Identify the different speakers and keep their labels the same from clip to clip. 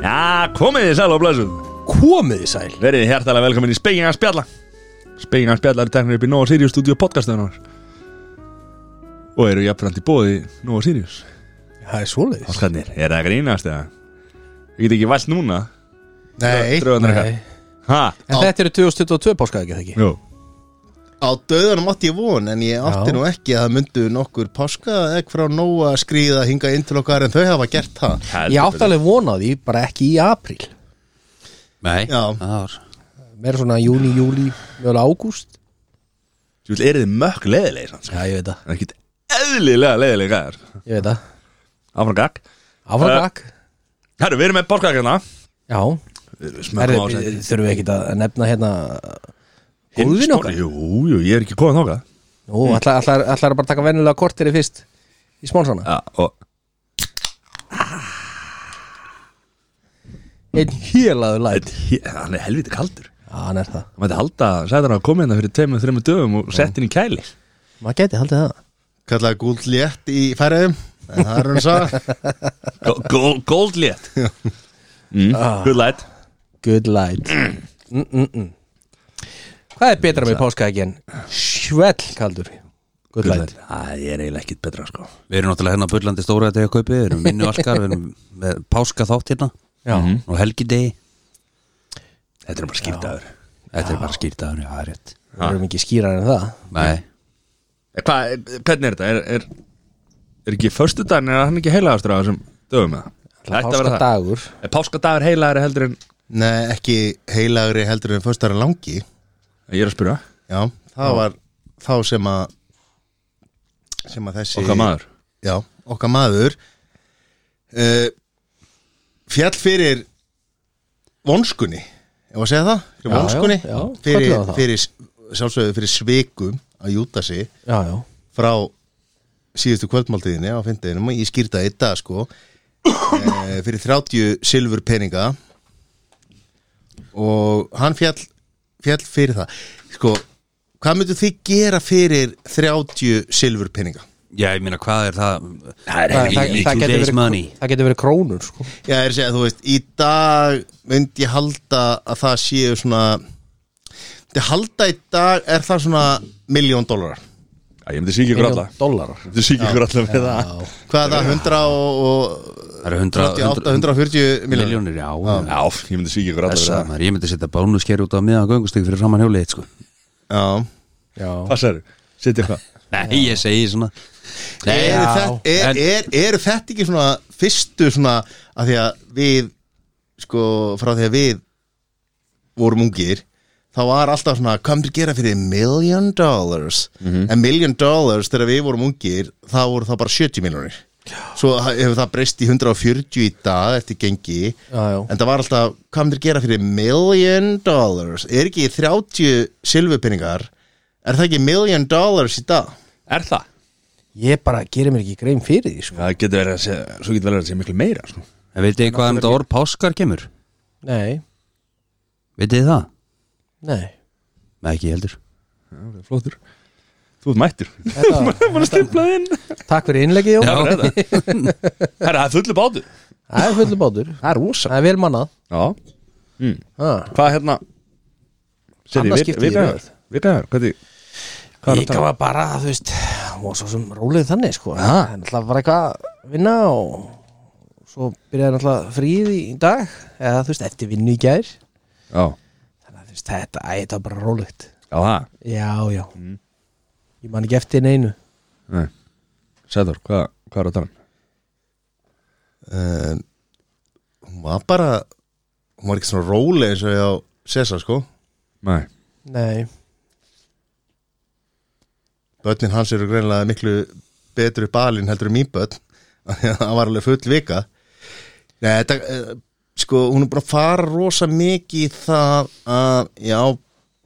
Speaker 1: komið þið sæl á blessuð
Speaker 2: Komið í sæl
Speaker 1: Verið þið hjertalega velkomin í Spekinga Spjalla Spekinga Spjalla eru teknir upp í Nova Sirius Studio podcastunar Og eru jafnframt í bóði Nova Sirius
Speaker 2: Það er svoleiðis
Speaker 1: Áskarnir, er það að grínast eða? Ég get ekki vælt núna
Speaker 3: Nei,
Speaker 1: Dröðunar
Speaker 2: Nei.
Speaker 1: eitthvað Ha?
Speaker 2: En
Speaker 3: Já.
Speaker 2: þetta eru 2022 páskaði ekki
Speaker 1: Jú
Speaker 3: á döðanum átti ég von En ég átti
Speaker 2: Já.
Speaker 3: nú ekki að það myndu nokkur páska Ekk frá nóa skrýða hinga inn til okkar En þau hafa gert það
Speaker 2: Ég átti alveg vonaði, bara ekki í apríl
Speaker 4: Nei,
Speaker 3: Já.
Speaker 4: það var
Speaker 2: Meira svona júni, júli, mjögulega ágúst
Speaker 1: Þú vil, eru þið mökk leðilegir sann
Speaker 2: Já, ég veit það,
Speaker 1: Það er ekki eðlilega leðilegir gæðar
Speaker 2: ég veit það
Speaker 1: Áfram gag Eh.
Speaker 2: Afrakak,
Speaker 1: Herru, við erum með borgarkakana
Speaker 2: já Herri,
Speaker 1: Smökkum á
Speaker 2: við-
Speaker 1: þessu
Speaker 2: Þurfum við ekki að nefna hérna
Speaker 1: Hinn
Speaker 2: Góðvin
Speaker 1: stóri-
Speaker 2: okkar
Speaker 1: Jú, jú, ég er ekki komað nokkað
Speaker 2: Nú, ætlar, ætlar, ætlar að bara taka venjulega kortir í fyrst Í smálsana
Speaker 1: Já, og
Speaker 2: Einn hélaðu læt
Speaker 1: Þetta- ég- hann er helviti kaldur
Speaker 2: Já, hann er það
Speaker 1: hann mætti halda sæðan að koma hérna fyrir tveimur, þreimur dögum og sett inn í kæli
Speaker 2: Maður geti haldið það
Speaker 3: Kallaði gúld létt í færiðum En það er hann sá
Speaker 1: Go- go- gold létt mm, good light
Speaker 2: Good light mm, mm, mm. Hvað er betra með páskaegg en Svell kaldur Good, light,
Speaker 1: það er eiginlega ekkit betra sko
Speaker 4: Við erum náttúrulega hérna á Bullandi stóra þetta ég kaupið, við erum minnu alkar, við erum með páska þátt hérna
Speaker 2: Já,
Speaker 4: og helgidegi
Speaker 1: þetta er bara skiptaður
Speaker 4: Þetta er bara skýrtaður, já, það er rétt
Speaker 2: það erum ekki skýrar en það
Speaker 4: Nei,
Speaker 1: Eh, hvað, er- hvernig er þetta? er, er, er ekki föstudaginn, er hann ekki heilagastur á þessum dögum eða? Það ætti að vera það.
Speaker 2: Páskadagur
Speaker 1: Er páskadagur heilagur heldur en
Speaker 3: Nei, ekki heilagri heldur en föstara langi
Speaker 1: ég er að spyrja,
Speaker 3: Já, það var þá sem að sem að þessi
Speaker 1: okkar maður
Speaker 3: Já, okkar maður uh, Fjall fyrir vonskunni ef að segja það,
Speaker 2: Já,
Speaker 3: fyrir
Speaker 2: já,
Speaker 3: vonskunni
Speaker 2: já,
Speaker 3: fyrir,
Speaker 2: kallaðu það.
Speaker 3: fyrir, sjálfsögðu fyrir svikum að júta sig
Speaker 2: Já, já,
Speaker 3: frá síðustu kvöldmáltíðinni á fyndeginum og ég skýrta í dag sko uh, fyrir 30 silfur peninga og hann fjall fjall fyrir það sko, hvað myndu þið gera fyrir 30 silfur peninga?
Speaker 4: já, ég meina hvað er það
Speaker 1: það
Speaker 2: það,
Speaker 4: í-
Speaker 2: það,
Speaker 4: í
Speaker 2: það, getur
Speaker 4: today's money.
Speaker 2: verið, það getur verið krónur sko.
Speaker 3: Já, ég er að segja, þú veist, í dag myndi ég halda að það séu svona Þið halda í dag er það svona miljón dólarar
Speaker 1: ég myndi síkja ykkur alla ég
Speaker 2: Dollarar
Speaker 1: myndi síkja ykkur alla með það
Speaker 3: Hvað er það, 100 og, og
Speaker 4: Það eru 100
Speaker 3: 38, 140 miljónir
Speaker 4: miljónir, já, já.
Speaker 1: já, ég myndi síkja ykkur alla með
Speaker 4: Þess að
Speaker 1: það
Speaker 4: maður, ég myndi setja bónusker út á miðan göngustík fyrir framann hjólið, þitt, sko
Speaker 3: Já
Speaker 2: Já,
Speaker 1: hvað sér, setja hvað
Speaker 4: Nei, ég segi svona Nei,
Speaker 3: Eru
Speaker 2: já.
Speaker 3: þetta- er- er- eru þetta ekki svona fyrstu svona að því að við sko frá því að við vorum ungir þá var alltaf svona hvað myndir gera fyrir million dollars
Speaker 2: Mhm.
Speaker 3: en million dollars þegar við vorum ungir þá voru það bara 70 miljonir svo ha- hefur það breyst í 140 í dag eftir gengi
Speaker 2: Já, já.
Speaker 3: en það var alltaf hvað myndir gera fyrir million dollars er ekki 30 silfupinningar er það ekki million dollars í dag
Speaker 1: er það?
Speaker 2: ég bara gerir mér ekki grein fyrir því sko.
Speaker 1: það getur verið að segja, svo getur verið að segja miklu meira sko.
Speaker 4: En veit þið hvaðan þetta orð páskar kemur?
Speaker 2: Nei,
Speaker 4: Veit þið það?
Speaker 2: nei
Speaker 4: Nei, ekki heldur
Speaker 1: flottur Þú ert mættur
Speaker 2: Þetta,
Speaker 1: Búin að stimpla inn
Speaker 2: Takk fyrir innlegið Jón
Speaker 1: Já, það er þetta Herra, það er fullu bátu
Speaker 2: Það er fullu bátur
Speaker 1: Það er rosa
Speaker 2: Það er vel mannað
Speaker 1: Já
Speaker 2: ah.
Speaker 1: Hvað hérna Seri,
Speaker 2: Annað
Speaker 1: við,
Speaker 2: skipti í
Speaker 1: við gæðar
Speaker 2: röð.
Speaker 1: Við gæðar, hvernig Hvað er
Speaker 2: Ég
Speaker 1: að tala?
Speaker 2: var bara, þú veist hún var svo sem rólið þannig sko en alltaf var eitthvað að vinna og svo byrjaði alltaf fríð í dag eða þú veist, eftir vinnu í gær
Speaker 1: Já,
Speaker 2: þannig að þú veist, þetta, æ, þetta var bara rólið
Speaker 1: já, það
Speaker 2: Já, já Ég man ekki eftir neinu
Speaker 1: Nei Sæður, hvað, hvað er að tala? um?
Speaker 3: uh, hún var bara hún var ekki svona róleg eins og ég á Sessa sko
Speaker 1: Nei
Speaker 2: Nei
Speaker 3: börnin hans eru greinlega miklu betri balin heldur en mín börn af því að það var alveg full vika Nei, þetta, uh, sko hún er búin að fara rosa mikið í það að já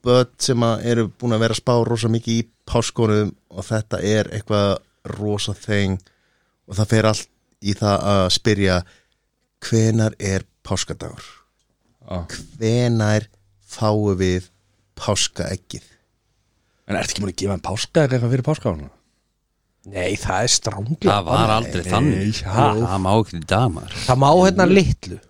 Speaker 3: börn sem að eru búin að vera að spá rosa mikið í páskonum og þetta er eitthvað rosa þeng og það fer allt í það að spyrja hvenar er páskadagur
Speaker 1: Já.
Speaker 3: hvenær fáum við páskaeggið
Speaker 1: En ertu ekki múin að gefa hann páska eða eitthvað fyrir páska á hann?
Speaker 2: Nei, það er stránglega
Speaker 4: Það var aldrei þannig
Speaker 1: ha.
Speaker 4: Það má ekki í dag maður
Speaker 2: Það má hérna litlu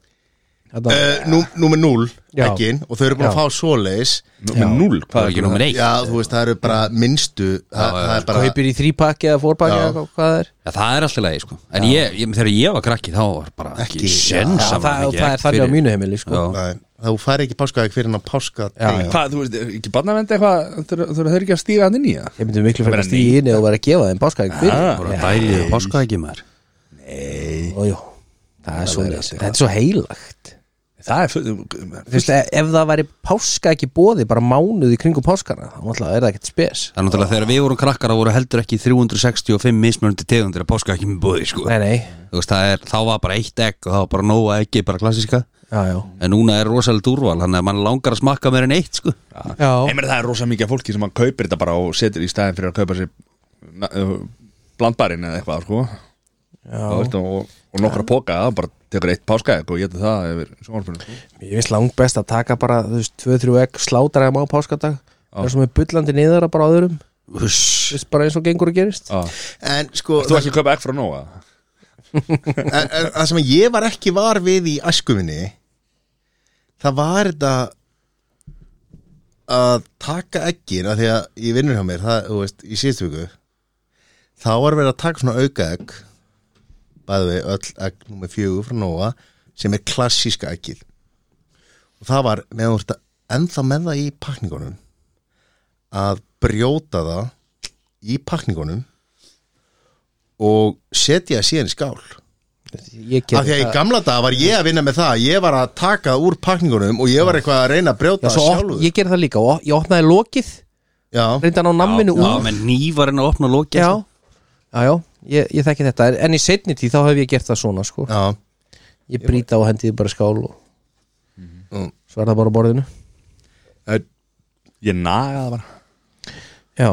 Speaker 2: Þarna,
Speaker 3: Eh, nú, Númer 0,
Speaker 2: Já.
Speaker 3: ekki Og þau eru búin að
Speaker 2: Já.
Speaker 3: fá svoleiðis
Speaker 1: Númer 0
Speaker 4: Það er ekki númer eitt
Speaker 3: Já, þú veist, það eru bara minnstu Það,
Speaker 4: já,
Speaker 3: það er bara
Speaker 2: kaupir í þrípakki eða fórpakki
Speaker 3: Já.
Speaker 2: eða hvað- hvað það er
Speaker 4: Já, það er alltaf leiði sko En ég, ég, þegar ég var krakki þá var bara
Speaker 3: Ekki,
Speaker 4: ekki
Speaker 3: já.
Speaker 4: sens
Speaker 2: Já,
Speaker 4: að
Speaker 2: það,
Speaker 4: maður fengi
Speaker 2: það er
Speaker 4: egg
Speaker 2: þannig á
Speaker 4: fyrir.
Speaker 2: mínu heimili sko.
Speaker 4: Já.
Speaker 3: Nei, Þú færi ekki páskaðeg fyrir en að páska
Speaker 2: Já,
Speaker 1: Hvað, þú veist, ekki barnavend eitthvað þurfa þurfa þeir ekki að stíga hann inn í það?
Speaker 2: Ég myndi miklu fyrir
Speaker 1: bara
Speaker 2: að stíði inn og vera að gefa þeim páskaðing
Speaker 1: Ah.
Speaker 2: fyrir
Speaker 4: Bara dælið páskaeggi maður
Speaker 2: og jú, það er svo þetta er svo heilagt
Speaker 1: Það er fullt
Speaker 2: Þú veist, e- ef- ef það væri páska ekki bóði bara mánuð í kringum páskana þá náttúrulega er það ekkert spes
Speaker 4: Það er náttúrulega þegar við vorum krakkar þá voru heldur ekki 365 mismöndi tegundir að páskaeggi með bóði sko
Speaker 2: Nei, nei,
Speaker 4: Þú veist, það er, þá var bara eitt egg og það var bara nóa eggi, bara klassiska
Speaker 2: já, já,
Speaker 4: En núna er rosalegt úrval, þannig að mann langar að smakka meir en eitt sko
Speaker 2: já.
Speaker 1: Einmitt það er rosa mikið af fólki sem að kaupir þetta bara og setur í staðin fyrir að kaupa sér na- uh, blandbarinn eða eitthvað sko. Þú veist, og, og nokkra póka það bara tekur eitt páskaegg og getur það yfir sjónarfinu sko.
Speaker 2: Ég veist langt best að taka bara, þú veist, 2-3 egg slátra þeim á páskadag Það er svo með bullandi niður að bara á öðrum Þú
Speaker 4: Uss,
Speaker 2: veist, bara eins og gengur að gerist
Speaker 3: En sko,
Speaker 1: Þú
Speaker 3: það,
Speaker 1: ekki að kaupa egg frá Nóa
Speaker 3: en, en, það sem ég var ekki var við í æskuminni Það var þetta að taka eggin að því að ég vinnur hjá mér það, þú veist, í síðustu viku þá var verið að taka svona auka egg bæði við öll egg nummer fjögur frá Nóa sem er klassíska eggið og það var meðan þú ert að ennþá með það í pakningunum að brjóta það í pakningunum og setja það síðan í skál
Speaker 2: Ég
Speaker 3: Af því
Speaker 2: gerði
Speaker 3: að í
Speaker 2: það
Speaker 3: gamla dag var ég að vinna með það Ég var að taka það úr pakningunum Og ég var eitthvað að reyna að
Speaker 2: Já,
Speaker 3: brjóta það
Speaker 2: svo op,
Speaker 3: sjálfur
Speaker 2: ég gerði það líka og ég opnaði lokið,
Speaker 3: Já,
Speaker 2: reynda að ná namminu
Speaker 4: já,
Speaker 2: úr
Speaker 4: menn nývarinn að opna lokið
Speaker 2: Já,
Speaker 4: sko.
Speaker 2: já, já, ég, ég þekki þetta En- En í seinni tíð þá hef ég gert það svona, sko
Speaker 3: já
Speaker 2: Ég brýta á hendið bara í skál og
Speaker 3: Mm.
Speaker 2: svo er það bara á borðinu
Speaker 1: Ég naga það bara
Speaker 2: Já,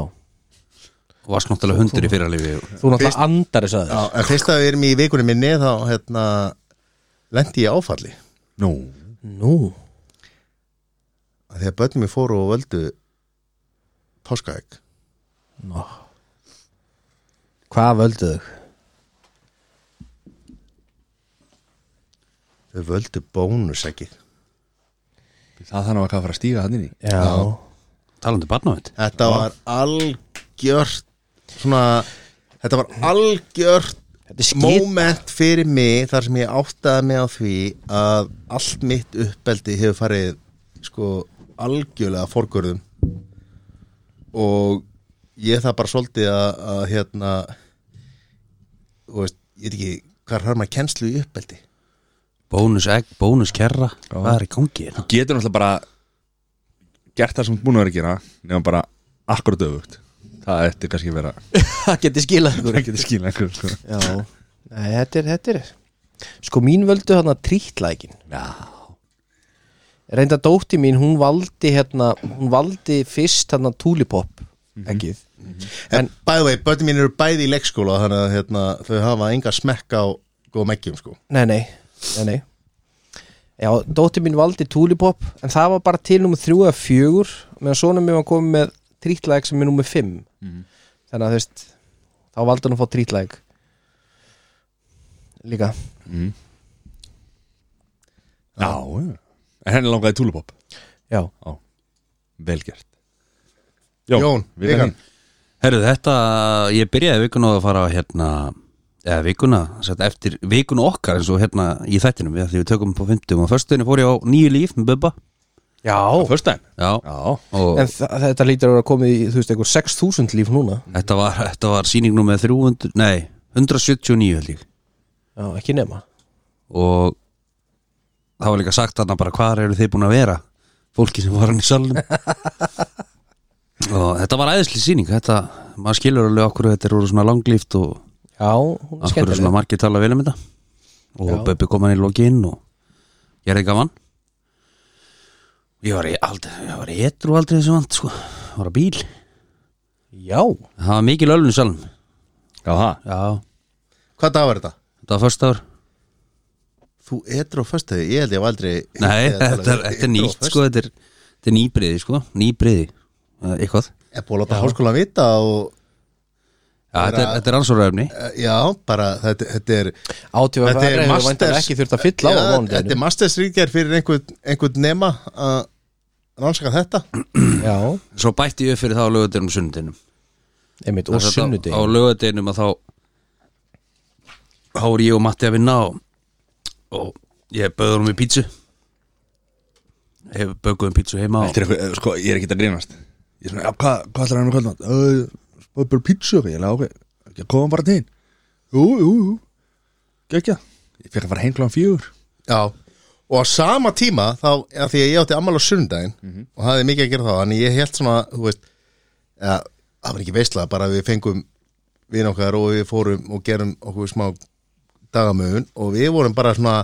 Speaker 4: Og varst náttúrulega hundur í fyrralífi
Speaker 2: þú náttúrulega andar þess að
Speaker 3: Já, en fyrst að við erum í vikunum minni þá hérna, lendi ég í áfalli
Speaker 1: Nú
Speaker 2: Nú,
Speaker 3: Af Því að börnum mér fóru og völdu Páskaegg
Speaker 2: hvað völdu þau?
Speaker 3: Þau völdu bónuseggið
Speaker 1: Það þannig að hvað fara að stíga hann inn í
Speaker 2: Já,
Speaker 4: Talandi um barnavind
Speaker 3: Þetta var algjört Svona Þetta var algjört
Speaker 2: þetta er skýt
Speaker 3: moment fyrir mig þar sem ég áttaði mig á því að allt mitt uppbeldi hefur farið sko algjörlega fórgörðum og ég það bara svolítið að, að hérna þú veist, ég veit ekki hvað har maður kennslu í uppbeldi
Speaker 4: Bónus egg, bónus kerra Hvað er í gangi hérna?
Speaker 1: Getur náttúrulega bara gert það sem þú ert búin að vera að gera nefnum bara akkurat öfugt Það eftir kannski vera
Speaker 2: Það getur skilað ykkur
Speaker 1: Það getur skýna einhver sko.
Speaker 2: Já, Nei, þetta er, þetta er Sko mín völdu hann að trítlækin
Speaker 4: Já,
Speaker 2: Reynda dótti mín, hún valdi hérna Hún valdi fyrst hérna tulipop Ekkið
Speaker 3: en, en by the way, börnum mín eru bæði í leikskóla þannig að hérna, þau hafa enga smekk á góðum eggjum sko
Speaker 2: Nei, nei, nei, nei Já, dótti mín valdi tulipop En það var bara til nummer þrjú eða fjögur Meðan svona mér var komið með trítlæk sem er nummer fimm Þannig að þú veist Þá valdi hann að fá trítlæk Líka
Speaker 1: Já já. En henni langaði túlupopp
Speaker 2: Já,
Speaker 1: Velgert
Speaker 3: Jón,
Speaker 1: vikan
Speaker 3: vikan.
Speaker 1: þín.
Speaker 4: Herru þetta, ég byrjaði vikuna á að fara hérna eða vikuna, sett eftir vikuna okkar eins og hérna í þættinum við, því við tökum på 50 og förstunni fór ég á nýju líf með Bubba
Speaker 1: Á föstudaginn?
Speaker 4: Já,
Speaker 1: Já
Speaker 4: og
Speaker 2: En þa- þetta lítur að vera komið í, þú veist, einhver 6.000 líf núna
Speaker 4: þetta var, þetta var sýning nú með 300, nei 179 held ég
Speaker 2: Já, ekki nema
Speaker 4: og það var líka sagt þarna bara hvar eru þið búin að vera fólki sem var hann í salnum og þetta var æðisli sýning þetta, maður skilur alveg okkur þetta eru svona langlíft og
Speaker 2: Já, hún er
Speaker 4: Akkur er
Speaker 2: skemmtileg
Speaker 4: svona margir tala vel um þetta Og
Speaker 2: Já.
Speaker 4: Böbbi kom hann í lokin og ég er ekki gaman Ég var, í- aldrei, ég var etru aldrei þessu vant sko Var á bíl
Speaker 2: Já,
Speaker 4: Það var mikil ölun í salnum
Speaker 1: Já það
Speaker 4: Já,
Speaker 3: hvað dag var þetta?
Speaker 4: þetta var först ár
Speaker 3: Þú etur á föstuði, ég held ég var aldrei
Speaker 4: Nei,
Speaker 3: Ég
Speaker 4: þetta, er- þetta er
Speaker 3: edrú á
Speaker 4: nýtt sko Þetta er, þetta er nýbriði sko Nýbriði, Eh, eitthvað
Speaker 3: föstudag. Er búið að láta háskóla vita og
Speaker 4: Já, þetta er, þetta er ansvaraefni
Speaker 3: Eh, Já, bara þetta, þetta er
Speaker 2: átífa
Speaker 3: Þetta er
Speaker 2: færi hefur vantar
Speaker 3: masters
Speaker 2: ekki þurft að fylla á
Speaker 3: Já,
Speaker 2: á
Speaker 3: Þetta
Speaker 2: mánudeginu
Speaker 3: er masters ríkjar fyrir einhvern, einhvern nema að rannsaka þetta
Speaker 2: já,
Speaker 4: Svo bætti ég upp fyrir það á lögadeginum og sunnudinum
Speaker 2: einmitt, og
Speaker 4: Á
Speaker 2: sunnudeginu
Speaker 4: lögadeginum að þá þá er ég og Matti að vinna og, og ég bauði honum í pítsu Hefur bauðum pítsu heima og,
Speaker 1: Þetta er eitthvað, sko, ég er ekki að grínast Ég er svona, já, hvað, hvað ætlar hann að kvöldmátt? Öh, spáðu bara pítsu og eitthvað, ég lega, ok Ég kom bara til þín Jú, jú, jú, gekkja Ég fekk að fara heim kláðan fjögur
Speaker 3: Já Og á sama tíma þá, af því að ég átti ammál á sundaginn og hafði mikið að gera þá Þannig ég held svona, þú veist ja, Það var ekki veistla, bara við fengum vin okkar og við fórum og gerum okkur smá dagamögun og við vorum bara svona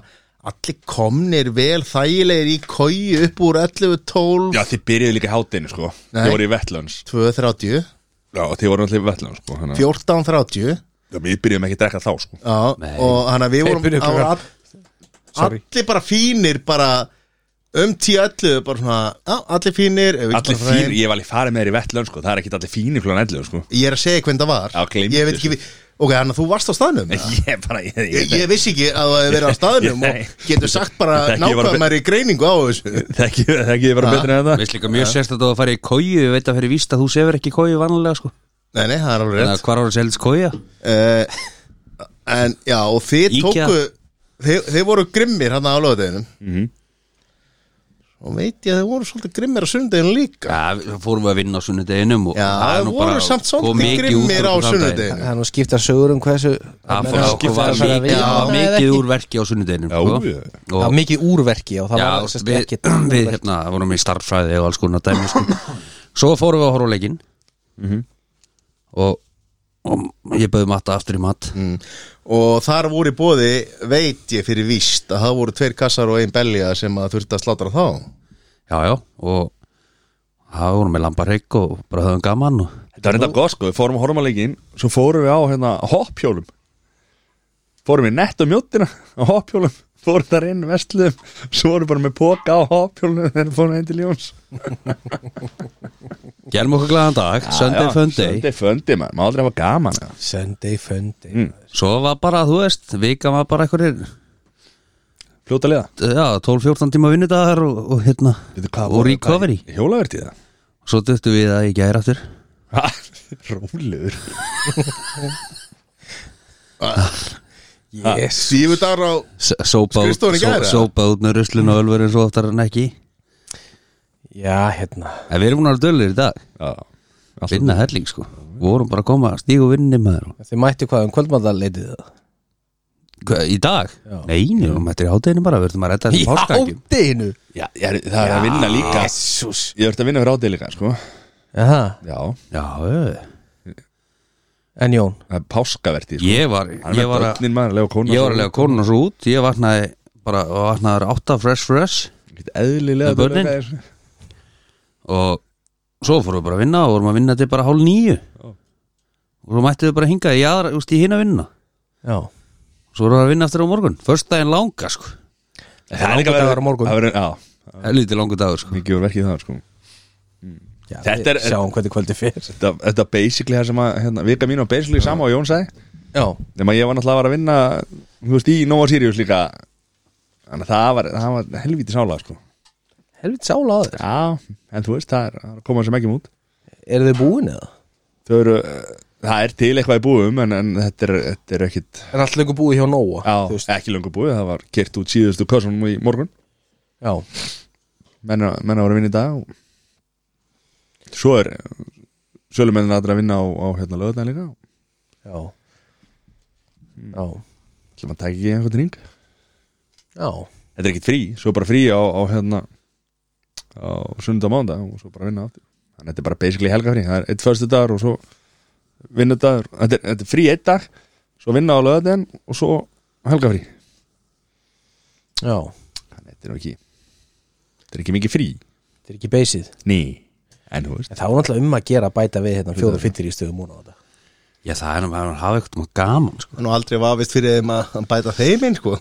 Speaker 3: allir komnir vel þægilegir í kói upp úr 11, 12
Speaker 1: Já, þið byrjuðu líka í hátinu, sko
Speaker 3: Nei.
Speaker 1: Þið voru í Vetlunds
Speaker 3: 2.30,
Speaker 1: Já, þið voru allir í Vetlunds, sko þannig að-
Speaker 3: 14.30
Speaker 1: Já, Við byrjuðum ekki að drekka þá, sko
Speaker 3: Já,
Speaker 4: Nei.
Speaker 3: og hann að við
Speaker 2: Þeir
Speaker 3: vorum
Speaker 2: byrjuðu
Speaker 3: það voru
Speaker 2: klukkan-
Speaker 3: all- allir bara fínir bara um tíu öllu bara svona, já, allir fínir ef við
Speaker 1: Allir
Speaker 3: bara fara
Speaker 1: fínir,
Speaker 3: heim.
Speaker 1: ég var alveg farið með þér í Vetlunds, sko Það er ekki allir fínir klúan ellu, sko
Speaker 3: ég er að segja hvernig það var
Speaker 1: Já, gleymdu
Speaker 3: ég veit ekki, við- ok, hann að þú varst á staðnum eða?
Speaker 1: Ég bara, ég,
Speaker 3: ég, ég vissi ekki að það hefði verið á staðnum
Speaker 1: Nei.
Speaker 3: og getur sagt bara
Speaker 1: Ég þekki, ég var að-
Speaker 3: nákvæmari greiningu á þessu
Speaker 1: Þekki, þekki ég bara betur en þetta
Speaker 4: Veist líka mjög sérstætt að fara í kói Ég veit að fyrir víst að þú sefur ekki kói vanlega sko
Speaker 3: nei, nei, það er alveg
Speaker 4: Þannig að
Speaker 3: rétt
Speaker 4: hvar ára selst kója
Speaker 3: uh, en já, og þið
Speaker 4: Íkja.
Speaker 3: tóku þeir, þeir voru grimmir hann á lögadeginum
Speaker 1: Mhm.
Speaker 3: og veit ég að þeir voru svolítið grimmir á sundeginu líka
Speaker 4: Já, við fórum við að vinna á sunnudeginum og
Speaker 3: Já,
Speaker 4: það er nú
Speaker 3: voru
Speaker 4: bara-
Speaker 3: samt svolítið
Speaker 4: kom mikið
Speaker 3: grimmir á
Speaker 4: út úr þann daginn.
Speaker 3: sunnudeginum.
Speaker 2: það er nú skipta sögur um hversu
Speaker 4: Það
Speaker 2: menn
Speaker 4: fór-
Speaker 2: hafa
Speaker 4: okkur
Speaker 2: skipta
Speaker 4: var
Speaker 2: þessar að
Speaker 4: mikið,
Speaker 2: vinna
Speaker 4: já,
Speaker 2: eða
Speaker 4: mikið
Speaker 2: ekki.
Speaker 4: úr verki á sunnudeginu
Speaker 1: Já,
Speaker 4: sko.
Speaker 1: já.
Speaker 2: Það
Speaker 4: og
Speaker 2: var mikið úrverki og það
Speaker 4: já,
Speaker 2: var sérst
Speaker 4: við,
Speaker 2: ekkert úrverki.
Speaker 4: við hérna, vorum í starffræði og alls konar dæmi sko. Svo fórum við að horfa á leikinn
Speaker 3: Mhm.
Speaker 4: og, og ég bauði matta aftur í mat
Speaker 3: Mm. og þar voru í bóði veit ég fyrir víst að það voru tveir kassar og ein belja sem að þurfti að slátra þá
Speaker 4: Já, já, og það vorum við lambarheik og bara höfum gaman og
Speaker 1: Þetta var reynda gott sko, við fórum að horfum að leikin Svo fórum við á hérna hoppjólum Fórum við nett um mjóttina á hoppjólum Fórum þar inn vestluðum Svo vorum við bara með póka á hoppjólum Þegar við fórum heim til Jóns
Speaker 4: Gerum okkur glæðan dag, Sunday fun day
Speaker 1: Söndi föndi maður, maður aldrei hafa gaman eða.
Speaker 2: Sunday fundi
Speaker 1: Mm.
Speaker 4: Svo var bara, þú veist, vika var bara einhverjir
Speaker 1: Fljóta liða
Speaker 4: Já, 12-14 tíma vinnudagar og, og hérna
Speaker 1: Veitu hvað
Speaker 4: Og
Speaker 1: voru-
Speaker 4: recovery.
Speaker 1: hvað í- Hjólavertíð það?
Speaker 4: Svo duttum við að ég gæra aftur
Speaker 1: Ha, Rólegur
Speaker 2: yes.
Speaker 3: Stífu dagar á
Speaker 4: S- Sópa út,
Speaker 3: Skrifstofan í gær,
Speaker 4: só-
Speaker 3: eða?
Speaker 4: sópa út með ruslun og ölverin svo oftar en ekki
Speaker 2: Já, hérna
Speaker 4: En við erum hún alveg dölur í dag
Speaker 1: Já, Alltaf.
Speaker 4: Vinna helling sko Við vorum bara að koma að stígu vinninni maður
Speaker 2: Þið mættu hvað um kvöldmandaleitið það
Speaker 4: Hva, Í dag?
Speaker 2: Já.
Speaker 4: Nei, við erum mættir í hátæðinu bara Við erum að redda þessum páskakjum
Speaker 2: deginu
Speaker 1: já ég er, það er að vinna líka
Speaker 2: Jesus
Speaker 1: Ég verður að vinna fyrir ádegi líka sko
Speaker 2: Aha.
Speaker 1: Já,
Speaker 4: Já, ö.
Speaker 2: En Jón,
Speaker 1: það er páskavertíð sko.
Speaker 4: ég var
Speaker 1: Hann er
Speaker 4: Ég
Speaker 1: með
Speaker 4: var að
Speaker 1: börnin maður, lega kona
Speaker 4: Ég var að lega konuna svo út Ég vaknaði bara og vaknaði átta fresh fresh
Speaker 1: Eðlilega
Speaker 4: Með börnin?
Speaker 1: duglegur gæjar.
Speaker 4: Og svo fórum við bara að vinna og vorum að vinna til bara hálf nýju
Speaker 1: Já.
Speaker 4: Og svo mættum við bara hinga í aðra, úst, í hina vinna
Speaker 2: já
Speaker 4: Svo vorum við að vinna aftur á morgun Först daginn langa sko
Speaker 1: Það er
Speaker 2: Langur
Speaker 1: líka
Speaker 2: dagur á morgun.
Speaker 1: verið- það verður- Já,
Speaker 4: Helviti langur dagur sko
Speaker 1: mikið voru verkið það sko
Speaker 2: Já,
Speaker 1: Þetta
Speaker 2: við
Speaker 1: er-
Speaker 2: Sjáum hvernig kvöldi fyrir
Speaker 1: Þetta, þetta er basically það sem að hérna, vika mín var basically sama og Jón sagði
Speaker 2: Já,
Speaker 1: nema ég var náttúrulega að vera að vinna þú veist, í Nova Sirius líka þannig að það var, það var helvítið sála sko.
Speaker 2: helvit sála á þér
Speaker 1: já, en þú veist, það er það er að koma sem ekki mút
Speaker 2: Eru þið búin eða?
Speaker 1: þau eru, eh, það er til eitthvað í búum en, en þetta, er, þetta er ekkit
Speaker 2: Er allt lengur búið hjá Nóa? þú
Speaker 1: já,
Speaker 2: veist.
Speaker 1: ekki löngu búið, það var kert út síðustu kössunum í morgun
Speaker 2: já.
Speaker 1: menn, menn að vera að vinna í dag og... svo er sölumennin aðra að vinna á, á hérna lögðan líka
Speaker 2: já Já
Speaker 1: ætlum að taka ekki einhvern ring
Speaker 2: Já
Speaker 1: þetta er ekkert frí, svo bara frí á, á hérna á sunnudag og mándag og svo bara vinna aftur þannig að þetta er bara basically helgafrí, það er eitt förstu dagur og svo vinnudagur, þetta er, þetta er frí eitt dag svo vinna á löðin og svo helgafrí
Speaker 2: Já
Speaker 1: þannig að þetta er nú ekki þetta er ekki mikið frí,
Speaker 2: Þetta er ekki beysið
Speaker 1: ný en þú veist,
Speaker 2: En það er náttúrulega um að gera að bæta við hérna fjóra fyrir í stöðum múna á þetta
Speaker 4: Já, það er nú bara að hafa eitthvað um gaman sko.
Speaker 3: og aldrei vafist fyrir þeim að að bæta þeim inn sko.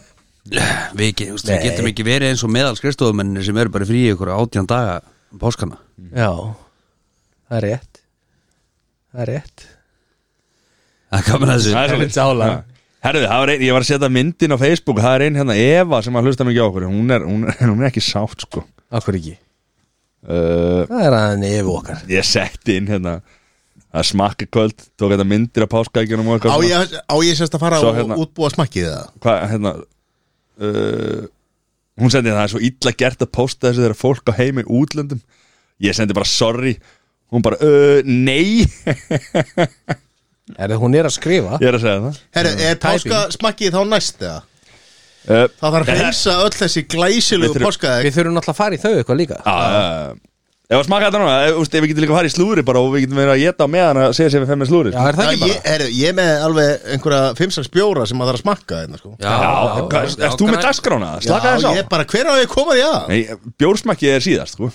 Speaker 4: við, get, úst, við
Speaker 2: Nei.
Speaker 4: getum ekki verið eins og meðal skrifstofumennir sem eru bara frí í ykkur átján daga um páskana
Speaker 2: Mhm. Já, það er rétt Það er rétt
Speaker 4: Það er gaman að þessu
Speaker 1: Það er svolítið sála Herðu, það var ein, ég var að setja myndin á Facebook Það er ein hérna Eva sem að hlusta mikið á okkur Hún er, hún er, hún er ekki sátt sko
Speaker 2: Akkur ekki
Speaker 1: uh,
Speaker 2: Það er aðeins yfir okkar
Speaker 1: Ég setti inn hérna að smakka kvöld Tók þetta myndir af páskaækjunum og
Speaker 3: Á
Speaker 1: eitthvað svona.
Speaker 3: ég, á ég sérst að fara
Speaker 1: Svo
Speaker 3: og
Speaker 1: hérna-
Speaker 3: útbúa smakkið það
Speaker 1: Hvað, hérna uh, Hún sendi það er svo illa gert að posta þessu Þegar fólk á heimi í útlöndum Ég sendi bara sorry Hún bara, uh, nei
Speaker 2: Er það hún er að skrifa?
Speaker 1: Ég er að segja það
Speaker 3: Herru, er
Speaker 2: Tæping.
Speaker 3: páska smakkið þá næst eða?
Speaker 1: uh,
Speaker 3: Það þarf að
Speaker 1: Nei.
Speaker 3: hreinsa öll þessi
Speaker 1: Við
Speaker 3: glæsilegu
Speaker 1: þurfum-
Speaker 3: páskaðeg
Speaker 2: Við þurfum náttúrulega að fara í þau eitthvað líka
Speaker 1: Ah, Já, Ef að smaka þetta núna, ef, úst, ef við getum líka að fara í slúri bara og við getum verið að geta á meðan að segja sér við fem með slúri
Speaker 2: Já, er það ekki bara?
Speaker 3: ég, herru, ég er með alveg einhverja fimmsaks bjóra sem maður þarf að smakka hérna, sko.
Speaker 1: Já, hvað- Erst þú með dagskrána? Slaka
Speaker 3: Já,
Speaker 1: þess á
Speaker 3: ég er bara, hver á ég að koma því að?
Speaker 1: Nei, bjórsmakki er síðast, sko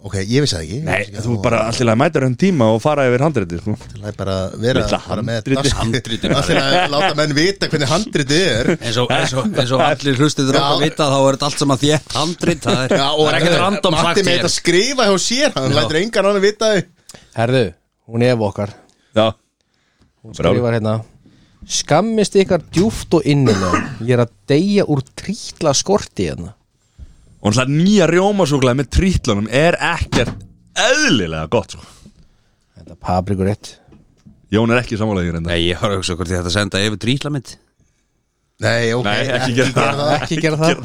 Speaker 3: Ok, ég vissi það ekki
Speaker 1: Nei, þú bara alltaf að mæta raun tíma og fara yfir handriti, sko
Speaker 3: Það er bara að vera
Speaker 1: Litla
Speaker 3: bara með
Speaker 1: handritið.
Speaker 3: dask-
Speaker 4: Handritið.
Speaker 3: Það er að láta menn vita hvernig handritið er
Speaker 4: eins og, eins og, eins og allir hlustið
Speaker 3: Já.
Speaker 4: rátt að vita þá er þetta allt saman þétt handrit það er, það er ekkert random sagt
Speaker 3: eh, Matti með
Speaker 4: hér
Speaker 3: þetta skrifa hjá sér Hann lætur engan annan vita því.
Speaker 2: Herðu, hún er yfir okkar
Speaker 1: Já,
Speaker 2: Hún
Speaker 1: Brjál.
Speaker 2: skrifar hérna Skammist ykkar djúft og innilega Ég er að deyja úr trítla skorti hérna
Speaker 1: og alltaf nýja rjómasúklaði með trítlunum er ekkert eðlilega gott, sko
Speaker 2: Þetta er paprikur eitt
Speaker 1: Jón er ekki hérna. samanlega í reynda
Speaker 4: Nei, ég har auðvitað hvort ég ætti að senda yfir drýtla mitt
Speaker 3: Nei, ok
Speaker 1: Nei, ekki gera það
Speaker 2: Ekki gera það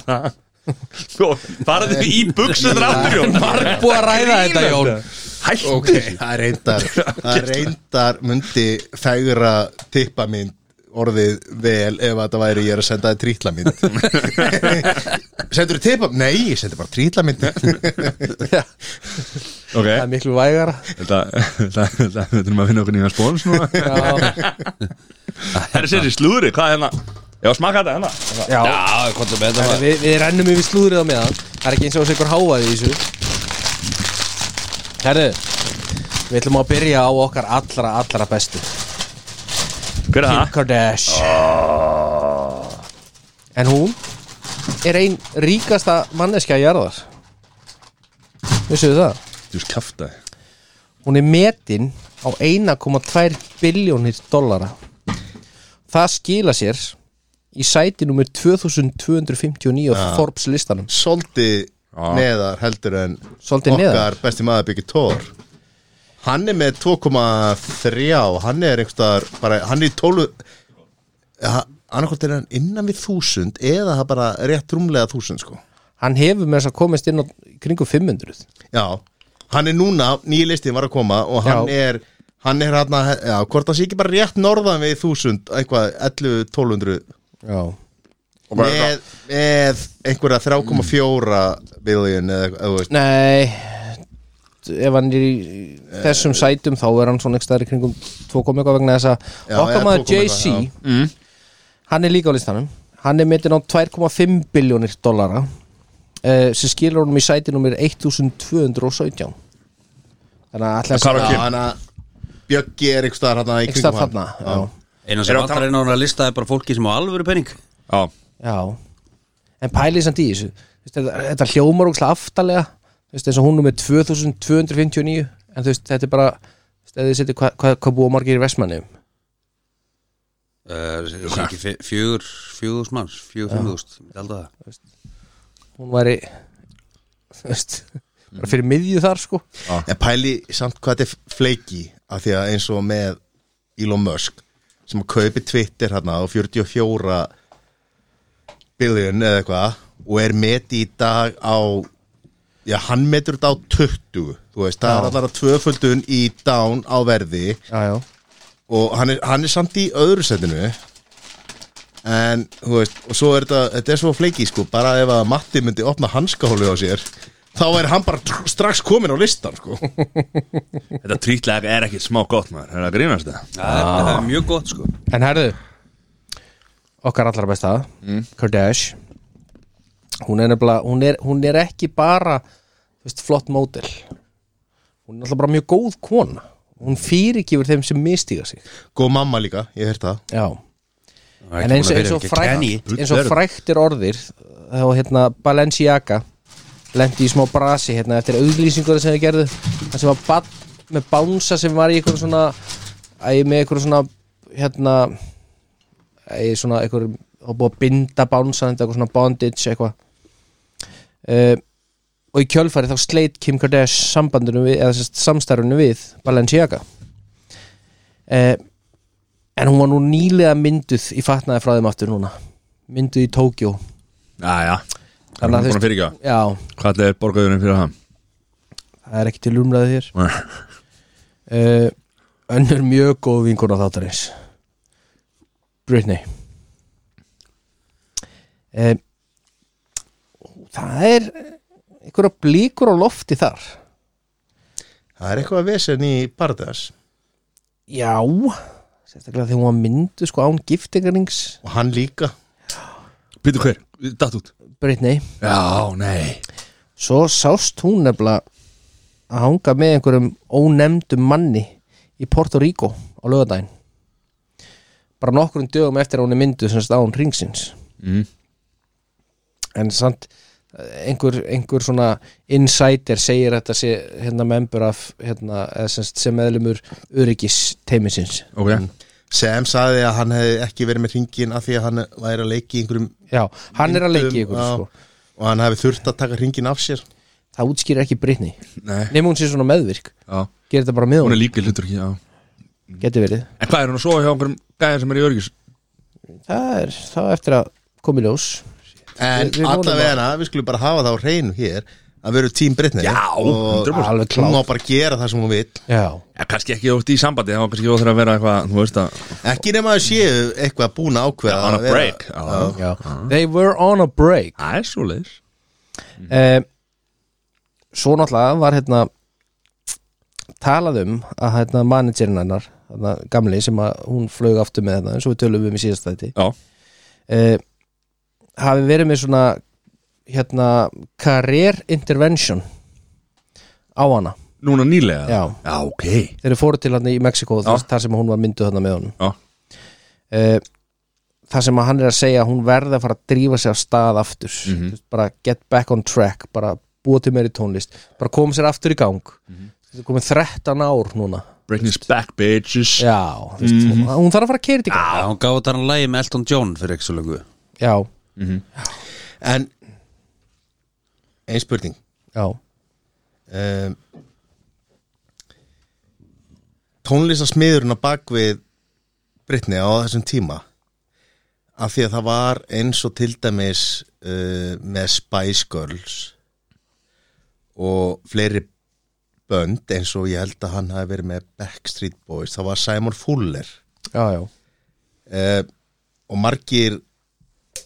Speaker 1: Sko, farðu í buksum ráttur, Jón Marg
Speaker 2: Búið að ræða þetta Jón
Speaker 1: Hættu
Speaker 3: Ok, það er reyndar Það er reyndar myndi fægra tippa mín orðið vel ef að það væri ég er að senda þið trítlamynd Sendur þið tippa? Nei, ég sendi bara trítlamynd
Speaker 1: Ok,
Speaker 2: Það er miklu vægara
Speaker 1: þetta, þetta, þetta, við þurfum að finna okkur nýja spóns núna
Speaker 2: Já,
Speaker 1: Herri, sér í slúri, hvað er hérna? Já, smaka þetta hérna
Speaker 2: já.
Speaker 4: hvað er með
Speaker 2: Herðu, Við, við rennum yfir slúðrið á meðan Það er ekki eins og þessi ykkur háaði í þessu Herðu Við ætlum að byrja á okkar allra, allra bestu
Speaker 1: Hver er
Speaker 2: Kim
Speaker 1: það?
Speaker 2: Kardashian Ah. En hún er ein ríkasta manneskja jarðar Vissuðu það?
Speaker 1: Þú skafta
Speaker 2: Hún er metin á 1,2 biljónir dollara Það skila sér í sæti nummer 2259 á Forbes listanum
Speaker 3: Solti neðar heldur en
Speaker 2: Svolítið neðar?
Speaker 3: okkar besti maður byggir Thor Hann er með 2,3 Hann er einhverstaðar bara, Hann er í 12 Annarkvort er hann innan við 1000 eða það bara rétt rúmlega 1000 sko
Speaker 2: Hann hefur með þess að komast inn á kringum 500
Speaker 3: Já, hann er núna, nýja listin var að koma og hann
Speaker 2: Já.
Speaker 3: er hann er hann að, já, hvort það sé ekki bara rétt norðan við 1000, eitthvað 11, 1200
Speaker 2: Já
Speaker 3: með, með einhverja 3,4 billion eða eitthvað, þú veist
Speaker 2: Nei ef hann er í þessum sætum þá er hann svona ekki staðar í kringum 2 kom eitthvað vegna þess að
Speaker 3: Eh, Já, eða
Speaker 2: okkar
Speaker 3: 2,1
Speaker 2: maður
Speaker 3: eitthvað,
Speaker 2: JC hann er líka á listanum hann er metin á 2,5 biljónir dollara uh, sem skilur honum í sæti nummer 1217 þannig að alltaf
Speaker 1: Hvað er að
Speaker 3: Já,
Speaker 1: Kim?
Speaker 3: hann að Bjöggi er einhver staðar hann í
Speaker 2: ekki
Speaker 3: kringum
Speaker 2: stað
Speaker 3: hann
Speaker 2: þarna já.
Speaker 4: eina sem
Speaker 1: Erum við að
Speaker 4: vantar einn á að lista er bara fólki sem á alvöru penning
Speaker 1: Já,
Speaker 2: já en pælið samt í þessu Þú veist, þetta, þetta hljómar og aftalega Þú veist, eins og hún nummer 2259 en þú veist þetta er bara þú veist, ef þið setja hvað hva, hva búa margir í vestmannum
Speaker 4: Eh, uh, fjögur fjögur manns, fjögur fimmugust ég held að það
Speaker 2: hún væri þú veist bara fyrir miðju þar sko
Speaker 3: En pæli samt hvað þetta er fleiki af því að eins og með Elon Musk sem að kaupi Twitter hann á 44 billion eða eitthvað og er meti í dag á já, hann metur þetta á 20 þú veist, það er allar að tvöföldun í down á verði
Speaker 2: já, já.
Speaker 3: og hann er, hann er samt í öðru setinu en, þú veist, og svo er þetta þetta er svo fleiki, sko, bara ef að Matti myndi opna hanskahólu á sér þá er hann bara strax komin á listan, sko
Speaker 1: þetta trítlega er ekki smá gott maður, er það að grínast það?
Speaker 4: það er, það er mjög gott sko
Speaker 2: En herðu Okkar allra besta Mm. Kardash Hún er nefnilega Hún er, hún er ekki bara þú veist, flott mótil Hún er alltaf bara mjög góð kona Hún fyrirgifur þeim sem mistíga sig
Speaker 3: Góð mamma líka, ég hef það
Speaker 2: Já
Speaker 4: Það er
Speaker 2: En
Speaker 4: ekki
Speaker 2: eins,
Speaker 4: búin að
Speaker 2: eins, og
Speaker 4: fyrirgefa Kenny.
Speaker 2: frækt, eins og
Speaker 1: Bull
Speaker 2: frækt er orðir þá hérna Balenciaga lendi í smá brasi hérna eftir auglýsingur sem þið gerðu það sem var bann með bánsa sem var í einhverjum svona æ, með einhverjum svona hérna í svona einhver og búið að binda bánsan eitthvað svona bondage eitthvað uh, og í kjölfari þá sleit Kim Kardashian sambandinu við eða sérst samstarfinu við Balenciaga uh, en hún var nú nýlega mynduð í fatnaði frá þeim aftur núna mynduð í Tókjó
Speaker 1: Jæja,
Speaker 2: Þannig að
Speaker 1: hann er
Speaker 2: þú
Speaker 1: búin
Speaker 2: veist-
Speaker 1: að fyrirgjá
Speaker 2: já,
Speaker 1: Hvað er borgaðurinn fyrir það?
Speaker 2: það er ekki til umræðu hér
Speaker 1: Nei.
Speaker 2: uh, önnur mjög góð vinkona þáttarins Britney uh, það er einhverja blíkur á lofti þar
Speaker 3: Það er eitthvað að vesen í Bardas
Speaker 2: já sérstaklega þegar hún var myndu sko án giftingarnings
Speaker 3: og hann líka
Speaker 1: Býtu hver, datt út
Speaker 2: Britney
Speaker 1: Já, nei
Speaker 2: svo sást hún nefnilega að hanga með einhverjum ónefndum manni í Porto Rico á lögadaginn bara nokkrum dögum eftir að hún er myndu sem stáðum ringsins
Speaker 1: mm.
Speaker 2: en samt eh, einhver, einhver svona insider segir að þetta sé hérna membur af hérna, eða sem, sagt sem meðlumur öryggis teimisins
Speaker 1: Ok,
Speaker 3: sem sagði að hann hefði ekki verið með ringin af því að hann væri að leiki einhverjum
Speaker 2: já, hann er að leiki ykkur
Speaker 3: já,
Speaker 2: sko.
Speaker 3: og hann hefði þurft að taka ringin af sér
Speaker 2: það útskýrir ekki Britney
Speaker 1: nei
Speaker 2: nema hún sé svona meðvirk,
Speaker 1: Já,
Speaker 2: gerir þetta bara með
Speaker 1: hún er
Speaker 2: hún
Speaker 1: líka hlutur ekki, já
Speaker 2: getur verið,
Speaker 1: En hvað er hún að sofa hjá einhverjum gæðin sem er í örgis?
Speaker 2: það er þá eftir að komi ljós
Speaker 3: en
Speaker 2: Við- við vonum
Speaker 3: allavega við skulum bara hafa það á hreinu hér að veru tím Brittany
Speaker 1: Já,
Speaker 3: og
Speaker 1: 100%.
Speaker 2: Alveg klárt.
Speaker 3: hún má bara gera það sem hún vil
Speaker 2: já,
Speaker 1: Já, kannski ekki þú ert í sambandi, þá kannski þú þarf að vera eitthvað, þú veist að
Speaker 3: ekki nema að séu eitthvað búin að ákveða
Speaker 1: On a
Speaker 3: að vera-
Speaker 1: break. Já.
Speaker 3: Já.
Speaker 2: já. they were on a break
Speaker 1: Það er svo leiðis
Speaker 2: eh, Svo náttúrulega var hérna talað um að hérna managerinn hennar hérna, gamli sem að hún flög aftur með hérna eins og við tölum um í síðast þætti
Speaker 1: Já,
Speaker 2: eh, hafi verið með svona hérna career intervention á hana
Speaker 1: núna nýlega
Speaker 2: Já.
Speaker 1: já ok
Speaker 2: þeir eru fóru til hérna í Mexiko
Speaker 1: Já.
Speaker 2: þar sem hún var mynduð hérna með honum
Speaker 1: Já,
Speaker 2: Eh, það sem að hann er að segja að hún verði að fara að drífa sig af stað aftur mm
Speaker 1: Mhm.
Speaker 2: bara get back on track bara búa til meiri tónlist bara koma sér aftur í gang þetta er komið 13 ár núna
Speaker 1: Britney's back bitches
Speaker 2: já, þú veist, hún, hún þarf að fara að keira þetta í gang
Speaker 4: Já, hún gaf út hann lægi með Elton John fyrir ekki svo lengu
Speaker 2: já,
Speaker 3: en ein spurning
Speaker 2: já,
Speaker 3: um, tónlistasmiðurinn á bakvið Brittany á þessum tíma af því að það var eins og til dæmis uh, með Spice Girls og fleiri bönd eins og ég held að hann hafi verið með Backstreet Boys, það var Simon Fuller
Speaker 2: já, já
Speaker 3: uh, og margir uh,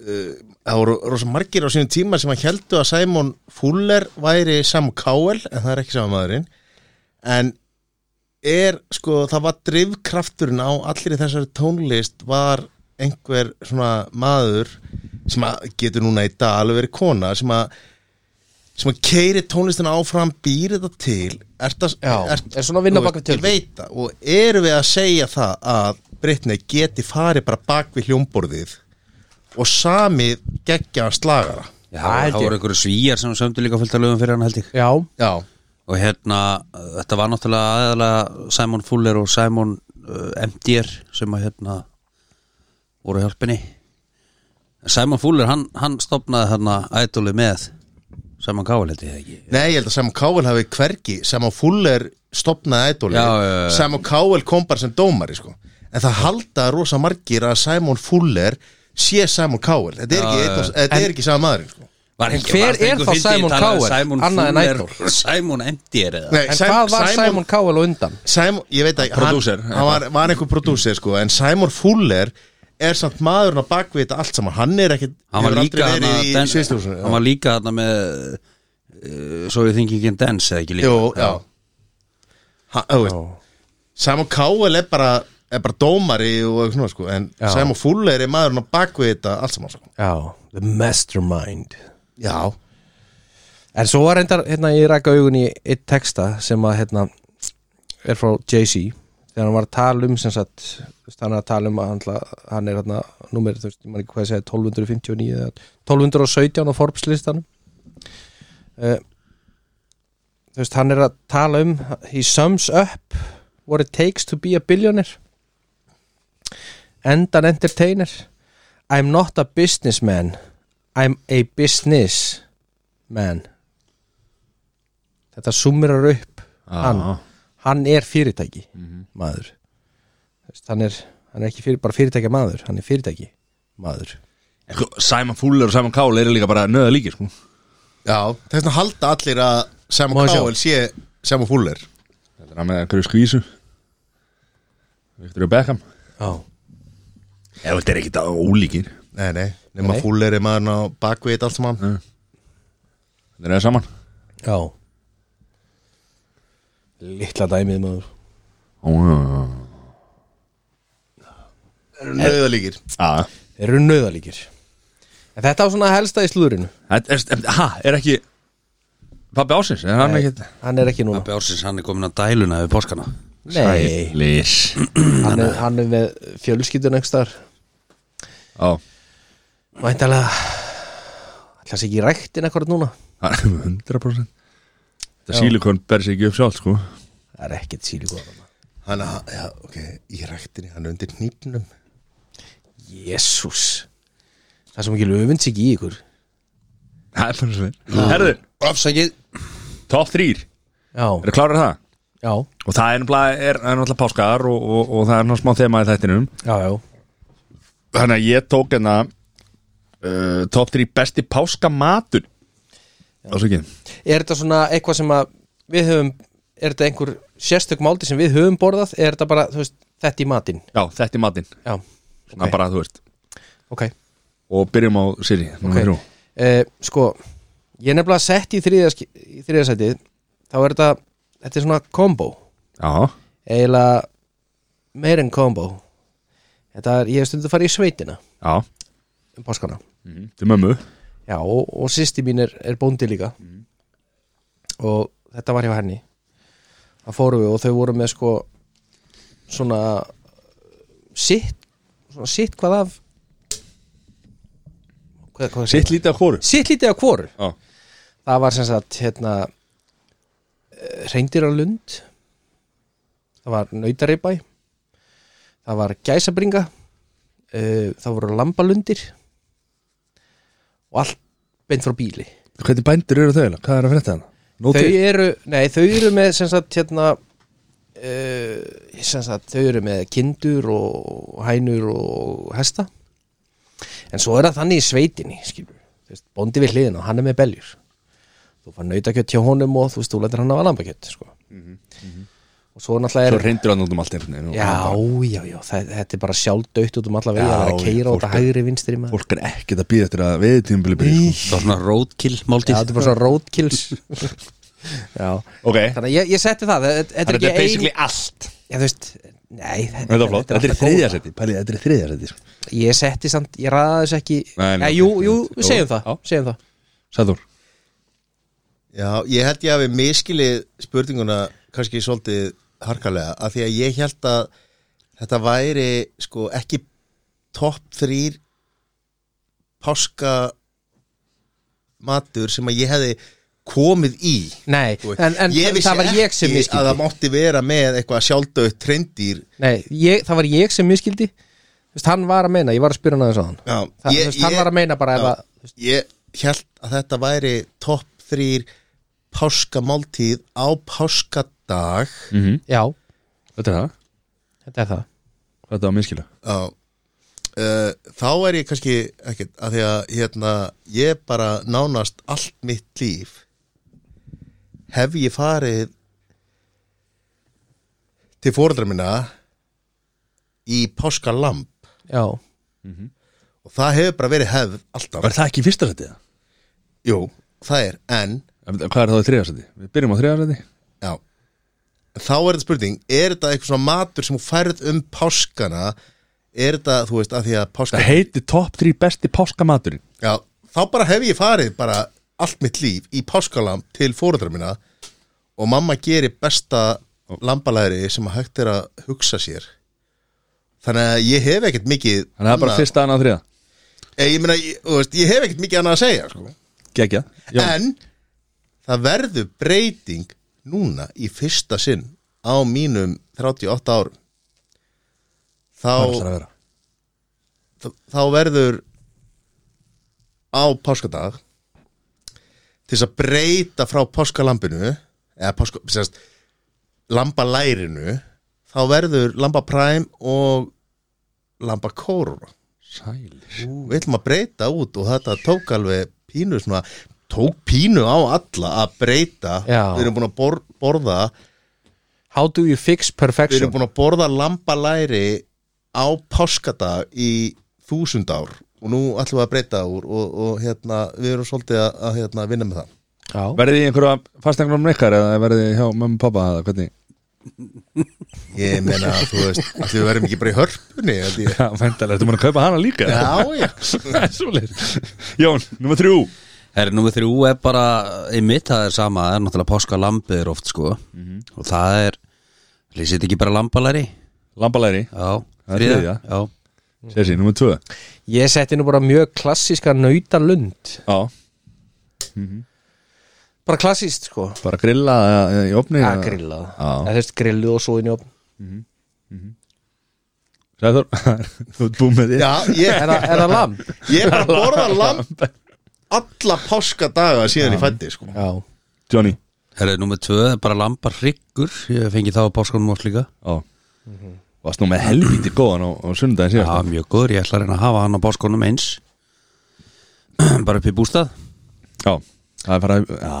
Speaker 3: það voru rosa margir á sínum tíma sem að heldu að Simon Fuller væri Sam Cowell en það er ekki sama maðurinn en er sko það var drifkrafturinn á allir þessari tónlist var einhver svona maður sem að getur núna í dag alveg verið kona sem að sem að keiri tónlistina áfram býr þetta til ert að,
Speaker 2: Já,
Speaker 3: ert,
Speaker 2: er svona að vinna
Speaker 3: þú
Speaker 2: bak
Speaker 3: veist,
Speaker 2: við tjöldin.
Speaker 3: ég veit það og eru við að segja það að Britney geti farið bara bak við hljómborðið og samið geggja að slagara
Speaker 4: Já,
Speaker 2: held
Speaker 4: það
Speaker 2: ég.
Speaker 4: voru einhverju svíjar sem sömdu líka fullt að lögum fyrir hann held ég
Speaker 2: já,
Speaker 3: já,
Speaker 4: Og hérna, uh, þetta var náttúrulega aðalega Simon Fuller og Simon uh, MDR sem að hérna voru hjálpinni Simon Fuller, hann, hann stopnaði hérna ædoli með Simon Cowell held ég það ekki
Speaker 3: nei ég held að Sam Cowell hafi hvergi sem á Fuller stopnaði ædoli
Speaker 4: Já, já, já.
Speaker 3: sem á Cowell kom bara sem dómari sko. en það halda rosa margir að Simon Fuller sé Simon Cowell þetta er ekki, einn og- þetta er ekki sama maðurinn sko.
Speaker 4: Var
Speaker 2: En hver
Speaker 4: var
Speaker 2: er
Speaker 4: einhver
Speaker 2: þá
Speaker 4: fyndi í
Speaker 2: Simon
Speaker 4: talað um
Speaker 2: Cowell?
Speaker 4: Simon
Speaker 2: Annað en
Speaker 4: Fuller,
Speaker 2: idol.
Speaker 4: Simon MDR eða
Speaker 3: Nei,
Speaker 2: en
Speaker 3: Sim-
Speaker 2: hvað var Simon, Cowell á undan?
Speaker 3: Simon, ég veit að
Speaker 1: Producer,
Speaker 3: hann, hann var, var einhver prodúser sko, en Simon Fuller er samt maðurinn á bakvið þetta allt saman, hann er ekkit
Speaker 4: hann var
Speaker 3: hefur
Speaker 4: líka
Speaker 3: aldrei
Speaker 4: hann
Speaker 3: verið í sviðsljósinu, já.
Speaker 4: hann var líka hann með uh, So You Think You Can Dance eða ekki líka
Speaker 3: Jú, já ha, ó, veist, Simon Cowell er bara, er bara dómari og eitthvað svona sko, en
Speaker 2: Já.
Speaker 3: Simon Fuller er maðurinn á bakvið þetta allt saman sko.
Speaker 2: já, the mastermind
Speaker 3: já,
Speaker 2: en svo var reyndar, hérna ég rækka augun í eitt texta sem að hérna er frá Jay-Z þegar hann var að tala um sem sagt þú veist, hann er að tala um að hann, ætla- hann er hérna númer, þú veist, ég maður ekki hvað ég segi 1259 eða 1217 á Forbes listanum uh, þú veist, hann er að tala um he sums up What It Takes to Be a Billionaire Endan Entertainer I'm not a businessman I'm a business man Þetta summirar upp hann, hann er fyrirtæki maður Þess, hann, er, hann er ekki fyrir, bara fyrirtækja maður hann er fyrirtæki maður
Speaker 1: En sko, Simon Fuller og Simon Cowell eru líka bara nöða líkir sko.
Speaker 3: Já, þess vegna halda allir að Sam
Speaker 2: Má ég sjá?
Speaker 3: Cowell sé Sam Fuller
Speaker 1: Þetta er hann með einhverju skvísu Victor Beckham
Speaker 2: Já
Speaker 1: Ef þetta er ekkit ólíkir
Speaker 3: Nei, nei, nema
Speaker 2: Nei.
Speaker 3: Fuller er maðurinn á bakveit allt
Speaker 1: Mm.
Speaker 3: saman
Speaker 1: Þetta er það saman
Speaker 2: Já Littla dæmið maður
Speaker 1: Ó, já, já, já.
Speaker 3: Nauðalíkir
Speaker 1: Já,
Speaker 2: Þeir eru nöðalíkir En þetta var svona helsta í slúðurinu
Speaker 1: Þetta er, em, ha, er ekki Pappi Ásins, er hann ekki
Speaker 2: Hann er ekki núna
Speaker 4: Abbi Ársins hann er komin að dæluna við páskana
Speaker 2: Nei,
Speaker 1: Lís
Speaker 2: hann er, hann er með fjölskyldun einhverstaðar
Speaker 1: Ó,
Speaker 2: Væntalega Ætlas ekki í ræktin ekkert núna
Speaker 1: hann er 100% Þetta sílikon ber sig ekki upp sjálf sko
Speaker 2: Það er ekkert sílíkóðan
Speaker 3: Hann, að- já, ok, í ræktinni, hann er undir hnýpnum
Speaker 2: Jésús Það er sem ekki löfund sig í ykkur
Speaker 1: Það er bara svo þeir Herðu,
Speaker 4: Afsækið
Speaker 1: top 3
Speaker 2: Já,
Speaker 1: Er klárar það?
Speaker 2: já,
Speaker 1: Og það er náttúrulega, er, er náttúrulega páskar og, og, og það er náttúrulega smá þema í þættinum
Speaker 2: já, já
Speaker 1: Þannig að ég tók hérna uh, Top 3 besti páskamatur Það svo ekki
Speaker 2: Er þetta svona eitthvað sem að við höfum Er þetta einhver sérstök máldi sem við höfum borðað Er þetta bara, þú veist, þetta í matinn
Speaker 1: Já, þetta er matinn
Speaker 2: Já,
Speaker 1: Svona bara, þú veist
Speaker 2: ok
Speaker 1: Og byrjum á Siri
Speaker 2: Ok.
Speaker 1: okay.
Speaker 2: Eh, sko, ég er nefnilega sett í þriðasætið þá er þetta, þetta er svona kombo
Speaker 1: Já,
Speaker 2: eiginlega meir en kombo þetta er, ég hef stundið að fara í sveitina
Speaker 1: já
Speaker 2: um páskana
Speaker 1: mm. Til mömmu
Speaker 2: já, og, og sýsti mín er, er bóndi líka og þetta var hjá henni það fórum við og þau voru með sko svona sitt svona sitt hvað af hvað, hvað
Speaker 1: Sitt lítið að hóru
Speaker 2: sitt lítið af hvoru
Speaker 1: Já,
Speaker 2: það var sem sagt hérna eh, reyndiralund það var nautaribæ það var gæsabringa uh, það voru lambalundir og allt beint frá bíli
Speaker 1: Hvernig bændur eru þau? eiginlega? Hvað er að frétta hana? Nóti?
Speaker 2: þau eru, nei þau eru með sem sagt hérna uh, sem sagt þau eru með kindur og hænur og hesta en svo er það þannig í sveitinni skilur, þú veist, bóndi við hliðin og hann er með beljur þú fær nautakjött hjá honum og þú veist, þú lætur hann af alambakjött sko. og svo náttúrulega
Speaker 1: Mhm, Svo
Speaker 2: er
Speaker 1: reyndir hann út um allt einhvern veginn og
Speaker 2: já,
Speaker 1: bara-
Speaker 2: já, já, þa- þetta er bara sjálfdautt út um alla vegi
Speaker 1: Já,
Speaker 2: að vera að
Speaker 1: já,
Speaker 2: keira og
Speaker 1: fólk
Speaker 2: þetta
Speaker 1: er-
Speaker 2: hægri vinstri maður
Speaker 1: Fólk er ekkert að býða eftir að veðið tímabili byrja sko.
Speaker 4: Það var svona roadkill
Speaker 2: já,
Speaker 4: máltíð
Speaker 2: þetta er bara svona roadkills já,
Speaker 1: Ok,
Speaker 2: þannig að ég, ég setti það þetta- þetta
Speaker 1: þetta
Speaker 2: er
Speaker 1: er
Speaker 2: ekki ein
Speaker 1: basically allt
Speaker 2: Já, þú veist, nei
Speaker 1: Þetta er flott, þetta er
Speaker 2: alltaf
Speaker 1: þriðja
Speaker 2: góð.
Speaker 1: seti Pælið, þetta er þriðja sko. seti
Speaker 2: Ég setti samt, ég ræða þess ekki
Speaker 1: Nei, nei,
Speaker 2: Eh,
Speaker 1: ok,
Speaker 2: Jú, jú,
Speaker 1: fínt.
Speaker 2: við segjum
Speaker 1: Jó,
Speaker 2: það,
Speaker 1: já.
Speaker 2: segjum það.
Speaker 1: Sæður
Speaker 3: Já, ég held ég að við miskilið spurninguna kannski svolítið harkalega af því að ég held að þetta væri sko ekki topp þrýr páska matur sem að ég hefði komið í
Speaker 2: Nei,
Speaker 3: Þú veist,
Speaker 2: en, en
Speaker 3: ég vissi
Speaker 2: það var ég sem
Speaker 3: ekki að það
Speaker 2: miskildi
Speaker 3: mátti vera með eitthvað sjálfdöð trendýr
Speaker 2: Nei, ég, það var ég sem miskildi Þú veist, hann var að meina, ég var að spyrja hann aðeins á hann
Speaker 3: Já,
Speaker 2: Það- þú veist, hann var að meina bara ef
Speaker 3: Já,
Speaker 2: að- þú
Speaker 3: ég held að þetta væri topp þrýr páskamáltíð á páskadag
Speaker 2: Já,
Speaker 1: Þetta er það,
Speaker 2: þetta er það
Speaker 1: þetta var minnskila
Speaker 3: Já uh, Þá er ég kannski ekkert að því að hérna, ég bara nánast allt mitt líf hef ég farið til fóreldra minna í páskalamb
Speaker 2: Já,
Speaker 3: og það hefur bara verið hefð alltaf
Speaker 1: Var það ekki í fyrsta setið?
Speaker 3: Jú, það er, en
Speaker 1: Hvað er það í þriðja seti? Við byrjum á þriðja seti
Speaker 3: já, þá er þetta spurning er þetta eitthvað svona matur sem þú færð um páskana er þetta, þú veist, að því að páskana
Speaker 1: Það heiti top 3 besti páskamaturinn
Speaker 3: Já, þá bara hef ég farið bara allt mitt líf í páskalamb til fóreldra minna og mamma gerir besta lambalæri sem að hægt er að hugsa sér þannig að ég hef ekkert mikið
Speaker 1: Þannig að það er bara
Speaker 3: annað-
Speaker 1: fyrsta annað þriða
Speaker 3: ég, ég, meina, ég, þú veist, ég hef ekkert mikið annað að segja sko.
Speaker 1: Gekja
Speaker 3: en það verður breyting núna í fyrsta sinn á mínum 38 ár
Speaker 2: Hvað ætlar að
Speaker 3: þá,
Speaker 2: vera?
Speaker 3: þá verður á páskadag til þess að breyta frá páskalambinu eða páska, sérst, lambalærinu þá verður lambapræm og lambakóruna
Speaker 1: Sælir
Speaker 3: við ætlum að breyta út og þetta tók alveg pínu svona, tók pínu á alla að breyta
Speaker 2: Já.
Speaker 3: við erum búin að bor, borða
Speaker 2: How do you fix
Speaker 3: við erum
Speaker 2: perfection?
Speaker 3: búin að borða lambalæri á páskadag í þúsund ár og nú ætlum við að breyta úr og, og hérna, við erum svolítið að, að hérna, vinna með það
Speaker 2: Já,
Speaker 1: Verðið þið í einhverja fastegnum neikar eða verðið þið hjá mömmu og pappa eða hvernig
Speaker 3: ég meina, þú veist, allir við verðum ekki bara í hörpunni held ég.
Speaker 1: Já, væntanlega, ertu múin að kaupa hana líka
Speaker 3: já, já,
Speaker 1: Það er svoleiðis. Jón, nummer þrjú
Speaker 4: Herri, númer þrjú er bara einmitt, það er sama, það er náttúrulega páska lambið er oft sko og það er lýsit ekki bara lambalæri
Speaker 1: Lambalæri,
Speaker 4: Já,
Speaker 1: Það er þriðja.
Speaker 4: Já,
Speaker 1: sér nummer tvö
Speaker 2: ég setti nú bara mjög klassíska nautalund
Speaker 1: Já,
Speaker 2: Bara klassíst sko
Speaker 1: bara grilla eða, eða í eh, opni
Speaker 2: Já, grillað
Speaker 1: Já.
Speaker 2: Það hefst grilluð og svo inn í opn
Speaker 1: Sæður, þú ert búið með því
Speaker 3: já
Speaker 2: Er
Speaker 3: ég,
Speaker 2: það- er það lamb?
Speaker 3: ég er bara að borða lamb alla páskadaga síðan ég fætti sko.
Speaker 2: Já
Speaker 1: Johnny
Speaker 4: herri, númer tvö er bara lambar hryggur Ég fengi þá á páskanum átt líka
Speaker 1: Já Varst nú með helviti góðan á, á sunnudaginn
Speaker 4: Já,
Speaker 1: síðast
Speaker 4: mjög góður, ég ætla að reyna að hafa hann á páskanum eins Bara upp í bústað
Speaker 1: Já, það er farað Já,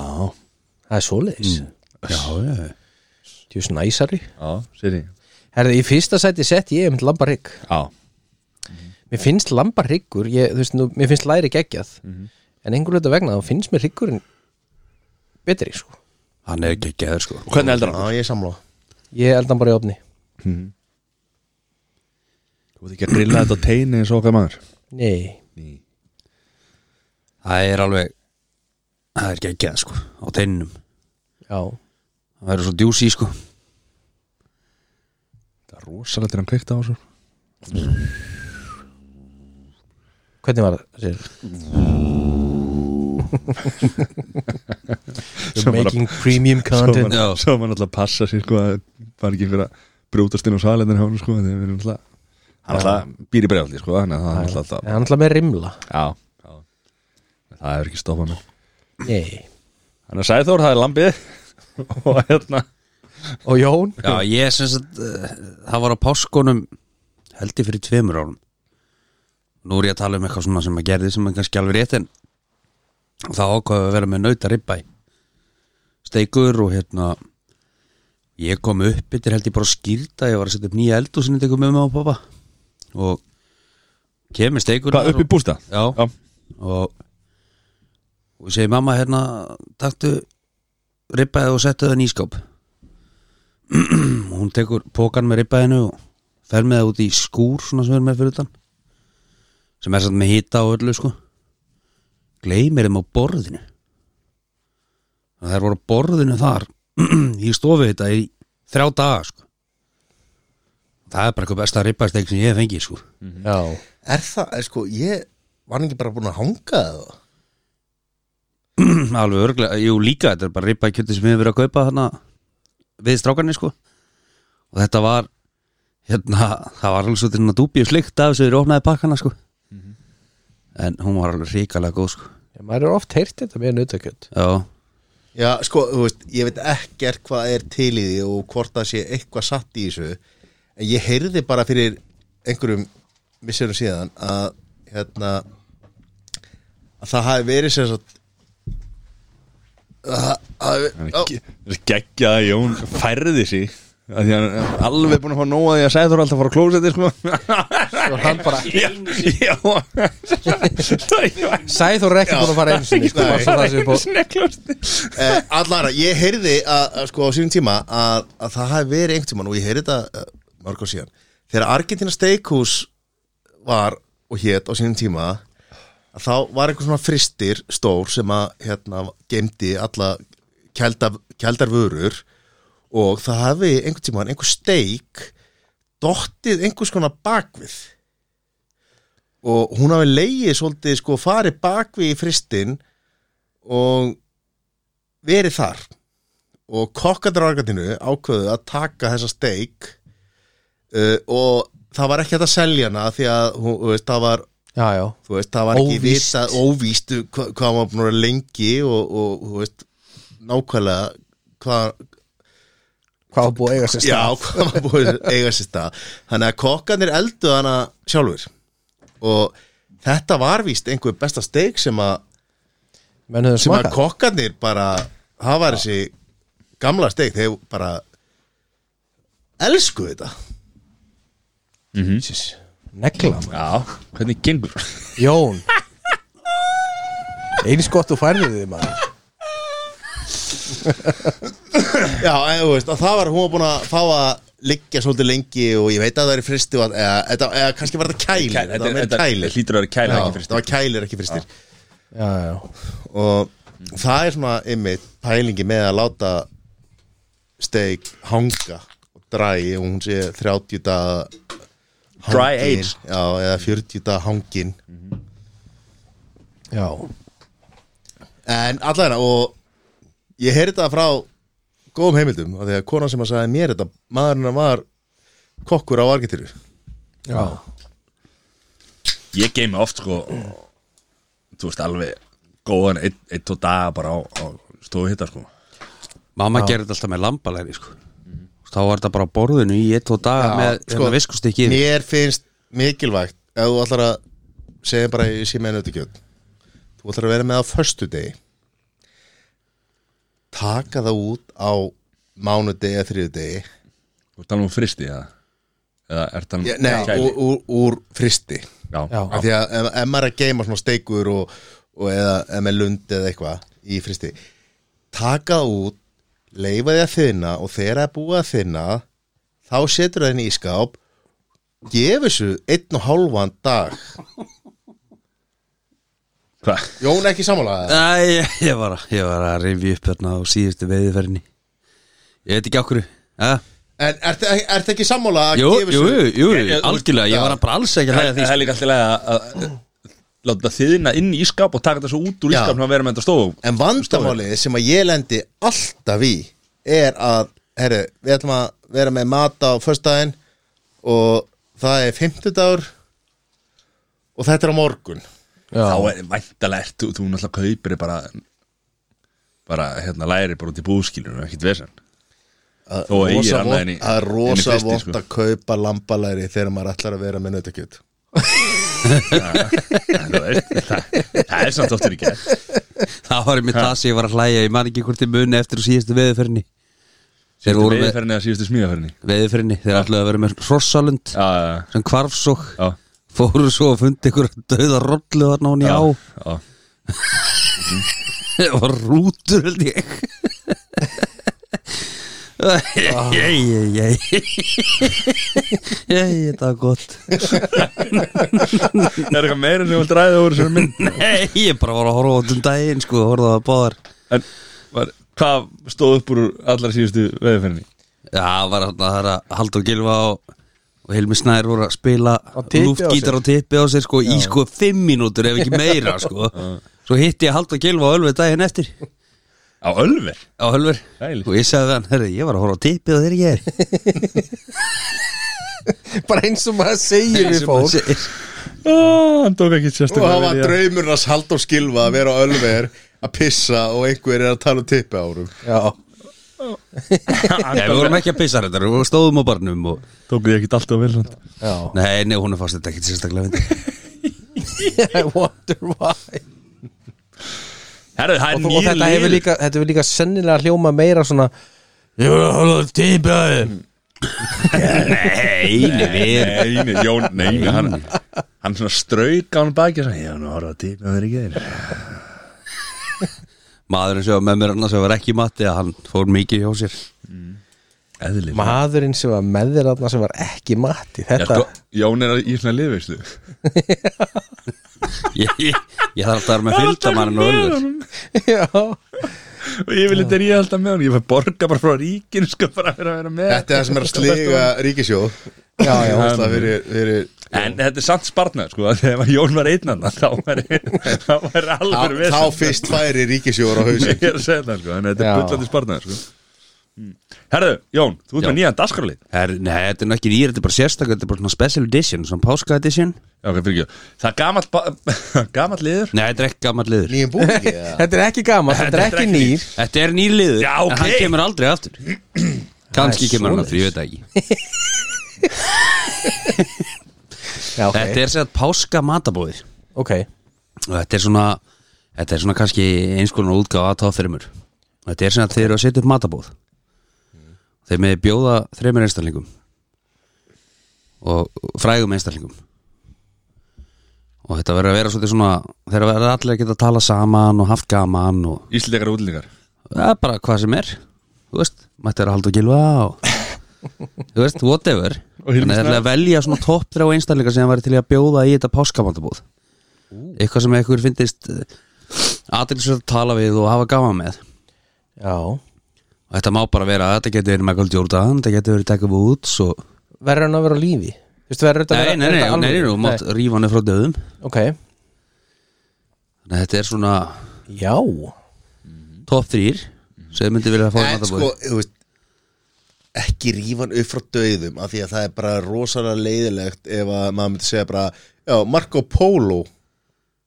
Speaker 2: Það er svoleiðis mm.
Speaker 4: Já, já,
Speaker 2: Tjús næsari
Speaker 1: já, sér
Speaker 2: Herði, í fyrsta sæti sett ég einmitt lambarygg
Speaker 1: Já,
Speaker 2: Mér finnst lambaryggur, ég, þú veist, nú, mér finnst læri geggjað En einhver hluta vegna, þá finnst mér ryggurinn betri, sko
Speaker 4: hann er ekki geður sko
Speaker 1: og hvernig eldar
Speaker 3: já,
Speaker 1: hann?
Speaker 3: ég er samlóð
Speaker 2: Ég eldan bara í opni
Speaker 1: Þú veit ekki að grilla þetta á teini eins og okkar maður
Speaker 2: Nei,
Speaker 4: Það er alveg, það er ekki geður sko á teininum
Speaker 2: já
Speaker 4: Það eru svo djúsi sko
Speaker 1: Það er rosalegt er hann kveikt á þessu
Speaker 2: Hvernig var það? Sér? You're making premium
Speaker 1: Svo
Speaker 2: content
Speaker 1: mann,
Speaker 4: Já.
Speaker 1: svo mann alltaf passa sér sko að var ekki einhver að brjótast inn á salinu hjá hann sko en þeir eru alltaf hann alltaf býr í bregðaldi sko þannig að það er alltaf
Speaker 2: En hann ætla með rimla
Speaker 1: já, já það hefur ekki stoppað mig
Speaker 2: Nei
Speaker 1: þannig að Sæþór það er lambið og hérna
Speaker 2: Og Jón
Speaker 4: Já, ég sem sagt uh, það var á páskunum held ég fyrir tveimur árum Nú er ég að tala um eitthvað svona sem að gerði sem er kannski alveg rétt en þá ákvaði að vera með nauta ribbæ steikur og hérna ég kom upp yfir held ég bara skýrta ég var að setja upp nýja eldu sem ég tekur með mig á pappa og kemur steikur
Speaker 1: hvað upp í bústa
Speaker 4: Já,
Speaker 1: já,
Speaker 4: og og ég segi mamma hérna taktu ribbaðið og settu það í nýskáp hún tekur pókan með ribbaðinu og fer með það út í skúr svona sem er með fyrir utan sem er samt með hita og öllu sko gleymir þeim á borðinu og þær voru á borðinu þar í stofu þetta í þrjá daga sko það er bara eitthvað besta ribbaðsteg sem ég hef fengið sko
Speaker 2: Já
Speaker 3: Er það, er, sko, ég var ekki bara búin að hanga það
Speaker 4: alveg örglega, jú líka þetta er bara ripa kjöti sem við hefur verið að kaupa hana við strákarni sko og þetta var hérna, það var alveg svo til að dúbíu slikt af sem við opnaði pakkana sko en hún var alveg ríkalega góð sko
Speaker 2: Ég, Maður er oft heyrt þetta með nautakjöld
Speaker 4: já,
Speaker 3: Já, sko, þú veist, ég veit ekkert hvað er til í því og hvort það sé eitthvað satt í þessu en ég heyrði bara fyrir einhverjum misserum síðan að hérna að það hafi verið sem sagt að að- Ó,
Speaker 1: þessi geggja að Jón færði sig að því að hann er alveg búin að fá nóga því að Sæþór er alltaf að fara að klósa þetta sko
Speaker 2: Svo hann bara
Speaker 1: já, já það er
Speaker 2: Sæþór er ekki búin að fara einu sinni sko, bara svo það sem við búin-
Speaker 3: eh, Allara, ég heyrði að, að sko á sínum tíma að, að það hafi verið einhvern tíman og ég heyrði þetta uh, mörg á síðan þegar Argentina Steakhouse var og hét á sínum tíma að þá var einhver svona fristir stór sem að hérna gemdi alla kelda, keldar vörur og það hafi einhvern tíman einhver steik dottið einhvers konar bakvið og hún hafi leiði svolítið sko farið bakvið í fristin og verið þar og kokkandur á Argentínu ákveðu að taka þessa steik uh, og það var ekki hægt að selja hana því að hún, þú veist, það var
Speaker 2: já, já,
Speaker 3: þú veist, það var ekki
Speaker 2: Óvíst.
Speaker 3: vitað óvíst hva, hvað maður búin að vera lengi og, og þú veist, nákvæmlega hvað,
Speaker 2: hvað var búið að eiga sér
Speaker 3: já,
Speaker 2: stað
Speaker 3: hvað maður búin að eiga sér stað þannig að kokkanir eldu hana sjálfur og þetta var víst einhver besta steik sem að
Speaker 2: menn höfum
Speaker 3: sem að
Speaker 2: smakað
Speaker 3: kokkarnir bara það var þessi gamla steik þeir bara elsku þetta
Speaker 2: Jesus. negla maður.
Speaker 1: Já, hvernig gengur
Speaker 2: Jón eins gott þú færði þig maður
Speaker 3: já, en, þú veist, og það var hún var búin að fá að liggja svolítið lengi og ég veit að það er í fristi og, eða, eða, eða kannski var þetta kælir
Speaker 1: Kælir,
Speaker 3: þetta var meira kælir
Speaker 1: hlýtur að vera kælir
Speaker 3: Já,
Speaker 1: ekki fyrir
Speaker 3: það var kælir ekki fristir
Speaker 2: já, já,
Speaker 3: og það er svona einmitt pælingi með að láta steik hanga og dræi og hún sé 30 daga
Speaker 1: Dry
Speaker 3: hangin,
Speaker 1: age.
Speaker 3: já, eða 40 daga hangin
Speaker 2: já
Speaker 3: En allavega, og ég heyrði þetta frá góðum heimildum af því að konan sem að sagði mér þetta maðurinn hennar var kokkur á Argentiru
Speaker 2: já,
Speaker 1: Ég geymi oft sko Þú veist alveg góðan einn, einn, tvo daga bara á, á stofu hitta sko
Speaker 4: Mamma gerði þetta alltaf með lambalæri sko. Þá var þetta bara á borðinu í eitt og daga með sko, viskustykki yfir.
Speaker 3: Hérna, Mér finnst mikilvægt ef þú ætlar að segja bara ég sé með nautakjöld þú ætlar að vera með á föstudegi taka það út á mánudegi eða þriðudegi
Speaker 1: Þú ert alveg um fristi eða Eða ert
Speaker 4: Mm.
Speaker 1: alveg
Speaker 3: Nei, úr, úr, úr fristi
Speaker 1: Já,
Speaker 2: já,
Speaker 3: af því að ef, ef maður er að geima svona steikur og, og eða ef maður lund eða eitthvað í fristi taka það út, leifa því að þinna og þegar það er búið að þinna þá setur það inn í skáp gefa þessu einn og hálfan dag
Speaker 1: Hvað?
Speaker 3: Jón er ekki samanlega
Speaker 4: Æ, ég, ég, var að, ég var að rifja upp hérna á síðustu veiðferðinni Ég veit ekki okkur ja.
Speaker 3: en ertu er, er ekki sammála að
Speaker 4: Jú,
Speaker 3: gefa
Speaker 4: jú,
Speaker 3: þessu
Speaker 4: jú,
Speaker 1: Ég- ég-
Speaker 4: algjörlega Ég var bara alls ekki að hlæja því
Speaker 1: Það er líka alltaf lega að að Láta þiðina inn í skap og taka þetta svo út úr
Speaker 3: Já.
Speaker 1: ískap Þannig að vera með þetta stofu
Speaker 3: en vandamálið sem að ég lendi alltaf í er að herri, við ætlum að vera með mat á föstudaginn og það er 50 dagur og þetta er á morgun
Speaker 2: já.
Speaker 1: Þá er væntalega ert Þú, þú náttúrulega kaupir þér bara Bara hérna læri bara út í búðskilur Ekkit vesen Þó að ég er annað en í
Speaker 3: það er rosa
Speaker 1: en í fristi,
Speaker 3: vond að kaupa lambalæri þegar maður ætlar að vera með nautakjöt
Speaker 1: Þú veist, það, það er samt oftur í gerð
Speaker 4: Það var einmitt það sem ég var að hlæja Ég man ekki hvort ég muni eftir á síðustu veiðferðinni Þeir
Speaker 1: Síðustu
Speaker 4: voru með
Speaker 1: veiðferðinni eða síðustu smíðaferðinni
Speaker 4: veiðferðinni Þeir ætlaðu að vera með hrossalund
Speaker 1: Já, já,
Speaker 4: sem kvarfsók
Speaker 1: já,
Speaker 4: Fóru svo að fundi ykkur döða rollu þarna hún í
Speaker 1: já,
Speaker 4: á
Speaker 1: já.
Speaker 4: Það var rútur held ég Jæ, jæ, jæ Jæ, þetta var gott
Speaker 1: Það er eitthvað meira sem þú vilt ræða úr sem mynd
Speaker 4: Nei, ég bara var að horfa út um daginn sko, horfa að báðar
Speaker 1: En var, hvað stóð upp úr allra síðustu veiðferðinni?
Speaker 4: Já, það var þarna, það er að Haldur Gilva og, og Hilmi Snær voru að spila
Speaker 2: Á tippi á
Speaker 4: lúftgítar
Speaker 2: sér.
Speaker 4: og tippi á sér sko, í sko fimm mínútur ef ekki meira sko. Svo hitti ég Haldur Gilva á Ölver daginn eftir
Speaker 1: Á Ölver?
Speaker 4: á Ölver
Speaker 1: Dæli.
Speaker 4: og ég sagði við hann, herri, ég var að horfa á tippi og þeir ekki er
Speaker 2: bara eins og maður segir við fólk
Speaker 1: Ó, hann tók ekki
Speaker 3: og
Speaker 1: sérstaklega
Speaker 3: það var draumurinn að halda og skilfa að vera á ölver að pissa og einhver er að tala um tippi árum
Speaker 2: já,
Speaker 4: Já, við vorum ekki að pissa þetta, við stóðum á barnum og
Speaker 1: Tók því ekki alltaf vel samt
Speaker 2: já
Speaker 4: Nei, nei, hún er fast þetta ekki sérstaklega fyndið.
Speaker 2: I wonder why
Speaker 1: Herru, það er
Speaker 2: og, og
Speaker 1: nýr
Speaker 2: þetta hefur líka, þetta hefur líka sennilega hljóma meira svona ég var að hóla típaði
Speaker 4: Nei, nei, við
Speaker 1: Nei, nei, Jón, nei, nei, hann, hann svona strauk á hann baki og sagði, já, nú horfa til, það er ekki þeir
Speaker 4: Maðurinn sem var með mér annars sem var ekki í mati að hann fór mikið hjá sér
Speaker 1: Eðlilega
Speaker 2: maðurinn sem var með þér aðna sem var ekki mati
Speaker 1: Já,
Speaker 2: þetta,
Speaker 1: sko, Jón er í svona liðveislu
Speaker 4: Ég, ég, ég þarf alltaf að vera með fylgdamann og öllu
Speaker 2: já,
Speaker 1: Og ég vil þetta er ég alltaf með hann Ég fæ borga bara frá ríkinu sko bara fyrir að vera með
Speaker 3: Eh, þetta er það sem er að sliga ríkisjóð já, já, það fyrir, fyrir
Speaker 1: En þetta er samt spartnað sko að Þegar Jón var einn annan Þá var, þá var alveg
Speaker 3: þá, þá fyrst færi ríkisjóður á hausin
Speaker 1: Ég er að segja það sko En þetta
Speaker 2: Já.
Speaker 1: er bullandi spartnað sko Herðu, Jón, þú ert með nýjan daskarlið
Speaker 4: Her, nei, þetta er nú ekki nýr, þetta er bara sérstakar Þetta er bara svona special edition, svona páska edition
Speaker 1: Já, ok, fyrir ekki Það er gamalt, ba- gamalt liður
Speaker 4: Nei, þetta er ekki gammal liður
Speaker 3: Nýjum búningi eða?
Speaker 2: Þetta er ekki gaman, þetta er ekki nýr
Speaker 4: Þetta er nýr liður,
Speaker 1: Já, ok.
Speaker 4: en hann kemur aldrei aftur
Speaker 2: Það
Speaker 4: Kanski
Speaker 2: er
Speaker 4: kemur hann
Speaker 2: svoleiðis.
Speaker 4: aftur, ég veit það ekki
Speaker 2: Já, ok,
Speaker 4: Þetta er sérstakar páska matabóðir
Speaker 2: ok
Speaker 4: og þetta er svona þetta er svona kannski eins konar útgáfa að tá þreymur þetta er sem að þeir eru að setja upp matabóð þeir með bjóða þreymur einstaklingum og frægum einstaklingum og þetta verður að vera svolítið svona þeir verður allir að geta að tala saman og haft gaman og
Speaker 1: Íslendingar og útlendingar
Speaker 4: ja, bara hvað sem er þú veist, mætti vera að halda og gilva og þú veist, whatever
Speaker 1: Og Hilmi
Speaker 4: þannig að
Speaker 1: Snær.
Speaker 4: ætla að velja svona topp þrjá einstaklingar sem væri til í að bjóða í þetta páskamandabóð eitthvað sem einhver finnist aðeinsverð að tala við og hafa gaman með
Speaker 2: Já,
Speaker 4: og þetta má bara vera, þetta getur verið Michael Jordan þetta getur verið Tiger Woods og...
Speaker 2: verður hann að vera á lífi? Þú veist, verður þetta að
Speaker 4: nei,
Speaker 2: vera-
Speaker 4: nei, nei,
Speaker 2: þetta
Speaker 4: nei, nei,
Speaker 2: alvöru?
Speaker 4: þú mátt rífa hann frá döðum
Speaker 2: Ok,
Speaker 4: þannig að þetta er svona
Speaker 2: já
Speaker 4: topp þrýr sem myndi vilja að fá í
Speaker 3: En
Speaker 4: matabóð
Speaker 3: sko, þú veist ekki rífan upp frá döðum af því að það er bara rosalega leiðilegt ef að maður myndi segja bara já, Marco Polo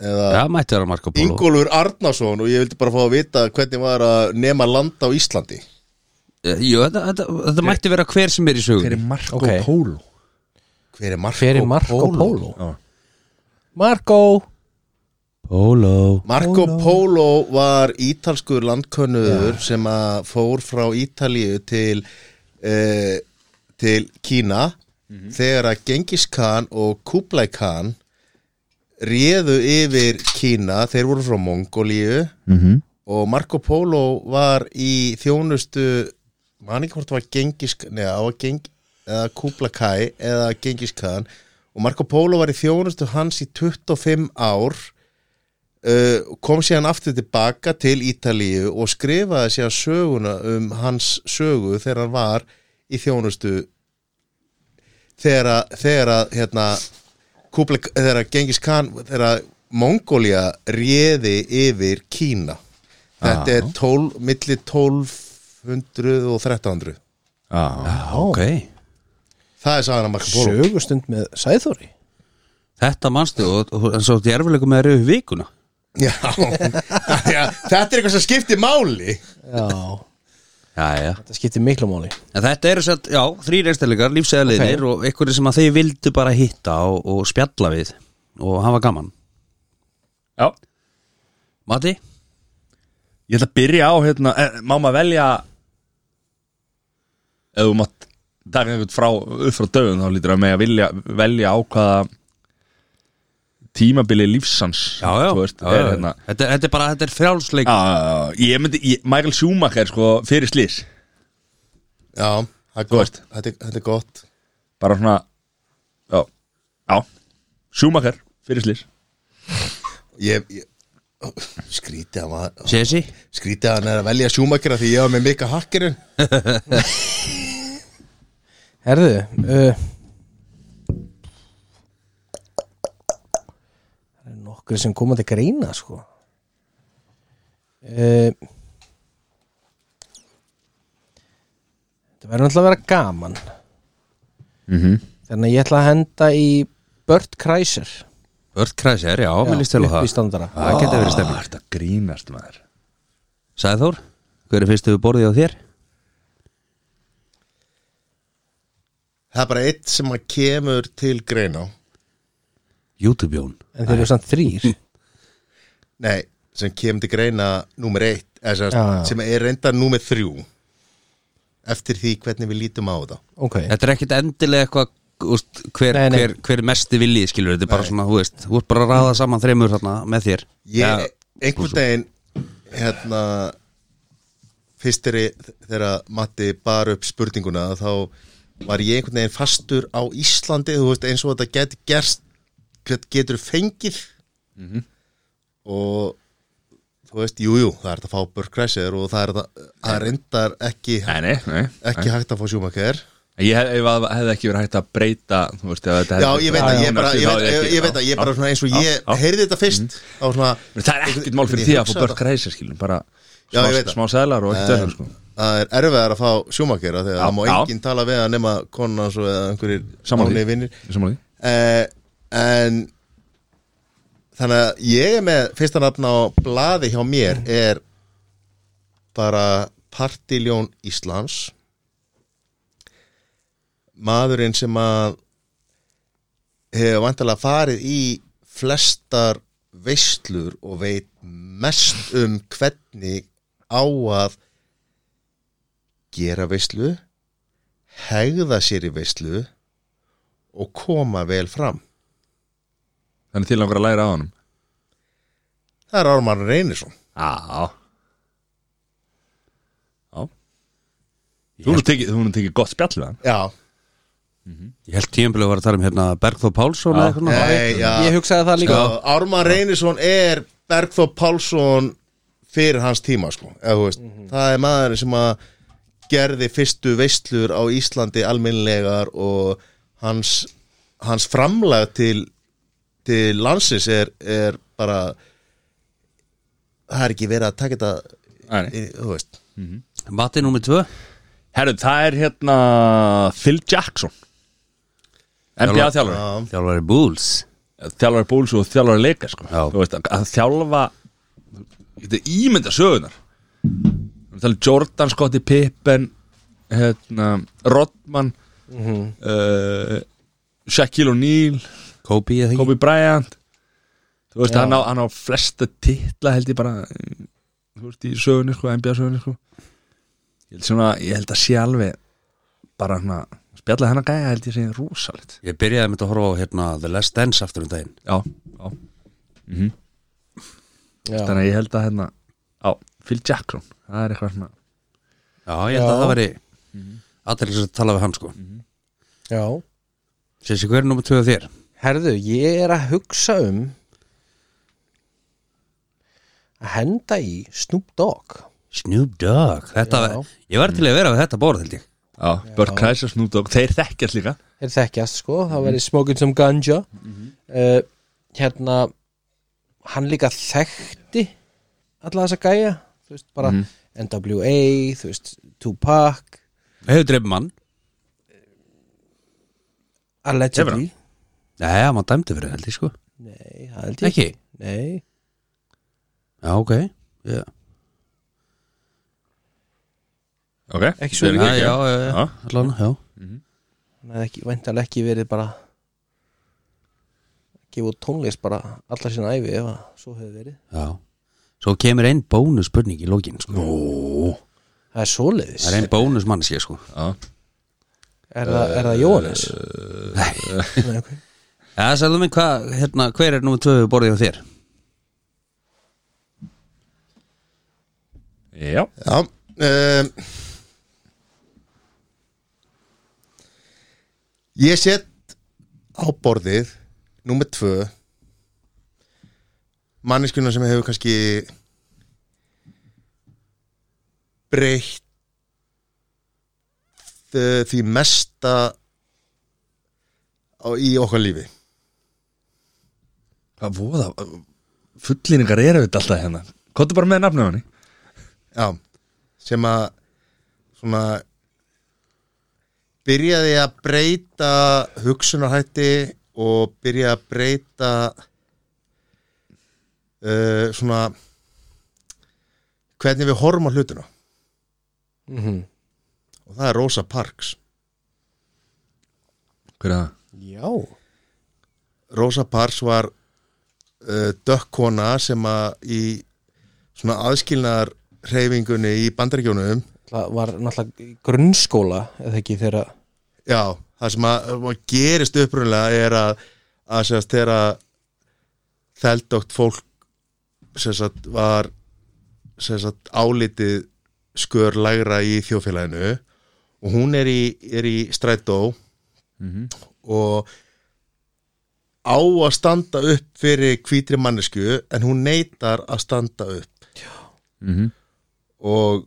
Speaker 3: eða
Speaker 4: Já, mætti vera Marco Polo
Speaker 3: Ingólfur Arnason og ég vildi bara fá að vita hvernig var að nema landa á Íslandi
Speaker 4: Jú, þetta, þetta, þetta mætti vera hver sem er í sögum
Speaker 1: Hver er Marco
Speaker 2: Ok.
Speaker 1: Polo?
Speaker 3: Hver er Marco,
Speaker 2: Hver er Marco Polo?
Speaker 1: Já.
Speaker 2: Marco
Speaker 4: Polo
Speaker 3: Marco Polo var ítalskur landkönnuður sem að fór frá Ítalíu til uh, til Kína þegar að Genghis Khan og Kublai Khan réðu yfir Kína þeir voru frá Mongolíu -hmm. og Marco Polo var í þjónustu manni hvort það var Genghis neða, það var Geng, eða Kublai Kai eða Genghis Khan og Marco Polo var í þjónustu hans í 25 ár uh, kom síðan aftur tilbaka til Ítalíu og skrifaði síðan söguna um hans sögu þegar hann var í þjónustu þegar að- þegar að hérna kúpla, þegar að Genghis Khan þegar að Mongólia réði yfir Kína þetta er 12, milli 1200 og 1300
Speaker 1: Já,
Speaker 4: Ok
Speaker 3: það er sagan að Marco Polo
Speaker 2: Sögustund með Sæðþóri
Speaker 4: Þetta manstu og, og, en svo þetta er erfileikum með að rauðu vikuna
Speaker 3: Já, já, þetta er eitthvað sem skiptir máli
Speaker 2: Já,
Speaker 4: Já, já
Speaker 2: þetta skiptir miklu máli
Speaker 4: En þetta eru satt, já, þrýr einstæðlegar, lífsæðleginir og einhverju sem að þeir vildu bara hitta og, og spjalla við og hafa gaman
Speaker 1: Já.
Speaker 4: Mati?
Speaker 1: Ég ætla að byrja á hérna, eh, Má maður velja Ef þú mátt taka einhvern frá, upp frá döðum þá lítur að mega vilja, velja á hvaða tímabili lífsans þú veist,
Speaker 4: já,
Speaker 1: er,
Speaker 4: já.
Speaker 1: hérna,
Speaker 4: Þetta, þetta er bara, þetta er frjálsleik
Speaker 1: Já, já, já, ég myndi, ég, Michael Schumacher sko fyrir slís
Speaker 3: Já, það er
Speaker 1: Þú
Speaker 3: gott,
Speaker 1: veist.
Speaker 3: þetta er, þetta er gott.
Speaker 1: bara svona, já, já Schumacher fyrir slís
Speaker 3: ég, ég skrítið að maður
Speaker 4: Sessi?
Speaker 3: skrítið að hann er að velja sjúmakera því ég var með mikka hakkerinn
Speaker 2: Herðu uh, Það er nokkur sem koma til greina sko uh, Þetta verður náttúrulega að vera gaman
Speaker 1: Mhm.
Speaker 2: Þannig að ég ætla að henda í Burt Kreischer
Speaker 4: Börn Kræsir, já, mér líst til á
Speaker 2: upp í
Speaker 4: það
Speaker 2: standara
Speaker 4: Það geta verið stefni
Speaker 1: Þetta Ah, grínast maður
Speaker 4: Sæðþór, hver er fyrstu borðið á þér?
Speaker 3: það er bara eitt sem að kemur til greina
Speaker 4: YouTube-jón
Speaker 2: En þeir eru samt þrýr
Speaker 3: nei, sem kemur til greina númer eitt, eða sem,
Speaker 2: Já, já.
Speaker 3: sem er reynda númer þrjú eftir því hvernig við lítum á það
Speaker 2: Ok,
Speaker 4: Þetta er ekkit endilega eitthvað úst, hver,
Speaker 2: Nei, nei.
Speaker 4: hver, hver mesti viljið skilur Þetta er bara svona, þú veist, þú ert bara að ráða saman þreymur þarna með þér
Speaker 3: ég,
Speaker 4: Já.
Speaker 3: einhvern veginn hérna fyrst er ég, þegar Matti bar upp spurninguna þá var ég einhvern veginn fastur á Íslandi þú veist eins og þetta geti gerst hvert getur fengið
Speaker 1: Mhm.
Speaker 3: og þú veist, jújú, jú, það er hægt að fá börgræsir og það er hægt að- það er reyndar ekki,
Speaker 1: Nei, nei, nei
Speaker 3: ekki hægt að fá sjúmakar
Speaker 1: Ég hef, ef að- hefði ekki verið hægt að breyta Þú veist, ef þetta
Speaker 3: já,
Speaker 1: hefði-
Speaker 3: ég veit að
Speaker 1: Já,
Speaker 3: ég
Speaker 1: já.
Speaker 3: bara ég
Speaker 1: Þá
Speaker 3: veit,
Speaker 1: hefði
Speaker 3: ég,
Speaker 1: ekki-
Speaker 3: ég veit að ég bara
Speaker 1: já,
Speaker 3: svona eins og
Speaker 1: já,
Speaker 3: ég
Speaker 1: já. Mhm.
Speaker 3: heyrði þetta fyrst þá svona
Speaker 1: Það er ekkert mál fyrir því að fá
Speaker 3: hugsaði
Speaker 1: börn
Speaker 3: þetta.
Speaker 1: græsir skilum Bara
Speaker 3: Já,
Speaker 1: smá,
Speaker 3: ég veit það.
Speaker 1: smá sælar og ekkert
Speaker 3: En-
Speaker 1: öðrum sko
Speaker 3: það er erfiðar að fá sjúmakera þegar
Speaker 1: Já,
Speaker 3: það má
Speaker 1: já.
Speaker 3: enginn tala við að nema konan svo eða einhverjir
Speaker 1: Sammála því.
Speaker 3: ánir vinnir
Speaker 1: Sammála því?
Speaker 3: eh, en þannig að ég er með fyrsta nafn á blaði hjá mér er bara partiljón Íslands maðurinn sem að hefur vantilega farið í flestar veislur og veit mest um hvernig á að gera veislu hegða sér í veislu og koma vel fram
Speaker 1: Þannig til langar að læra á honum
Speaker 3: Það er Ármann Reynisson
Speaker 1: Já Já Þú erum tekið, þú erum tekið gott spjall við hann
Speaker 3: Já,
Speaker 4: Ég held tíumbilið var að tala um hérna Bergþór Pálsson eða eitthvað svona.
Speaker 3: nei, já
Speaker 2: Ég hugsaði það líka
Speaker 3: sko, Ármann Reynisson er Bergþór Pálsson fyrir hans tíma sko, eða, þú veist, það er maður sem að gerði fyrstu veistlur á Íslandi alminnlegar og hans, hans framlag til, til landsins er, er bara það er ekki verið að taka þetta
Speaker 1: Nei, nei.
Speaker 3: í- þú veist
Speaker 4: Mati númer tvö
Speaker 1: Herru, það er hérna Phil Jackson NBA þjálfari
Speaker 3: Já.
Speaker 4: Þjálfari Bulls
Speaker 1: Þjálfari bóls og þjálfari leika sko.
Speaker 4: Já.
Speaker 1: Þú veist, að- að þjálfa Þetta er ímynda sögunar Það er um Jordan, Scottie Pippen hérna, Rodman mm -hmm. uh, Shaquille O'Neal
Speaker 4: Kobe eða ekki
Speaker 1: Kobe Bryant Þú veist, hann á, hann á flesta titla held ég bara eh, Þú veist, í sögunni, sko, NBA sögunni, sko Ég held svona, ég held að sé alveg Bara hann að spjalla hennar gæja held ég sé rosalegt
Speaker 4: Ég byrjaði með að horfa á hérna The Last Dance aftur um daginn
Speaker 1: Já, já,
Speaker 2: Já.
Speaker 1: þannig að ég held að hérna Já, Phil Jackson, það er eitthvað svona
Speaker 4: Já, ég held
Speaker 2: Já.
Speaker 4: að það væri allir sem tala við hann sko
Speaker 2: Já.
Speaker 4: Sér sér hver er númer tvö á þér?
Speaker 2: Herðu, ég er að hugsa um að henda í Snoop Dogg
Speaker 4: Snoop Dogg þetta,
Speaker 2: Já.
Speaker 4: Ég var til að vera við þetta borð held ég
Speaker 1: Já, Börn Kreisar, Snoop Dogg, þeir þekkjast líka
Speaker 2: þeir þekkjast sko, það væri smoking some ganja uh, hérna hann líka þekkti alla þessa gæja þú veist bara NWA þú veist, Tupac
Speaker 4: Hefur dreifum mann?
Speaker 2: allegedly,
Speaker 4: Nei, hann var dæmdi fyrir það, held ég sko
Speaker 2: nei, það held ég
Speaker 4: Ekki?
Speaker 2: nei,
Speaker 4: Já, ok yeah.
Speaker 1: Ok,
Speaker 2: Ekki svo mikið,
Speaker 4: Já, já, já, já.
Speaker 1: Já.
Speaker 4: Allan, já.
Speaker 2: hann hefði ekki væntanlega ekki verið bara gefa út tónlist bara alla sína æfi ef að svo hefði verið
Speaker 4: já Svo kemur einn bónus spurning í lokin sko.
Speaker 2: það er svoleiðis,
Speaker 4: Það er einn bónus mannskja sko
Speaker 2: er, það, er það Jóhannes? nei, ok
Speaker 4: Já, sagðu mig hvað, hérna, hver er númer tvö við borðið á þér?
Speaker 1: Já,
Speaker 3: Já um, Ég set á borðið Númer tvö Manniskuna sem hefur kannski Breytt eh, Því mesta á, Í okkar lífi
Speaker 1: hvað voða Fullinningar eru þetta alltaf hérna Kottu bara með nafnum hann
Speaker 3: Já, sem að svona byrjaði að breyta hugsunarhætti og byrjaði að breyta uh, svona hvernig við horfum á hlutuna
Speaker 2: mm -hmm.
Speaker 3: og það er Rosa Parks
Speaker 1: Hver er það?
Speaker 2: já,
Speaker 3: Rosa Parks var uh, dökkona sem að í svona aðskilnaðar hreyfingunni í bandaríkjónum
Speaker 2: það var náttúrulega í grunnskóla eða ekki þegar að
Speaker 3: Já, það sem að, að gerist upprunlega er að, að sérst, þegar að þeldótt fólk sérst, var sérst, álitið skörlægra í þjófélaginu og hún er í, er í strætó og á að standa upp fyrir hvítri mannesku en hún neytar að standa upp
Speaker 1: Mhm.
Speaker 3: og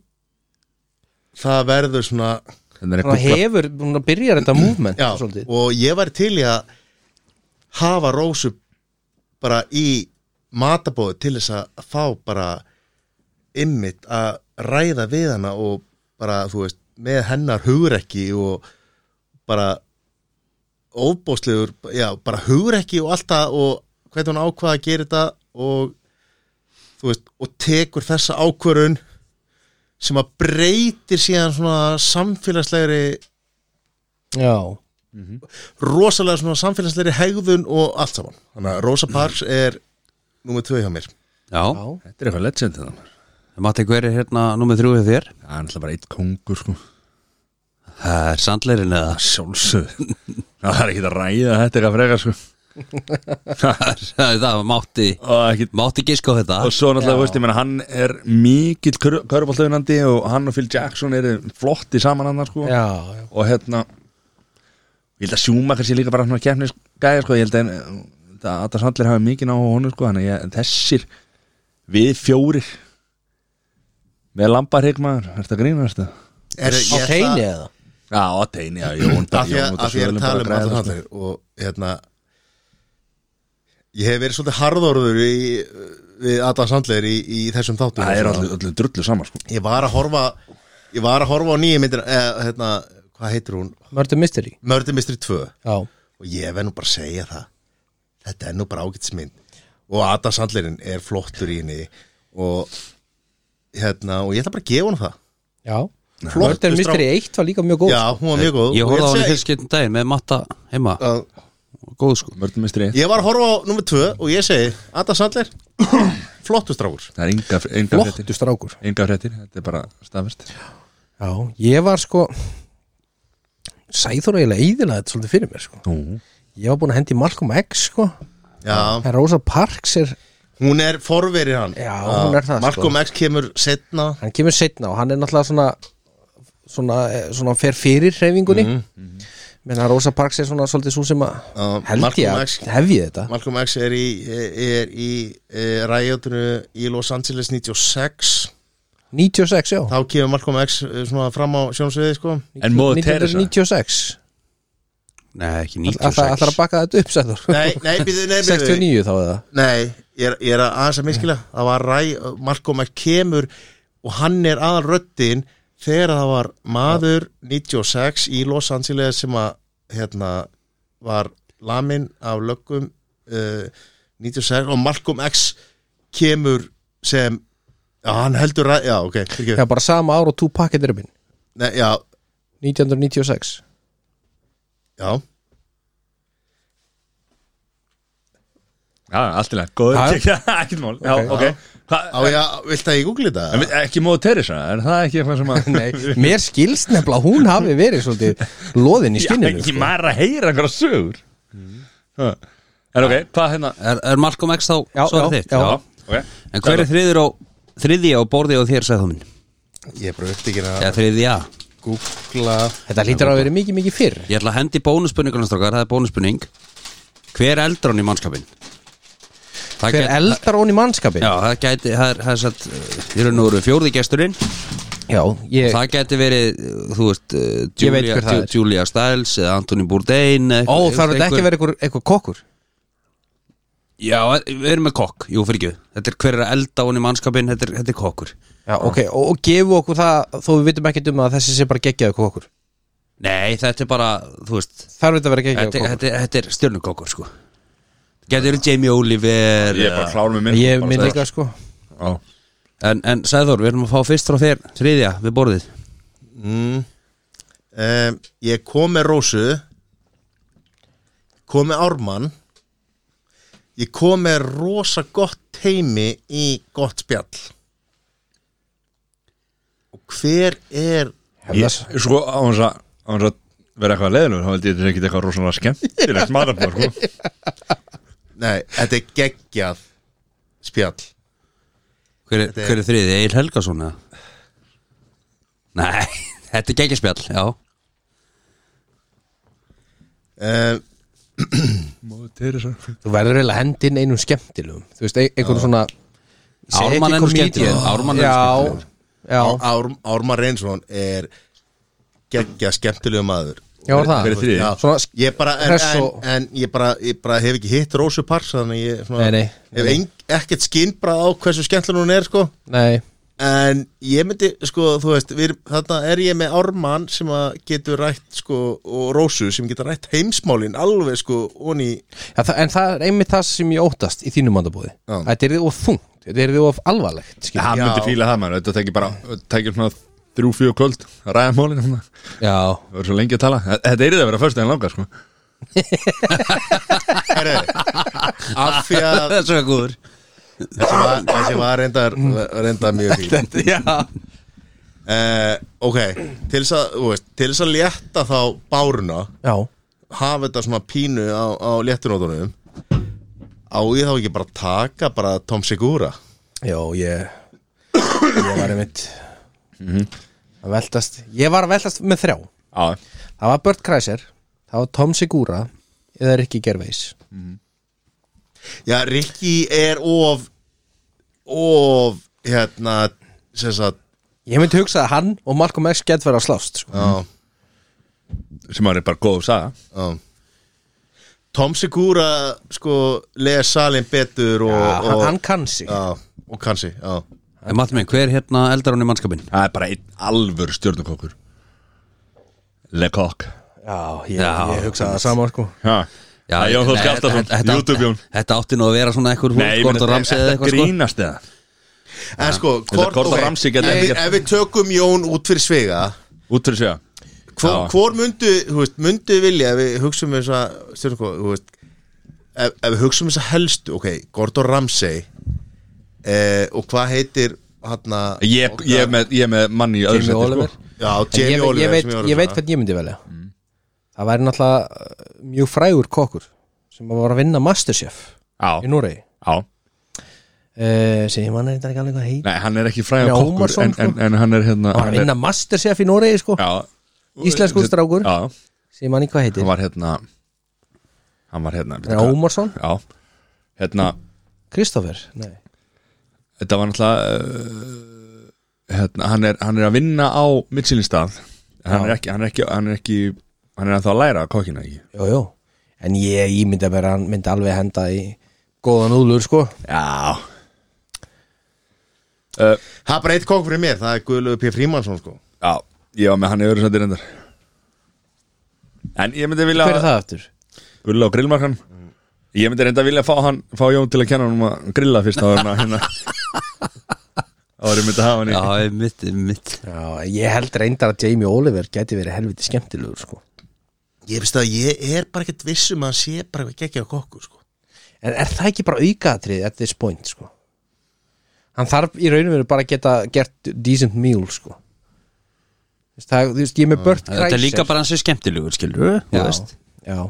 Speaker 3: það verður svona
Speaker 1: Þannig
Speaker 2: Svona hefur, hún byrjar þetta movement
Speaker 3: Já,
Speaker 2: svolítið
Speaker 3: og ég var til í að hafa rósu bara í matabóðu til þess að fá bara ymmit að ræða við hana og bara, þú veist, með hennar hugrekki og bara óbóðslegur, já, bara hugrekki og allt það og hvernig hún ákvaða að gera þetta og þú veist, og tekur þessa ákvörun sem að breytir síðan svona samfélagslegri
Speaker 2: já,
Speaker 3: rosalega svona samfélagslegri hegðun og allt saman þannig að Rosa Parks er númer tvö hjá mér
Speaker 4: Já,
Speaker 2: já,
Speaker 1: Þetta er eitthvað legend hérna. þetta maður.
Speaker 4: Matti, hver er hérna nummið þrjú hjá þér?
Speaker 1: Það er náttúrulega bara eitt kongur sko
Speaker 4: Það er sandleirin eða
Speaker 1: Sjálfsög Það er ekki að ræða þetta eitthvað frekar sko
Speaker 4: Það mátti,
Speaker 1: Og ekki
Speaker 4: mátti gíska á þetta
Speaker 1: Og svo náttúrulega, veist, ég meina, hann er mikill körfaldauðnandi og hann og Phil Jackson eru flotti saman annar, sko
Speaker 2: já, já.
Speaker 1: og hérna ég held að Sjúmakar sé líka bara svona keppnisgæja sko, ég held að, að Adam Sandler hafi mikið ná á honum sko, þannig að ég- þessir við fjórir með lambarhygmaður, er þetta grín, veist það?
Speaker 3: er,
Speaker 2: á teini eða
Speaker 1: Já, að teini, já, Jón
Speaker 3: af því að, að, því að ég er að tala um allan allir og hérna ég hef verið svolítið harðorður í, við Adam Sandler í, í þessum þáttum
Speaker 1: Það er allir, allir drullu saman, sko
Speaker 3: ég var að horfa ég var að horfa á nýju myndir eh, hérna, hvað heitir hún?
Speaker 2: Mördu Mystery
Speaker 3: Murder Mystery 2
Speaker 2: já,
Speaker 3: og ég verð nú bara að segja það þetta er nú bara ágætsmynd og Adam Sandlerinn er flottur í henni og hérna og ég ætla bara að gefa hún það
Speaker 2: já
Speaker 3: Flottur
Speaker 2: Mördu Mystery 1 var líka mjög góð
Speaker 3: já, hún var mjög góð
Speaker 4: Ég
Speaker 3: Og
Speaker 4: horfði á
Speaker 3: ætla
Speaker 4: hann í
Speaker 3: að
Speaker 4: fyrst getum daginn með matta heima
Speaker 3: segja að
Speaker 4: Góð sko
Speaker 1: Mörðumistri,
Speaker 3: ég var að horfa á nummer 2 og ég segi Adam Sandler, flottur strákur
Speaker 1: það er enga, enga fréttir
Speaker 2: flottu strákur
Speaker 1: Enga fréttir, þetta er bara staðvist
Speaker 2: já, ég var sko sæður eiginlega íðilega þetta svolítið fyrir mér sko ég var búin að hendi Malcolm X sko
Speaker 3: já,
Speaker 2: en Rosa Parks er
Speaker 3: hún er forverið hann
Speaker 2: Já, hún er það, sko.
Speaker 3: Malcolm X kemur setna
Speaker 2: hann kemur setna og hann er náttúrulega svona svona, eh, svona fer fyrir hreyfingunni mm menn að Rosa Parks er svona svolítið svo sem að
Speaker 3: Mhm, Já,
Speaker 2: held ég
Speaker 3: Malcolm X.
Speaker 2: að hefji þetta
Speaker 3: Malcolm X er í, er í e, ræjóttinu í Los Angeles 96
Speaker 2: 96, já
Speaker 3: þá kemur Malcolm X eh, svona fram á sjónsviði sko
Speaker 1: En móðu Teresa
Speaker 2: 1996
Speaker 4: Nei, ekki
Speaker 2: Það ætlar
Speaker 4: 96
Speaker 2: að baka þetta upp, sæður
Speaker 3: Nei, nei, býðu, nei, býðu
Speaker 2: 69 þá eða
Speaker 3: Nei, ég er, ég er að- aðeins að miskila Það var ræ, Malcolm X kemur og hann er aðal röddin þegar það var maður 96 í Los Angeles sem að hérna var lamin af löggum uh, 96 og Malcolm X kemur sem já, hann heldur ræ, já, ok
Speaker 2: Já,
Speaker 3: já.
Speaker 2: bara sama ár og tú pakketir minn
Speaker 3: Nei, já,
Speaker 2: 1996
Speaker 3: já,
Speaker 1: Já, allt í lega, góður,
Speaker 2: Já.
Speaker 1: ekkert mál Já,
Speaker 2: Ok.
Speaker 1: ok Hvað-
Speaker 3: á já, viltu að ég googli
Speaker 1: En
Speaker 3: þetta?
Speaker 1: við- Ekki móðu Teresa, er það ekki eitthvað sem að
Speaker 2: Nei, mér skilst nefnilega að hún hafi verið svolítið loðin í skinninu
Speaker 1: Já, ég
Speaker 2: sko.
Speaker 1: maður er að heyra einhverja sögur mm. En ok, hvað hérna
Speaker 4: er, er Malcolm X þá
Speaker 2: Já,
Speaker 4: svarið
Speaker 2: já,
Speaker 4: þitt?
Speaker 2: já.
Speaker 1: okay.
Speaker 4: En hver er þriðir á þriðja á borði á þér, sagði þú minn?
Speaker 3: Ég er bara upptekinn að
Speaker 4: Já, þriðja
Speaker 3: googla
Speaker 2: Þetta lítur að vera mikið, mikið fyrr
Speaker 4: Ég ætla að hendi bónuspunningunum strókar, það er bónuspunning Hver eldar hann í mannskapin? Það
Speaker 2: Hver
Speaker 4: gæti-
Speaker 2: eldar hún í mannskapin
Speaker 4: Já, það gæti, það er, það er satt Ég er nú eru fjórði gesturinn
Speaker 2: Já, ég,
Speaker 4: Það gæti verið, þú veist eh,
Speaker 2: Ég veit
Speaker 4: Julia,
Speaker 2: hver það er.
Speaker 4: Julia Stiles eða Anthony Bourdain
Speaker 2: Ó,
Speaker 4: eða eitthvað-
Speaker 2: þarf þetta ekki
Speaker 4: einhver-
Speaker 2: að vera einhver- eitthvað kokkur
Speaker 4: Já, við erum með kokk, jú fyrir ekki Þetta er hver er að elda hann í mannskapin, þetta er, þetta er kokkur
Speaker 2: Já, ok, og, og gefu okkur það þó við vitum ekkert um að þessi sé bara geggjaðu kokkur
Speaker 4: Nei, þetta er bara, þú veist
Speaker 2: Þarf þetta að vera geggjaðu
Speaker 4: Þetta,
Speaker 2: kokkur
Speaker 4: þetta, þetta er stjörnukokkur, sko Gæti verið Jamie Oliver
Speaker 1: Ég er bara
Speaker 4: eða-
Speaker 1: klár með minn
Speaker 2: Ég
Speaker 1: bara
Speaker 2: minn
Speaker 1: sagði-
Speaker 2: líka sko
Speaker 1: Já.
Speaker 4: En, en Sæður, við erum að fá fyrst frá þér Þriðja, við borðið
Speaker 3: Mm. Um, ég kom með Rósu kom með Ármann ég kom með rosa gott teimi í gott spjall og hver er
Speaker 1: Ég- Sko, á hans að á hans að vera eitthvað leðinu þá held ég þetta ekki eitthvað rosalega skemmtilegt maðurfór sko.
Speaker 3: nei, þetta er geggjað spjall
Speaker 4: Hver, er- hver er þriðið, Egil Helgason eða? Nei, þetta er geggjespjall, já
Speaker 3: um,
Speaker 1: Móðu Teresa
Speaker 2: Þú verður eiginlega hendinn einum skemmtilegum Þú veist, ein- einhver svona segi
Speaker 4: Ármann
Speaker 2: ekki
Speaker 4: er nú
Speaker 2: comedian.
Speaker 4: skemmtilegur, Ármann er nú skemmtilegur.
Speaker 2: Já, já,
Speaker 3: Á- Ár, Ármann Reynsson er geggjað skemmtilegu maður
Speaker 2: já, var það
Speaker 1: Hver er þriðji?
Speaker 3: Já,
Speaker 2: Svona sk-
Speaker 3: ég bara, en,
Speaker 2: hress
Speaker 3: en,
Speaker 2: og-
Speaker 3: en ég, bara, ég bara hef ekki hitt Rósu Pars þannig ég svona,
Speaker 2: Nei, nei.
Speaker 3: hef ein, ekkert skinn bara á hversu skemmtlun hún er sko
Speaker 2: Nei,
Speaker 3: en ég myndi, sko, þú veist við, erum- þarna er ég með Ármann sem að getur rætt, sko, og Rósu sem getur rætt heimsmálin alveg, sko, onni
Speaker 2: ja, það, en það er einmitt það sem ég óttast í þínum mandabúði
Speaker 3: Já.
Speaker 2: þetta er þið of þungt, þetta er þið of alvarlegt skilur.
Speaker 1: Hann
Speaker 3: Já.
Speaker 1: myndi fíla það maður, þetta tekir bara tekir svona þrjú, fjögur kvöld að ræða málin svona.
Speaker 2: já,
Speaker 1: það er svo lengi að tala, Þe- þetta er það að vera fyrst en langa sko.
Speaker 3: Herre, af því að
Speaker 4: Það er svo góður
Speaker 3: þessi var, þessi var reyndar, reyndar mjög fín
Speaker 4: Já
Speaker 3: Eh, ok, til þess að, þú veist, til þess að létta þá báruna
Speaker 2: já,
Speaker 3: hafa þetta svona pínu á, á léttunótunum á ég þá ekki bara að taka bara Tom Segura
Speaker 2: já, ég ég var einmitt að veltast, ég var að veltast með þrjá
Speaker 1: Já,
Speaker 2: það var Bert Kreischer, það var Tom Segura eða Ricky Gervais
Speaker 3: Já, Rikki er of of hérna, sem sagt
Speaker 2: ég myndi hugsa að hann og Malcolm X gett verið að slást sko.
Speaker 3: á,
Speaker 1: sem maður er bara góð að saga
Speaker 3: á. Tom Segura sko les salin betur og,
Speaker 2: Já, hann,
Speaker 3: og,
Speaker 2: hann kann sig
Speaker 3: á, og kannsi á.
Speaker 4: En maður minn, hver hérna eldar hún í mannskapin?
Speaker 1: það er bara einn alvöru stjórnukokkur Lekokk
Speaker 2: Já, ég,
Speaker 4: Já,
Speaker 2: ég hugsa það sama sko
Speaker 1: Já, Jón Þór Skaftason, YouTube Jón
Speaker 4: Þetta átti nú að vera svona eitthvað
Speaker 1: Nei, ég meina,
Speaker 4: Gordon Ramsay eða
Speaker 1: þetta
Speaker 4: eitthvað sko
Speaker 1: grínast eða
Speaker 3: en sko
Speaker 1: Þetta Gordon
Speaker 3: ok,
Speaker 1: Ramsay getur
Speaker 3: ef,
Speaker 1: ekki-
Speaker 3: við- ef við tökum Jón út fyrir svega
Speaker 1: Út fyrir segja
Speaker 3: Hvor,
Speaker 1: Já.
Speaker 3: hvor myndu, þú veist, myndu vilja ef við hugsaum eins að, stjórnum hvað, þú veist ef, ef við hugsaum eins að helstu, ok, Gordon Ramsay eh, og hvað heitir hann að
Speaker 1: Ég ég er með, ég er með manni í öðru
Speaker 2: Jamie
Speaker 1: sæti, sko.
Speaker 2: Oliver En
Speaker 3: Já,
Speaker 2: ég,
Speaker 3: Jamie
Speaker 2: ve- ég
Speaker 3: Oliver
Speaker 2: veit,
Speaker 3: sem
Speaker 2: ég veit hvern ég myndi velja það væri náttúrulega uh, mjög frægur kokkur sem var að vinna Masterchef í
Speaker 1: Já,
Speaker 2: Noregi
Speaker 1: já
Speaker 2: uh, sem ég manna þetta ekki alveg hvað heit
Speaker 1: Nei, hann er ekki fræða
Speaker 2: Hann er
Speaker 1: kokkur
Speaker 2: Ómarsson,
Speaker 1: en,
Speaker 2: sko.
Speaker 1: en, en hann er hérna
Speaker 2: hann var að
Speaker 1: hann er-
Speaker 2: vinna Masterchef í Noregi sko
Speaker 1: Já
Speaker 2: íslensku strákur
Speaker 1: Já,
Speaker 2: sem ég manni hvað heitir
Speaker 1: hann var hérna Hann var hérna
Speaker 2: Er það Ómarsson,
Speaker 1: Já, hérna
Speaker 2: Kristoffer Nei.
Speaker 1: Þetta var náttúrulega uh, hérna, hann, er, hann er að vinna á Michelinstað hann, er ekki- hann er ekki Hann er ekki Hann er að að læra að kokkina ekki
Speaker 2: Jú, jú. en ég, ég myndi að vera hann myndi alveg henda í góðan úlur sko
Speaker 1: Já
Speaker 3: Það er bara eitt kokk fyrir mér, það er Guðlaugur P. Frímansson sko
Speaker 1: Já, ég var með hann í öðru sætti reyndar En ég myndi vilja
Speaker 2: hver er það aftur?
Speaker 1: Gulla á grillmarkan Ég myndi reynda að vilja fá, hann, fá Jón til að kenna hann um að grilla fyrst á hann að hérna Áður ég myndi hafa hann í
Speaker 4: Já, mitt, mitt
Speaker 2: Já, ég held reyndar að Jamie Oliver geti verið helviti skemmtilegur sko
Speaker 3: Ég finnst að ég er bara ekkert viss um að hann sé bara eitthvað geggja kokku sko
Speaker 2: En er það ekki bara aukaðatrið at this point, sko? Hann þarf í raunum veru bara að geta gert decent meal, sko. Þú veist, það, þú veist, ég er með Burt Kreischer.
Speaker 4: Þetta er líka bara hans er skemmtilegur, skilur
Speaker 2: já,
Speaker 4: Þú veist
Speaker 2: já,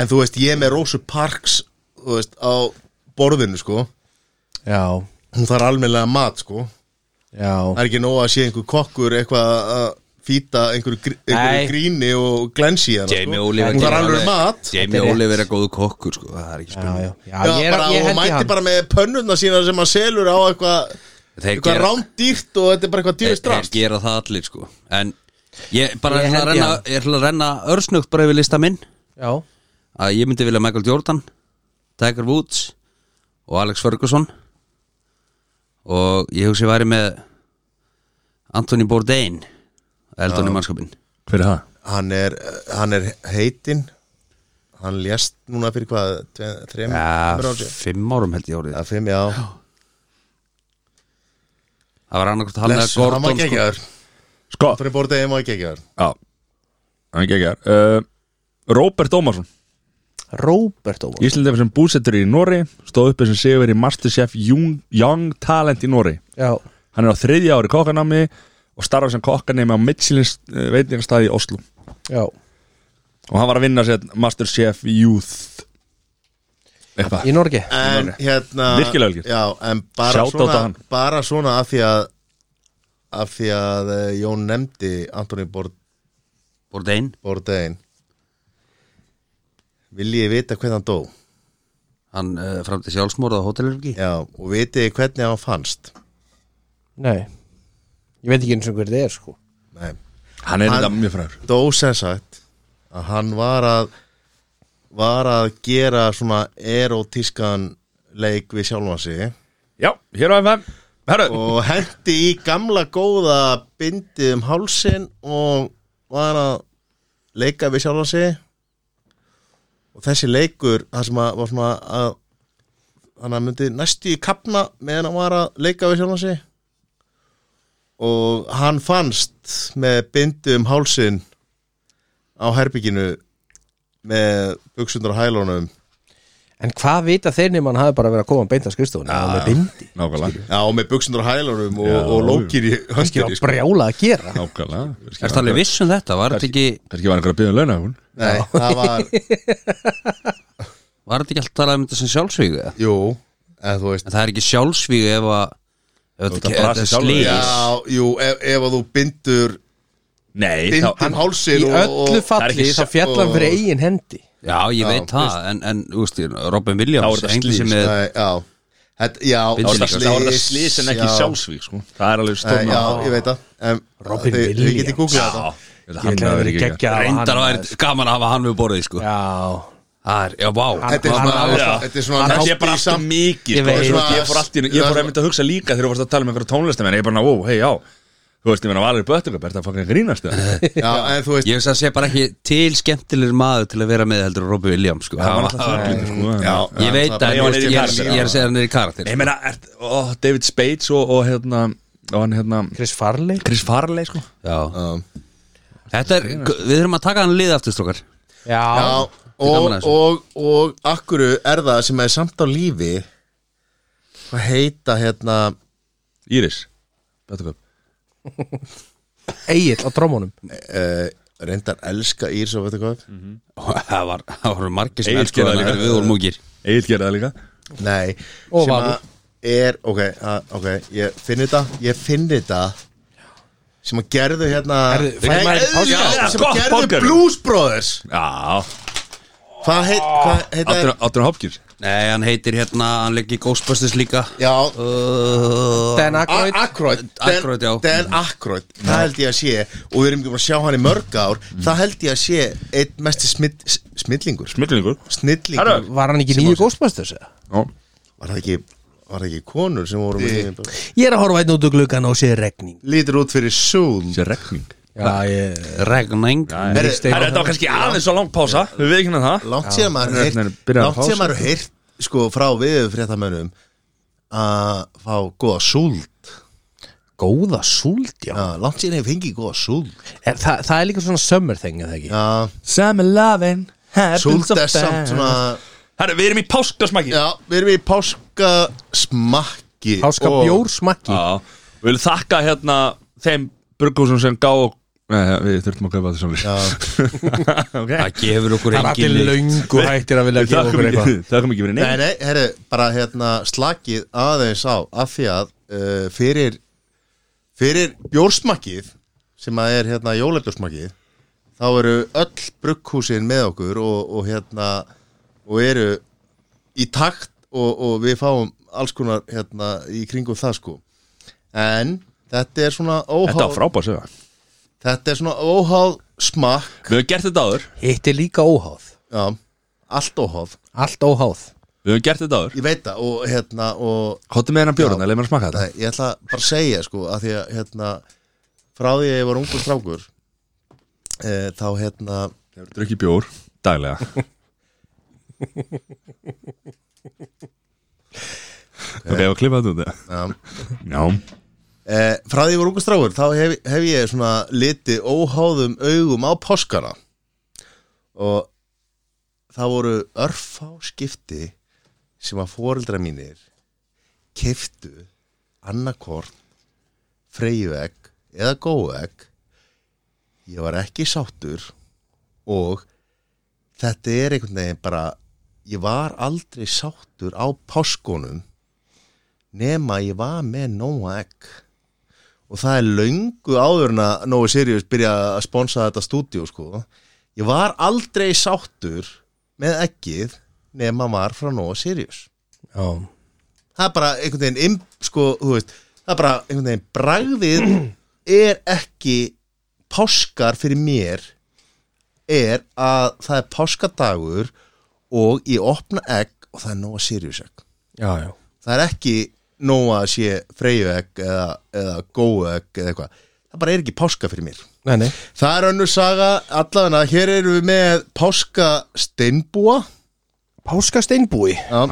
Speaker 3: En þú veist, ég er með Rósu Parks, þú veist, á borðinu sko
Speaker 2: já,
Speaker 3: Hún þarf almennilega mat sko
Speaker 2: já.
Speaker 3: Það er ekki nóg að sé einhver kokkur eitthvað að fýta einhverju, gr einhverju
Speaker 2: Nei.
Speaker 3: gríni og glensi hérna
Speaker 4: Jamie
Speaker 3: sko.
Speaker 4: Oliver
Speaker 3: Hún
Speaker 4: gerir
Speaker 3: þarf alveg
Speaker 4: alveg-
Speaker 3: mat Já,
Speaker 4: Jamie
Speaker 2: Þetta er rétt.
Speaker 4: Oliver er góðu kokkur, sko Það er ekki
Speaker 2: Já, já,
Speaker 4: spurning
Speaker 2: já, ég er,
Speaker 3: bara,
Speaker 2: ég
Speaker 3: og
Speaker 2: held í
Speaker 3: mætti
Speaker 2: hann
Speaker 3: bara með pönnurna sína sem að selur á eitthvað
Speaker 4: Þeir
Speaker 3: eitthvað
Speaker 4: gera-
Speaker 3: rándýrt og þetta er bara eitthvað
Speaker 4: Þeir
Speaker 3: dýrist
Speaker 4: þeir
Speaker 3: drast
Speaker 4: gera það allir, sko En ég bara
Speaker 2: Ég
Speaker 4: ætla að
Speaker 2: held
Speaker 4: renna,
Speaker 2: ég
Speaker 4: ég ætla að renna örsnögt bara yfir lista minn
Speaker 2: Já,
Speaker 4: að ég myndi vilja Michael Jordan Tiger Woods og Alex Ferguson og ég hugsi væri með Anthony Bourdain Eldon í mannskapin
Speaker 1: Hver er það?
Speaker 3: hann er, hann er heitinn hann lést núna fyrir hvað tve- þrem,
Speaker 4: ja,
Speaker 3: þremur árum síðan?
Speaker 4: fimm árum held ég árið
Speaker 3: Já, fimm, já
Speaker 4: það var annarkvæmt hann eða
Speaker 3: Bless, hann var
Speaker 4: Gordon sko.
Speaker 3: geggjaður
Speaker 1: Sko,
Speaker 3: Anthony Bourdain var geggjaður
Speaker 1: já Hann ekki ekki uh, Robert Ómarsson
Speaker 2: Robert Óvar
Speaker 1: Íslandið sem búsettur í Nóri Stóð uppi sem sigur í Masterchef Young, Young Talent í Nóri
Speaker 2: Já,
Speaker 1: Hann er á þriðja ári kokkanami og starfar sem kokkanami á Michelin eh, veitingastæði í Oslo
Speaker 2: já,
Speaker 1: og hann var að vinna sér Masterchef Youth eitthvað
Speaker 2: í Norge
Speaker 3: en hérna
Speaker 1: Virkilega vel gert.
Speaker 3: já, en bara
Speaker 1: Shout out á
Speaker 3: svona,
Speaker 1: hann.
Speaker 3: bara svona af því að af því að eh, Jón nefndi Antoni
Speaker 4: Bourdain
Speaker 3: Bordein vil ég vita hvernig hann dó
Speaker 4: hann uh, framti sjálfsmórð á hótelirki
Speaker 3: já, og viti hvernig hann fannst
Speaker 2: Nei, ég veit ekki eins og hver þið er, sko
Speaker 3: Nei.
Speaker 1: hann er
Speaker 3: Hann-
Speaker 1: þetta mjög fræður
Speaker 3: dó sem sagt að hann var að var að gera svona erotískan leik við sjálfan sig
Speaker 1: já, hér á FM Herru,
Speaker 3: og hendi í gamla góða bindið um hálsin og var að leika við sjálfan sig og þessi leikur það sem að, var svona að hann að myndi næstu í kapna meðan hann var að leika við sjálfan sig og hann fannst með bindið um hálsin á herbygginu með buksundur á hælunum
Speaker 2: En hvað vita þeir nema hann hafi bara verið að koma beint að skrifstofunni ja. með bindi
Speaker 1: nákvæmlega
Speaker 3: Já, með buksundur á hælunum og,
Speaker 1: Já.
Speaker 3: og lókir í
Speaker 2: Kannski var
Speaker 3: höndinni sko.
Speaker 2: brjála að gera
Speaker 1: Nákvæmlega
Speaker 4: Er það alveg viss um þetta? Var þetta ekki,
Speaker 1: Kannski var einhver að byggja um launa hún
Speaker 3: Nei, það var
Speaker 4: var þetta ekki alltaf talað um þetta sem sjálfsvígu? eða?
Speaker 3: Jú, eða þú veist
Speaker 4: En það er ekki sjálfsvígu ef að ef þetta
Speaker 1: þetta
Speaker 4: ekki- ef þetta
Speaker 1: brasið
Speaker 4: er
Speaker 1: sjálfur.
Speaker 4: slís
Speaker 3: Já, jú, ef, ef að þú bindur
Speaker 1: Nei, þá,
Speaker 3: bindum
Speaker 2: Í
Speaker 3: hálsin og,
Speaker 2: öllu
Speaker 3: og
Speaker 1: það er
Speaker 2: falli
Speaker 1: ekki
Speaker 2: þá
Speaker 1: sa-
Speaker 2: fjallan
Speaker 3: og-
Speaker 2: fyrir eigin hendi
Speaker 4: Já, ég veit það, en, en úst, Robin Williams,
Speaker 1: Þá er þetta
Speaker 4: engli sem er
Speaker 3: Nei, Já, þetta, já
Speaker 4: Bindur
Speaker 3: slís,
Speaker 4: líka.
Speaker 1: það var þetta slís en ekki
Speaker 3: já.
Speaker 1: sjálfsvík sko. Það er alveg
Speaker 3: Nei,
Speaker 1: stórna
Speaker 3: Já, ég veit það en
Speaker 2: Robin
Speaker 3: þau- þau
Speaker 2: Williams.
Speaker 3: getið googlað þetta.
Speaker 1: Þetta
Speaker 2: Ég
Speaker 1: hann
Speaker 2: ætla að
Speaker 1: hafði
Speaker 2: vera
Speaker 1: ekki
Speaker 2: geggja að hafa
Speaker 4: reyndar
Speaker 2: hann
Speaker 4: að vera gaman að hafa hann við borðið sko.
Speaker 2: Já,
Speaker 4: Það er, já, vá
Speaker 3: Þetta er
Speaker 2: Hann-
Speaker 3: svona-
Speaker 1: Já.
Speaker 3: þetta er svona
Speaker 1: Þetta
Speaker 3: næstum
Speaker 1: er bara
Speaker 3: því
Speaker 1: allt
Speaker 3: sam-
Speaker 1: of mikið sko.
Speaker 2: Ég veit.
Speaker 1: Svo að Ég fór allt í einu- ég fór einmitt að hugsa líka þegar þú varst að tala með einhverja tónlistamenn Ég bara, ó, hei, já Þú veist, ég meina valir í böttingum, er það fucking grínast eða?
Speaker 3: Já, en þú veist
Speaker 4: Ég veist að sé bara ekki til skemmtilegur maður til að vera með heldur en Robin Williams sko.
Speaker 1: Það var
Speaker 4: Hann-
Speaker 1: alltaf það sko.
Speaker 3: Já,
Speaker 4: Ég
Speaker 3: það-
Speaker 4: veit
Speaker 3: það-
Speaker 4: að
Speaker 1: Já, hann er í
Speaker 4: ég er
Speaker 1: karakter.
Speaker 4: ég er að segja hann er í sko. karakter
Speaker 1: Nei, Ég meina, er, ó, David Spades og, og hérna, og hann hérna
Speaker 2: Chris Farley
Speaker 1: Chris Farley, sko
Speaker 4: Já.
Speaker 3: Já.
Speaker 4: Þetta er, við þurfum að taka hann lið aftur strókar
Speaker 2: Já,
Speaker 3: Já, og,
Speaker 4: gaman að þessu.
Speaker 3: og, og akkuru er það sem er samt á lífi hvað heita hérna
Speaker 1: Íris, böttingum
Speaker 2: Egil á trómunum
Speaker 3: uh, reyndar elska Írs og veit hvað
Speaker 4: Það var, það voru margir sem
Speaker 1: Egill
Speaker 4: elskuðu
Speaker 1: gerði það
Speaker 4: hann
Speaker 1: líka.
Speaker 4: en Við vorum múkir
Speaker 1: Egil gerði það líka
Speaker 3: Nei,
Speaker 2: Og
Speaker 3: sem
Speaker 2: Valur.
Speaker 3: að er, ok, að, ok, ég finn þetta, ég finn þetta sem að gerðu hérna
Speaker 2: Herðu, fær
Speaker 3: Nei,
Speaker 2: maður
Speaker 3: eðlilega,
Speaker 1: páska?
Speaker 3: sem
Speaker 1: Gott
Speaker 3: að gerðu
Speaker 1: páskaegg.
Speaker 3: Blues Brothers
Speaker 1: Já,
Speaker 3: hvað heit,
Speaker 4: Ah.
Speaker 3: hva heita þeir?
Speaker 1: Áttur Hopkins
Speaker 4: Nei, hann heitir hérna, hann leggir Ghostbusters líka
Speaker 3: Já,
Speaker 4: Uh,
Speaker 2: Dan Aykroyd
Speaker 3: Akroyd
Speaker 4: Aykroyd, já. Mm.
Speaker 3: Dan Akroyd, það held ég að sé og við erum ekki búin að sjá hann í mörg ár
Speaker 4: Mm.
Speaker 3: það held ég að sé einn mesti smitt, smittlingur
Speaker 1: Smillingur
Speaker 3: snillingur,
Speaker 2: Var hann ekki nýju Ghostbusters? eða?
Speaker 3: var það ekki var það ekki konur sem voru með því?
Speaker 2: Ég er að horfa einn út úr gluggan og sé regning
Speaker 3: lítur út fyrir súl
Speaker 1: Sér rekning
Speaker 2: Já, ég
Speaker 4: Regning
Speaker 1: Herra, þetta var kannski aðeins og langt pása Við við ekki það
Speaker 3: langt síðan maður
Speaker 1: Rögn er
Speaker 3: heyrt
Speaker 1: byrjað að
Speaker 3: langt
Speaker 1: fá
Speaker 3: síðan
Speaker 1: sig.
Speaker 3: maður heyrt sko frá við fréttamönnum að fá góða súld
Speaker 2: Góða súld, já
Speaker 3: já, langt síðan hefur fengið góða súld
Speaker 2: Er, það, það er líka svona summer thing, er það ekki?
Speaker 3: já,
Speaker 1: Summer loving
Speaker 3: súld er samt svona
Speaker 1: Herra, við erum í páskasmæki
Speaker 3: já, við erum í páska smakki
Speaker 2: Háska
Speaker 3: og-
Speaker 2: bjórsmakki
Speaker 1: Já Við viljum þakka hérna þeim burghúsum sem gá Nei, við þurftum að kaupa þetta samlis
Speaker 4: Það gefur okkur
Speaker 2: Það er
Speaker 4: engin
Speaker 2: allir
Speaker 4: neitt.
Speaker 2: löngu hættir að vilja
Speaker 1: Við
Speaker 2: gefa okkur
Speaker 1: þakkum
Speaker 2: eitthvað
Speaker 1: ekki Þakkum ekki fyrir
Speaker 3: nei,
Speaker 1: neitt
Speaker 3: nei, herru, bara hérna slakið aðeins á af því að uh, fyrir fyrir bjórsmakkið sem að er hérna jólebjórsmakkið þá eru öll brugghúsin með okkur og, og hérna og eru í takt og, og við fáum alls konar hérna í kringum það sko en þetta er svona óháð
Speaker 1: Þetta var frábæð sögða
Speaker 3: þetta er svona óháð smakk
Speaker 1: Við höfum gert þetta áður
Speaker 2: Hitt er líka óháð
Speaker 3: já, allt óháð,
Speaker 2: Allt óháð
Speaker 1: Við höfum gert þetta áður
Speaker 3: ég veit það og hérna og
Speaker 1: Háttu með hennar bjórna, leið hérna, mér að smaka þetta
Speaker 3: Nei, ég ætla bara að segja sko að því að hérna frá því að ég var ungur strákur e, þá hérna
Speaker 1: Þeir eru drukkið bjór daglega Ok, ég var að klippa þetta út eða?
Speaker 3: ja,
Speaker 1: Já
Speaker 3: e, frá því að ég var ungur strákur þá hef, hef ég svona litið óháðum augum á páskana og það voru örfá skipti sem að foreldra mínir keftu annarkort freyjuvegg eða góvegg ég var ekki sáttur og þetta er einhvern veginn bara ég var aldrei sáttur á páskunum nema ég var með nóa egg og það er löngu áður en að Nói Sirius byrja að sponsa þetta stúdíu sko ég var aldrei sáttur með eggið nema var frá Nóa Sirius
Speaker 2: Já
Speaker 3: það er bara einhvern veginn im, sko, þú veist, það er bara einhvern veginn bragðið er ekki páskar fyrir mér er að það er páskadagur og ég opna egg og það er nóga Sirius egg
Speaker 2: Já, já
Speaker 3: það er ekki nóa að sé freyjuegg eða, eða góuegg eða eitthvað það bara er ekki páska fyrir mér
Speaker 2: Nei, nei,
Speaker 3: það er önnur saga allan að hér erum við með páska steinbúa
Speaker 2: Páska steinbúi
Speaker 1: Já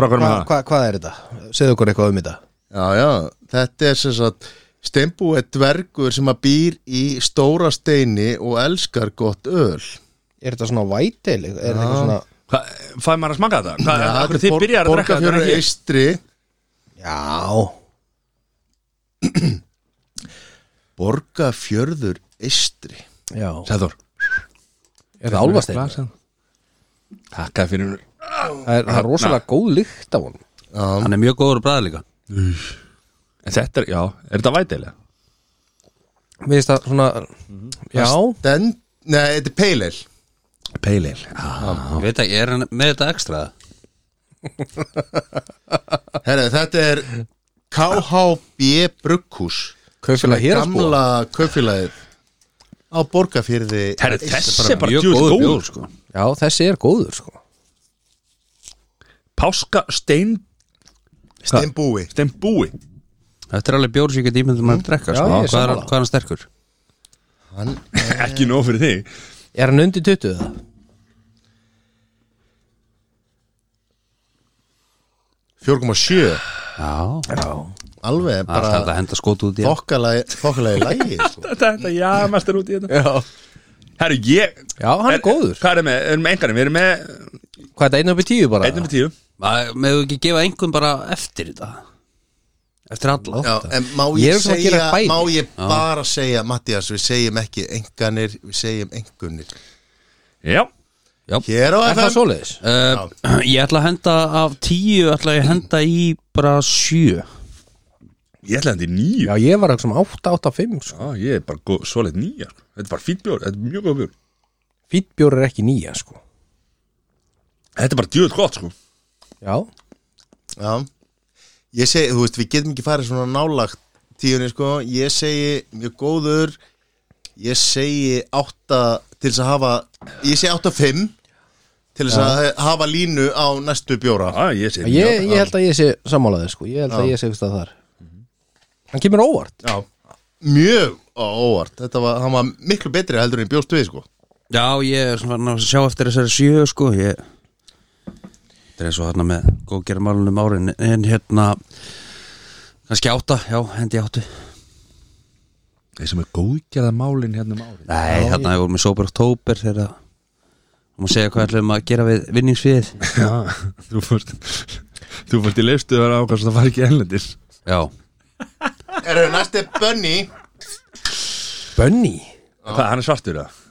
Speaker 1: Frá hverjum
Speaker 2: Hva,
Speaker 1: er það?
Speaker 2: hva, Hvað er þetta? Segðu okkur eitthvað um þetta
Speaker 3: Já, já, þetta er sem sagt Steinbú er dvergur sem að býr í stóra steini og elskar gott öl
Speaker 2: Er þetta svona vætil? Er þetta eitthvað svona
Speaker 1: Hva, fæ maður að smaka þetta? Hvað, ja, akkur þið byrjar að drekka þetta
Speaker 3: Borgarfjörður
Speaker 1: ekki?
Speaker 3: eistri
Speaker 2: Já,
Speaker 3: Borgarfjörður eistri
Speaker 2: já
Speaker 1: Sæður
Speaker 2: Er það álfastein?
Speaker 1: Takk að fyrir
Speaker 2: Það er, það er rosalega góð lykt af honum
Speaker 3: Já,
Speaker 4: Hann er mjög góður að bræða líka
Speaker 1: En þetta er, já, er þetta vætilega?
Speaker 2: Mér finnst það svona Já,
Speaker 3: den, nei, þetta er peilir
Speaker 1: Peilir
Speaker 4: Ég veit ekki, er hann með þetta ekstra?
Speaker 3: Herra, þetta er KHB Brugghús
Speaker 2: kaupfélag hér að spúa
Speaker 3: Gamla kaupfélagið á Borgarfjörði
Speaker 1: Herri,
Speaker 3: eystri.
Speaker 1: þessi er bara
Speaker 4: mjög
Speaker 1: djúð
Speaker 4: góður
Speaker 1: góð
Speaker 4: bjór sko.
Speaker 2: Já, þessi er góður sko
Speaker 1: Páska stein
Speaker 3: Steinbúi
Speaker 1: Steinbúi
Speaker 4: Þetta er alveg bjór sem ég get ímyndum að drekka
Speaker 2: Já, ég
Speaker 4: sko.
Speaker 2: er
Speaker 4: hvað, er, hann-
Speaker 2: sammála.
Speaker 4: hvað er hann sterkur?
Speaker 3: Hann,
Speaker 1: Ekki nóg fyrir þig
Speaker 2: Er hann undir 20 eða?
Speaker 3: eh, 4,7
Speaker 4: Já,
Speaker 3: Alveg
Speaker 4: það er alltaf hægt
Speaker 3: bara
Speaker 4: að henda skot út í hann.
Speaker 3: þokkalagi þokkalagi lægi sko.
Speaker 1: Þetta, þetta, já, maður út í þetta
Speaker 2: Já
Speaker 1: Herru, ég Eh,
Speaker 2: Já, hann er góður.
Speaker 1: Hvað er með, erum með engarnir, við erum með
Speaker 2: Hvað er þetta einu upp í tíu bara?
Speaker 1: Einnum með tíu
Speaker 4: Maður- Megðu ekki gefa einhvern bara eftir þetta Eftir alla
Speaker 3: Já, en má
Speaker 2: Ég
Speaker 3: ég,
Speaker 2: er svona að
Speaker 3: segja,
Speaker 2: gera bæði.
Speaker 3: má ég bara segja Mattias, við segjum ekki enganir, við segjum engunir
Speaker 1: Já
Speaker 2: Er
Speaker 3: Hér á
Speaker 2: það
Speaker 3: FM
Speaker 2: svoleiðis?
Speaker 4: Uh, ég ætla að henda af tíu ætla ég að henda í bara sjö
Speaker 1: Ég ætla þetta í nýju
Speaker 2: Já, ég var eitthvað sem 885 sko.
Speaker 1: Já, ég er bara góð, svolít nýja sko. Þetta er bara fýtt bjór, þetta er mjög góð bjór
Speaker 2: Fýtbjór er ekki nýja sko
Speaker 1: Þetta er bara djöð gott sko
Speaker 2: Já,
Speaker 3: Já, ég segi, þú veist, við getum ekki farið svona nálagt tíunni, sko Ég segi mjög góður Ég segi átta til þess að hafa Ég segi átta fimm til þess að hafa línu á næstu bjóra
Speaker 1: Já, ég segi
Speaker 2: ég, ég held að ég sé sammálaði sko Ég held að ég sé eitthvað þar Hann kemur óvart
Speaker 3: Já, mjög á- óvart Þetta var, hann var miklu betri heldur en ég bjóst við, sko
Speaker 4: Já, ég er svona farin að sjá eftir þessari sjö sko, ég Þetta er eins og þarna með góðgerðmálunum árin en hérna kannski átta, já, hendi í áttu
Speaker 1: Þeir sem er góðgerða málin hérna um árið
Speaker 4: Nei, hérna ég voru með Sober Oktober þegar að og maður segja hvað ætlum að gera við vinningsfið
Speaker 1: Já, þú fórst Þú fórst í leifstu að vera ákvæmst að fara ekki enlendis
Speaker 4: Já,
Speaker 3: Er það næstu Bunny?
Speaker 2: Bönni
Speaker 1: Hvað, hann er svartur það?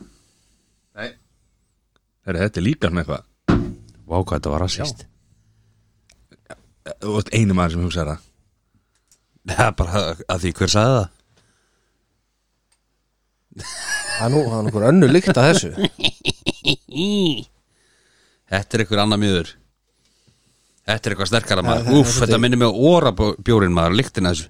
Speaker 3: Nei
Speaker 1: Herra, þetta er líka með eitthvað
Speaker 4: vá hvað þetta var rasist
Speaker 1: Þú vart einu maður sem hugsaði það
Speaker 4: Það er bara að- að því hver sagði það
Speaker 2: Það er nú, það er nokkur önnu líkt að þessu
Speaker 4: Þetta er einhver annar miður Þetta er eitthvað sterkara maður
Speaker 2: þetta-
Speaker 4: Úf,
Speaker 2: þetta-
Speaker 4: þetta minnir mig á óra bjórin maður Líktin þessu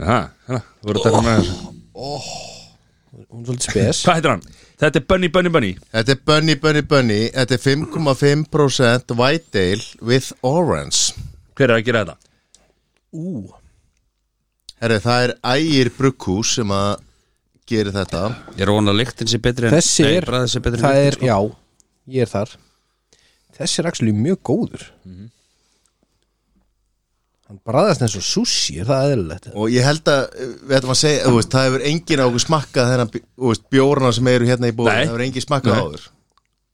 Speaker 1: Já, hérna, þú voru að taka með þessu
Speaker 2: Hún er svolítið spes
Speaker 1: Hvað heitir hann? Þetta er Bunny, Bunny, Bunny
Speaker 3: Þetta er Bunny, Bunny, Bunny Þetta er 5,5% White Ale with Orange
Speaker 1: Hver er að gera þetta?
Speaker 2: Ú,
Speaker 3: Herri, það er Ægir Brugghús sem að gera þetta
Speaker 4: Ég er vona að líktin sé betri en
Speaker 2: þessi
Speaker 4: nei,
Speaker 2: er,
Speaker 4: bragðið sé betri en sko.
Speaker 2: það er,
Speaker 4: lyktin,
Speaker 2: já, ég er þar Þessi er actually mjög góður
Speaker 4: Mhm.
Speaker 2: Hann bræðast eins og sushi, er það eðlilegt?
Speaker 3: og ég held að, eh, við ætlum að segja þú veist, það hefur enginn á okkur smakkað þennan bí- þú veist, bjórna sem eru hérna í bóð
Speaker 1: Nei.
Speaker 3: það hefur enginn smakkað
Speaker 1: Nei.
Speaker 3: áður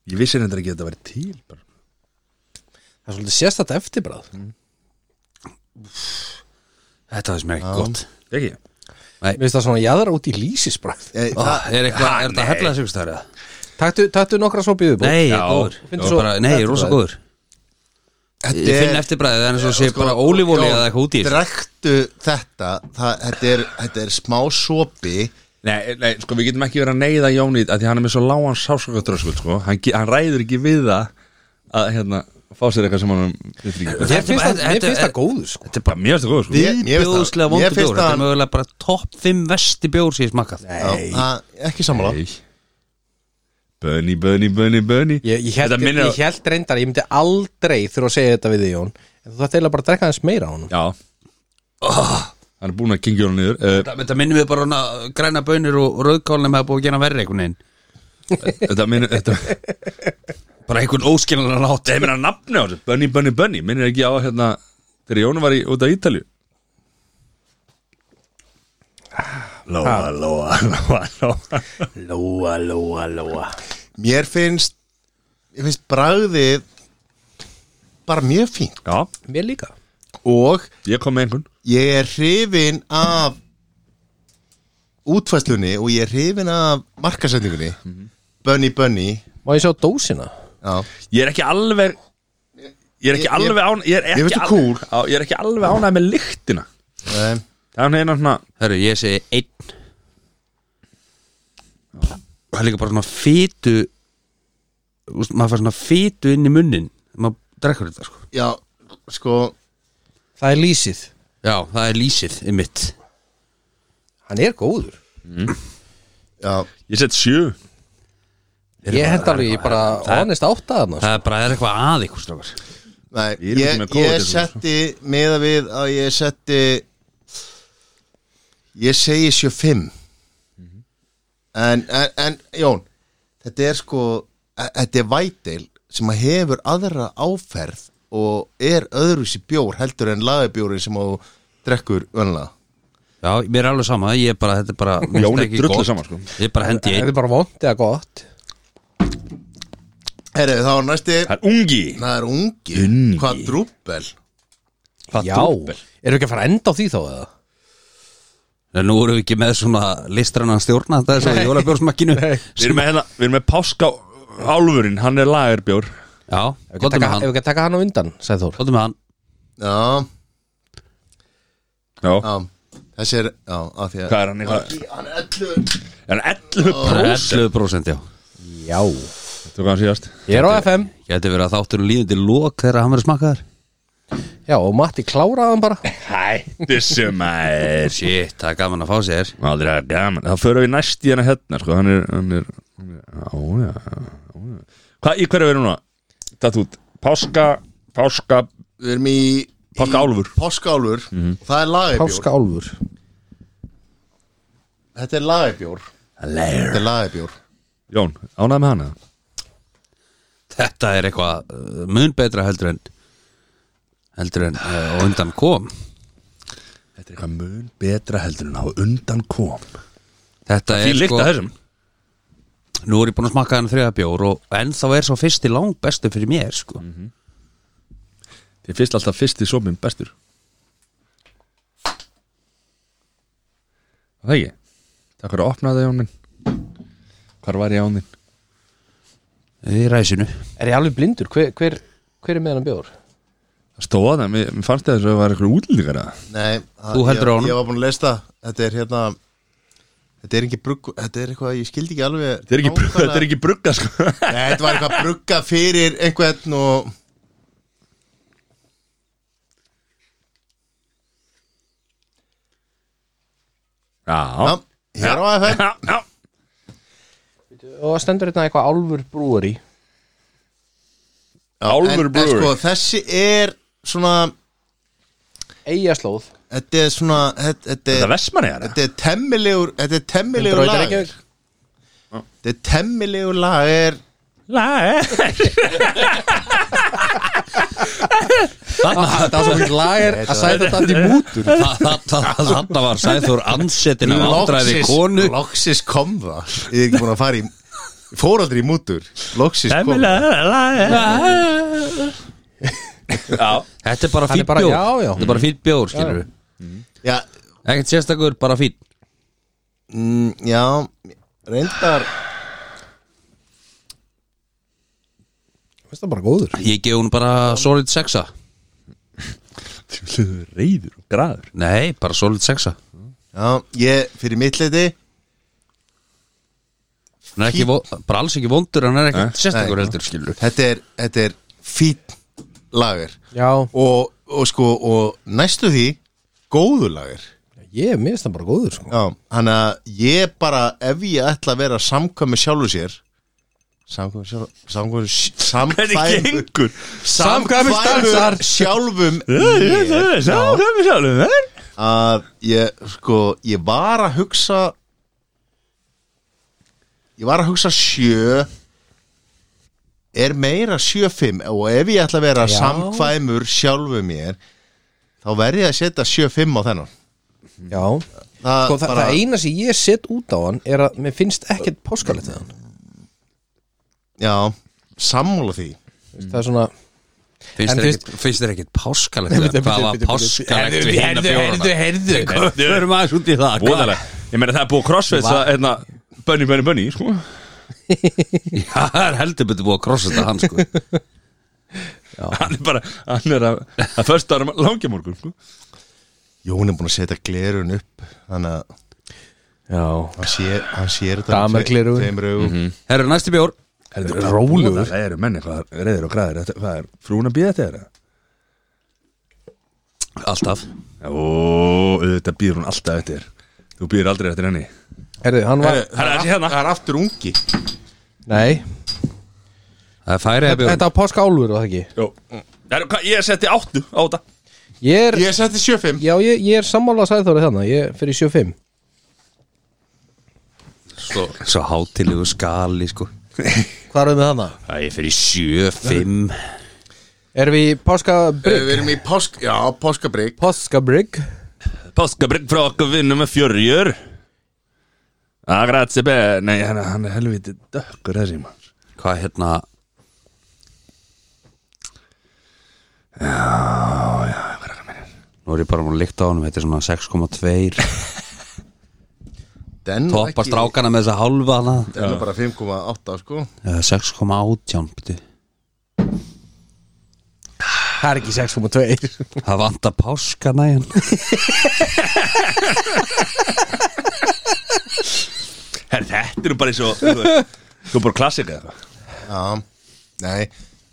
Speaker 1: Ég vissi hendur ekki að þetta væri til bara.
Speaker 2: Það er svolítið sérstætt eftirbræð
Speaker 4: Mhm.
Speaker 2: Mér
Speaker 4: sko. Þetta var sem ekki gott
Speaker 1: Ekki?
Speaker 2: finnst það svona jaðra út í lýsisbræð
Speaker 3: Eh,
Speaker 4: Ó,
Speaker 3: það,
Speaker 4: Er eitthvað, er þetta að hella þessu ykkur stærða?
Speaker 2: Taktu, taktu nokkra svo býðu búið
Speaker 4: Nei, ég
Speaker 1: Já.
Speaker 4: er góður
Speaker 2: Finndu
Speaker 4: Ég er
Speaker 2: svo-
Speaker 4: bara- Nei, ég er rosa
Speaker 2: eftirbræðið.
Speaker 4: góður Ég
Speaker 3: er-
Speaker 4: finn eftir bræðið en svo sé
Speaker 3: sko,
Speaker 4: bara ólífóli eða eitthvað út í þessu.
Speaker 3: drektu þetta það, þetta, er, þetta er smá sopi
Speaker 1: Nei, nei, sko, við getum ekki verið að neyða Jóni að því hann er með svo lágan sásakatröskuld sko. hann, ge- hann ræður ekki við það að hérna, fá sér eitthvað sem hann veitir ekki.
Speaker 2: Mér finnst það- mér finnst það
Speaker 4: Þetta
Speaker 2: góður sko.
Speaker 1: Þetta er bara mjög stöð sko.
Speaker 3: Ég- mér finnst það- mér
Speaker 4: Bjóðslega vondu
Speaker 3: finnst
Speaker 4: bjór Þetta er
Speaker 3: það-
Speaker 4: mögulega bara topp 5 vesti bjór sem ég smakað
Speaker 3: Já, það- ekki sammála
Speaker 1: Bönni, bönni, bönni, bönni
Speaker 2: Ég, ég held,
Speaker 1: Þetta minnir
Speaker 2: ég held reyndar, ég myndi aldrei þurfa að segja þetta við þig Jón En þú þarf eiginlega bara að drekka hans meira á honum
Speaker 1: Já Hann er búin að kingja hún niður uh,
Speaker 4: Þetta minnum við bara hana, græna bönir og rauðkálna með að búið að gera verri einhvern veginn
Speaker 1: Þetta minnir þetta,
Speaker 4: Bara einhvern óskilunlega látt
Speaker 1: Þetta minnir að nafni á þessu Bunny, Bunny, Bunny Minnir ekki á hérna Þegar Jónu var í, út á Ítalju Lóa, lóa, lóa, lóa
Speaker 4: Lóa, lóa, lóa
Speaker 3: Mér finnst Ég finnst bragðið Bara mjög fínt
Speaker 1: Já,
Speaker 2: Mér líka
Speaker 3: Og
Speaker 1: ég kom með einhvern
Speaker 3: ég er hrifin af Útfæslunni Og ég er hrifin af markasendingunni Bunny Bunny
Speaker 2: Má ég sjá dósina?
Speaker 3: Já
Speaker 1: Ég er ekki alveg Ég er ekki
Speaker 3: Ég- ég-
Speaker 1: alveg án Ég er
Speaker 3: Mér
Speaker 1: ekki
Speaker 3: finnst þú
Speaker 1: alveg á, Ég er ekki alveg ánægð með lyktina
Speaker 3: Nei.
Speaker 1: Það er hérna svona
Speaker 4: Herru, ég segi einn Það er líka bara svona fytu úst, maður fær svona fytu inn í munnin maður drekkur þetta sko
Speaker 3: Já, sko
Speaker 2: Það er lýsið
Speaker 4: Já, það er lýsið í mitt
Speaker 2: Hann er góður
Speaker 3: Já,
Speaker 1: Ég set sjö
Speaker 2: Ég hend alveg, ég bara honest sko. átt að hann
Speaker 4: Það er bara það er eitthvað að ykkur strókar
Speaker 3: Nei,
Speaker 1: Við erum ekki
Speaker 3: ég,
Speaker 1: með kóða
Speaker 3: ég
Speaker 1: til þessu.
Speaker 3: setti meða við að ég setti ég segi 75 en, en, en Jón þetta er sko e- þetta er vætil sem að hefur aðra áferð og er öðruvísi bjór heldur en lagabjóri sem þú drekkur önlega
Speaker 4: Já, mér er alveg sama, ég er bara, þetta er bara mér
Speaker 1: Jón
Speaker 4: finnst
Speaker 1: er
Speaker 4: ekki
Speaker 1: drullu
Speaker 4: gott.
Speaker 1: saman, sko.
Speaker 4: Ég bara hendi í
Speaker 2: Þetta
Speaker 4: einn
Speaker 2: er bara vond eða gott
Speaker 3: Herri, þá er næsti
Speaker 1: Það er ungi
Speaker 3: það er ungi,
Speaker 1: Ungi.
Speaker 3: hvað drúppel
Speaker 1: Hvað
Speaker 2: Já
Speaker 1: drúpel?
Speaker 2: Erum við ekki að fara að enda á því þá eða?
Speaker 4: En nú erum við ekki með svona listrannan stjórna þetta er svo jólabjórsmakkinu
Speaker 1: Við erum með, hérna- við erum með páska álfurinn, hann er lagerbjór
Speaker 4: Já,
Speaker 2: Ef við ekki taka-
Speaker 4: gotum með
Speaker 2: ef við
Speaker 4: hann
Speaker 2: ekki að taka hann á undan, sagði Þór
Speaker 4: Gotum með hann
Speaker 3: já,
Speaker 1: Já,
Speaker 3: já, þessi er já, af því að
Speaker 1: hvað er hann? Hvað?
Speaker 3: hann er 11
Speaker 1: Hann er 11
Speaker 4: Það er 11% já
Speaker 2: Já
Speaker 1: Tók hann síðast
Speaker 2: Ég er á FM
Speaker 4: Gæti verið að þátturinn líðandi lók þegar hann verið smakkaður
Speaker 2: Já, og Matti kláraði hann bara
Speaker 1: Hættu sem er
Speaker 4: Shit, það er gaman að fá sér
Speaker 1: Aldrei að gaman Það fyrir við næst í hana hérna sko. Hann er, hann er, hann er á, já, á, já. Hvað, í hverju verður núna? Datt út Páska, páska,
Speaker 3: við erum í
Speaker 1: páska álfur
Speaker 3: Páskálfur og það er lagabjór
Speaker 2: Páskaálfur
Speaker 3: Þetta er lagabjór Þetta
Speaker 1: Lair.
Speaker 3: er lagabjór
Speaker 1: Jón, ánægð með hana
Speaker 4: Þetta er eitthvað uh, mun betra heldur en heldur en uh, og undan kom
Speaker 1: Þetta er eitthvað mun betra heldur en á undan kom
Speaker 4: Þetta
Speaker 1: Því
Speaker 4: er sko-
Speaker 1: líkt að þessum
Speaker 4: Nú er ég búin að smakka hann þriða bjór og en þá er svo fyrsti langt bestu fyrir mér sko.
Speaker 2: Mhm.
Speaker 1: Því fyrst alltaf fyrst í sopin bestur Það ekki Takk fyrir að opna það Jón minn Hvar var ég án þín?
Speaker 4: Í ræsinu
Speaker 2: Er ég alveg blindur? Hver, hver, hver er með hann bjór?
Speaker 1: Það stóða það, mér, mér fannst það þess að það var eitthvað útlíkar að
Speaker 3: Nei,
Speaker 4: Þú heldur á
Speaker 3: ég,
Speaker 4: honum.
Speaker 3: Ég var búin að lesta Þetta er hérna Þetta er ekki brugg Þetta er eitthvað Ég skildi ekki alveg
Speaker 1: Þetta er ekki, brugga,
Speaker 3: nákvæmlega-
Speaker 1: þetta er ekki brugga sko
Speaker 3: Nei, þetta var eitthvað brugga fyrir einhvern og Já,
Speaker 1: Já,
Speaker 3: hér á FM
Speaker 1: já, já.
Speaker 2: Og stendur þetta eitthvað álfur brúari
Speaker 3: Já,
Speaker 1: Álfur
Speaker 3: en- En
Speaker 1: Brewery.
Speaker 3: sko, þessi er svona
Speaker 2: Eyjaslóð
Speaker 3: Þetta er svona Þetta, þetta
Speaker 1: Þetta
Speaker 3: er
Speaker 1: er vestmanniðar
Speaker 3: Þetta er temmilegur Þetta er temmilegur
Speaker 2: Hindra á
Speaker 3: lag
Speaker 2: Reykjavík.
Speaker 3: Þetta er temmilegur lag er
Speaker 1: Læ
Speaker 4: Þarna
Speaker 2: Það Ah, var svo fyrir lager að sæði þetta allt í mútur
Speaker 4: þa- þa- þa- Þarna var Sæþór ansetin af andræði
Speaker 3: Loksins-
Speaker 4: konu
Speaker 3: Loksins kom það Ég er ekki búin að fara í ég Fór aldrei í mútur Loksins kom það
Speaker 1: Já,
Speaker 4: Þetta er
Speaker 2: Hann
Speaker 4: bara
Speaker 2: er
Speaker 4: fýtt
Speaker 2: bara-
Speaker 4: bjór
Speaker 2: já, já.
Speaker 4: Þetta er bara fýtt bjór, skilur við
Speaker 3: Já,
Speaker 4: Ekkert sérstakur, bara fýtt
Speaker 3: mm, já Reyndar
Speaker 2: Veist það bara góður
Speaker 4: Ég gef hún bara solid sexa
Speaker 1: þú er reyður og graður
Speaker 4: Nei, bara solid sexa
Speaker 3: Já, ég fyrir mitt leiti
Speaker 4: Hann er ekki, vo- bara alls ekki vondur Hann er ekkert sérstakur
Speaker 3: Nei.
Speaker 4: heldur, skilur við
Speaker 3: Þetta er, þetta er fýtt lager
Speaker 2: Já,
Speaker 3: og, og sko Og næstu því Góðu lager
Speaker 2: ég minnst það bara góður sko
Speaker 3: Já, hann að ég bara Ef ég ætla að vera samkvæmi sjálfu sér Samkvæmur
Speaker 1: Hvernig
Speaker 3: Samkvæmur
Speaker 1: gengur?
Speaker 3: Samkvæmur
Speaker 2: Samkvæmisdansar.
Speaker 3: sjálfum
Speaker 1: Sá, það er sjálfum þér
Speaker 3: að ég sko ég var að hugsa ég var að hugsa sjö er meira sjö fimm og ef ég ætla að vera
Speaker 2: Já.
Speaker 3: samkvæmur sjálfu mér þá verð ég að setja sjö fimm á þennan
Speaker 2: Já
Speaker 3: það,
Speaker 2: Sko, það, það eina sem ég set út á hann er að mér finnst ekkert páskalegt við hann
Speaker 3: já, sammála því
Speaker 2: mm. það er svona
Speaker 4: Finnst
Speaker 2: En
Speaker 4: þér
Speaker 2: fyrst-
Speaker 4: ekkit- finnst þér ekkit páskalegt við það? Hvað var páskalegt við hérna bjórna?
Speaker 2: herðu
Speaker 4: Við erum aðeins út í það hvað-
Speaker 1: Voðalega Ég meina það er búið crossfit að hérna Bönni, bönni, bönni, sko
Speaker 4: Já, það er heldur betur búið að krossa þetta hann sko
Speaker 1: Hann er bara, hann er að að första ára langja morgun, sko
Speaker 3: Jón er búin að setja glerun upp þannig að
Speaker 2: Já,
Speaker 3: hann sér, hann sér þetta
Speaker 2: Damer
Speaker 3: með tve-
Speaker 2: gleraugun. Mhm.
Speaker 3: tveimur augum.
Speaker 4: Herru, næsti bjór
Speaker 1: Rólugur Það eru menni, hvað reyðir og græðir Þetta- Hvað er frúin að býða þetta er það?
Speaker 4: Alltaf
Speaker 1: Ó, auðvitað býður hún alltaf eftir Þú býður aldrei eftir henni
Speaker 2: herðu, hann var
Speaker 1: Það er þessi hérna
Speaker 3: það er aftur ungi
Speaker 2: Nei,
Speaker 4: Það er færið að bjór
Speaker 2: þetta var páska álfur, var það ekki?
Speaker 1: Jó. Herru, hvað- Ég setti áttu á þetta
Speaker 2: Ég er,
Speaker 3: ég seti sjö fimm
Speaker 2: já, ég, ég er sammála að sæði þóra þarna Ég fyrir 75
Speaker 4: Svo, svo hátilegu skali sko
Speaker 2: Hvað erum við þarna?
Speaker 4: Það er fyrir sjö, fimm
Speaker 2: Erum við í páska
Speaker 3: við erum í pásk, já, páskabrygg
Speaker 2: Páskabrygg
Speaker 1: Páskabrygg frá okkur vinnum með fjörjur Agratsi be Nei, hann, hann er helviti dökkur þessi maður
Speaker 4: Hvað hérna Nú er ég bara múin að líkta á honum Þetta er svona 6,2 Toppar strákana með þessa hálfa hana
Speaker 3: Það er bara 5,8 sko
Speaker 4: Eða 6,18 bíddu.
Speaker 2: Það er ekki 6.2
Speaker 4: Það vantar páskana hérna. í hann
Speaker 1: Herru, þetta eru bara eins og Þú veist, þú er bara klassika eða eitthvað.
Speaker 3: Já, nei,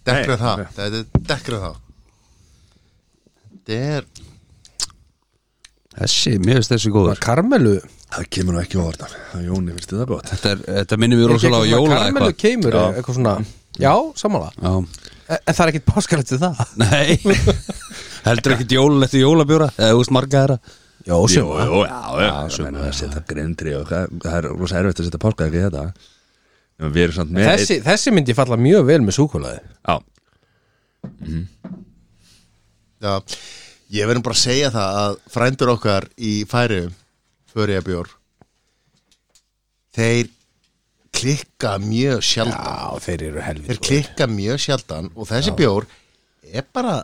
Speaker 3: dekrið
Speaker 1: Nei, ok.
Speaker 3: það Þetta er dekrið það Þetta er
Speaker 4: Þessi, mér finnst þessi góður
Speaker 2: Karmelu
Speaker 1: Það kemur nú ekki óvart að Jóni finnst þetta gott
Speaker 4: Þetta, er, þetta minnir mér rosalega á jóla
Speaker 2: Karmelu
Speaker 4: eitthvað
Speaker 2: keimur eða eitthvað svona Já, sammála
Speaker 4: Já.
Speaker 2: En en það er ekkert páskalegt við það
Speaker 4: Nei Heldur ekkert jólalegt í jólabjóra Eða úst marga þeirra
Speaker 2: Jó,
Speaker 1: Jó,
Speaker 2: sem
Speaker 1: jó, já, já, já meina, að setja grindri og hvað- það er rosa erfitt að setja páska ekki þetta En Við erum samt með
Speaker 2: Þessi, þessi myndi falla mjög vel með súkulaði
Speaker 1: Já,
Speaker 3: já, Ég verðum bara að segja það að frændur okkar í færiðum Föriðabjór Þeir klikka mjög sjaldan
Speaker 2: Já, þeir eru helvið
Speaker 3: Þeir klikka mjög sjaldan og þessi bjór er bara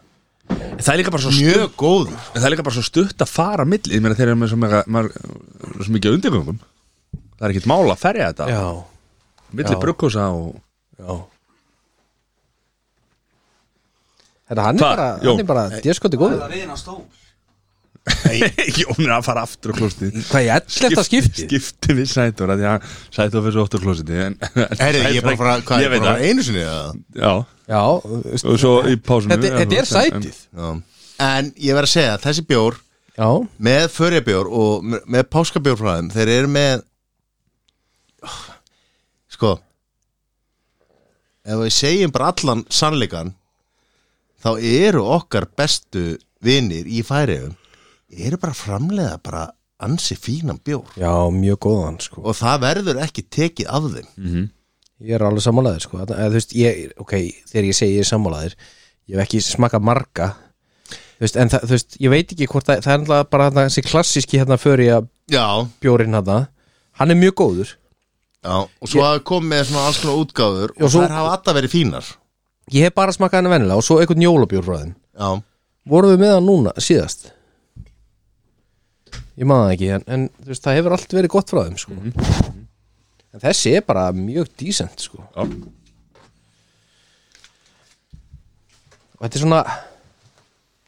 Speaker 1: það er líka bara svo
Speaker 3: mjög góður
Speaker 1: En það er líka bara svo stutt að fara á milli, ég meina þeir eru með svo, mega, mar, svo mikið undirgöngum það er ekkert mála að ferja þetta
Speaker 2: Já,
Speaker 1: milli
Speaker 2: já.
Speaker 1: brugghúsa og
Speaker 2: já Þetta hann er
Speaker 1: Hvað,
Speaker 2: bara,
Speaker 1: Jón?
Speaker 2: hann er bara djöskoti góður
Speaker 1: Jón er að fara aftur á klostið
Speaker 2: Hvað ég ætla þetta skipti?
Speaker 1: skipti við Sætor að því að Sætor fyrir svo óttur klostið en,
Speaker 3: Herri, ég er bara að fara, hvað, ég
Speaker 1: ég
Speaker 3: er
Speaker 1: veit
Speaker 3: bara að
Speaker 1: það
Speaker 3: fara einu sinni eða?
Speaker 1: já,
Speaker 2: Já, þú veist,
Speaker 1: og svo í pásinu
Speaker 2: þetta, þetta er sætið
Speaker 3: Já. En ég verð að segja að þessi bjór
Speaker 2: Já,
Speaker 3: með förjabjór og me- með páskabjór frá þeim þeir eru með sko ef við segjum bara allan sannleikan þá eru okkar bestu vinir í færiðum eru bara að framleiða bara ansi fínan bjór
Speaker 2: já, mjög góðan sko
Speaker 3: og það verður ekki tekið af þeim
Speaker 1: Mhm.
Speaker 2: Ég er alveg sammálaðir sko Þarna- eða, þú veist, ég, Ok, þegar ég segi ég er sammálaðir Ég hef ekki smakað marga þú veist, En það, þú veist, ég veit ekki hvort það, það er náttúrulega bara þarna þessi klassíski hérna fyrir að
Speaker 3: já,
Speaker 2: bjórinn hérna Hann er mjög góður
Speaker 3: já og svo hafa komið með svona alls konar útgáður
Speaker 2: Já,
Speaker 3: og
Speaker 2: svo-
Speaker 3: þær hafa alltaf verið fínar
Speaker 2: Ég hef bara smakað hann vennilega og svo einhvern jólabjór frá þeim
Speaker 3: já,
Speaker 2: Vorum við með hann núna, síðast? Ég maður það ekki En, en þú veist, það hefur allt verið gott frá þeim sko En þessi er bara mjög decent sko
Speaker 1: sætið
Speaker 2: Og þetta er svona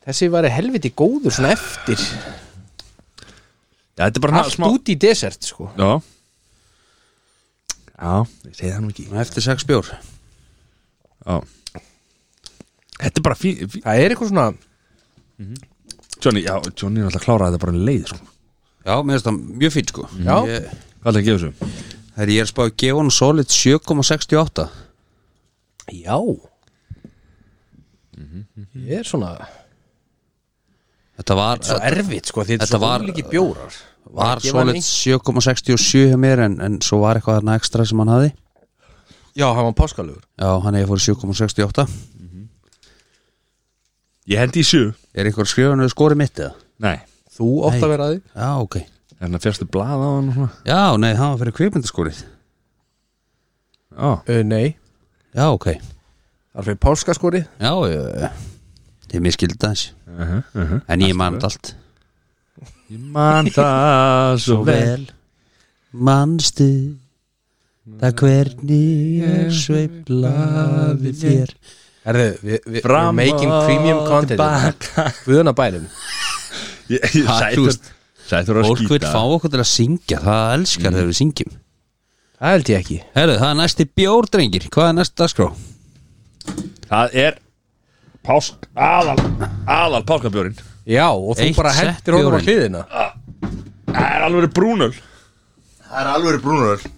Speaker 2: Þessi væri helviti góður svona eftir
Speaker 1: þetta er bara
Speaker 2: Allt út í desert sko
Speaker 1: já já, ég segi það nú ekki
Speaker 4: Eftir sex bjór
Speaker 1: já þetta er bara fín, fín.
Speaker 2: Það er eitthvað svona
Speaker 1: Johnny, já, Johnny er alltaf að klára þetta bara um leið sko.
Speaker 4: Já, mér finnst það mjög fínt sko
Speaker 2: Já.
Speaker 1: hvað
Speaker 4: ég,
Speaker 1: er það að gefa þessu?
Speaker 4: Herri, ég er spáðið að gefa hann solid 7,68
Speaker 2: Já Mhm. Ég er svona
Speaker 4: Þetta var,
Speaker 2: Svo erfitt sko því þetta er
Speaker 4: Þetta
Speaker 2: svo
Speaker 4: var-
Speaker 2: ólíki bjórar
Speaker 4: var
Speaker 2: Gefa
Speaker 4: svolít
Speaker 2: hann í.
Speaker 4: 7,67 hjá mér en, en svo var eitthvað þarna ekstra sem hann hafi
Speaker 2: Já, hann var páskalugur
Speaker 4: Já, hann hefði fór í 7,68
Speaker 1: Ég hendi í sjö
Speaker 4: Er einhver skrifan við skorið mitt eða?
Speaker 1: Nei,
Speaker 2: Þú ótt
Speaker 4: Nei.
Speaker 2: að vera að því
Speaker 4: Já, ok
Speaker 1: er hann að fjastu blað á hann og svona
Speaker 4: Já, nei, hann var fyrir kvikmyndaskorið
Speaker 1: Já,
Speaker 2: uh, Nei,
Speaker 4: Já, ok
Speaker 2: það er fyrir páskaskori
Speaker 4: Já, ég, ég miskildi það eins En ég mann allt
Speaker 1: ég man það svo vel
Speaker 4: Manstu Það hvernig ég sveiflaði þér
Speaker 2: Herðu, við vi,
Speaker 1: Fram
Speaker 2: we're making
Speaker 1: og
Speaker 2: premium content Guðuna bænum
Speaker 1: Ég- ég-
Speaker 4: Ha,
Speaker 1: Sætur
Speaker 4: þú veist,
Speaker 1: Sætur að
Speaker 4: Fólk vil
Speaker 1: skýta
Speaker 4: fá okkur til að syngja Það elskar þegar við syngjum
Speaker 2: Það held ég ekki
Speaker 4: Herðu, það er næsti bjór, drengir Hvað er næsta dagskrá?
Speaker 1: Það er pásk aðal aðal páskabjórin
Speaker 2: Já, og þú
Speaker 4: Eitt
Speaker 2: bara
Speaker 4: sett
Speaker 2: hendir honum á
Speaker 4: bjórinn.
Speaker 2: hliðina
Speaker 1: Það er alveg brúnul
Speaker 3: Það er alveg brúnuröl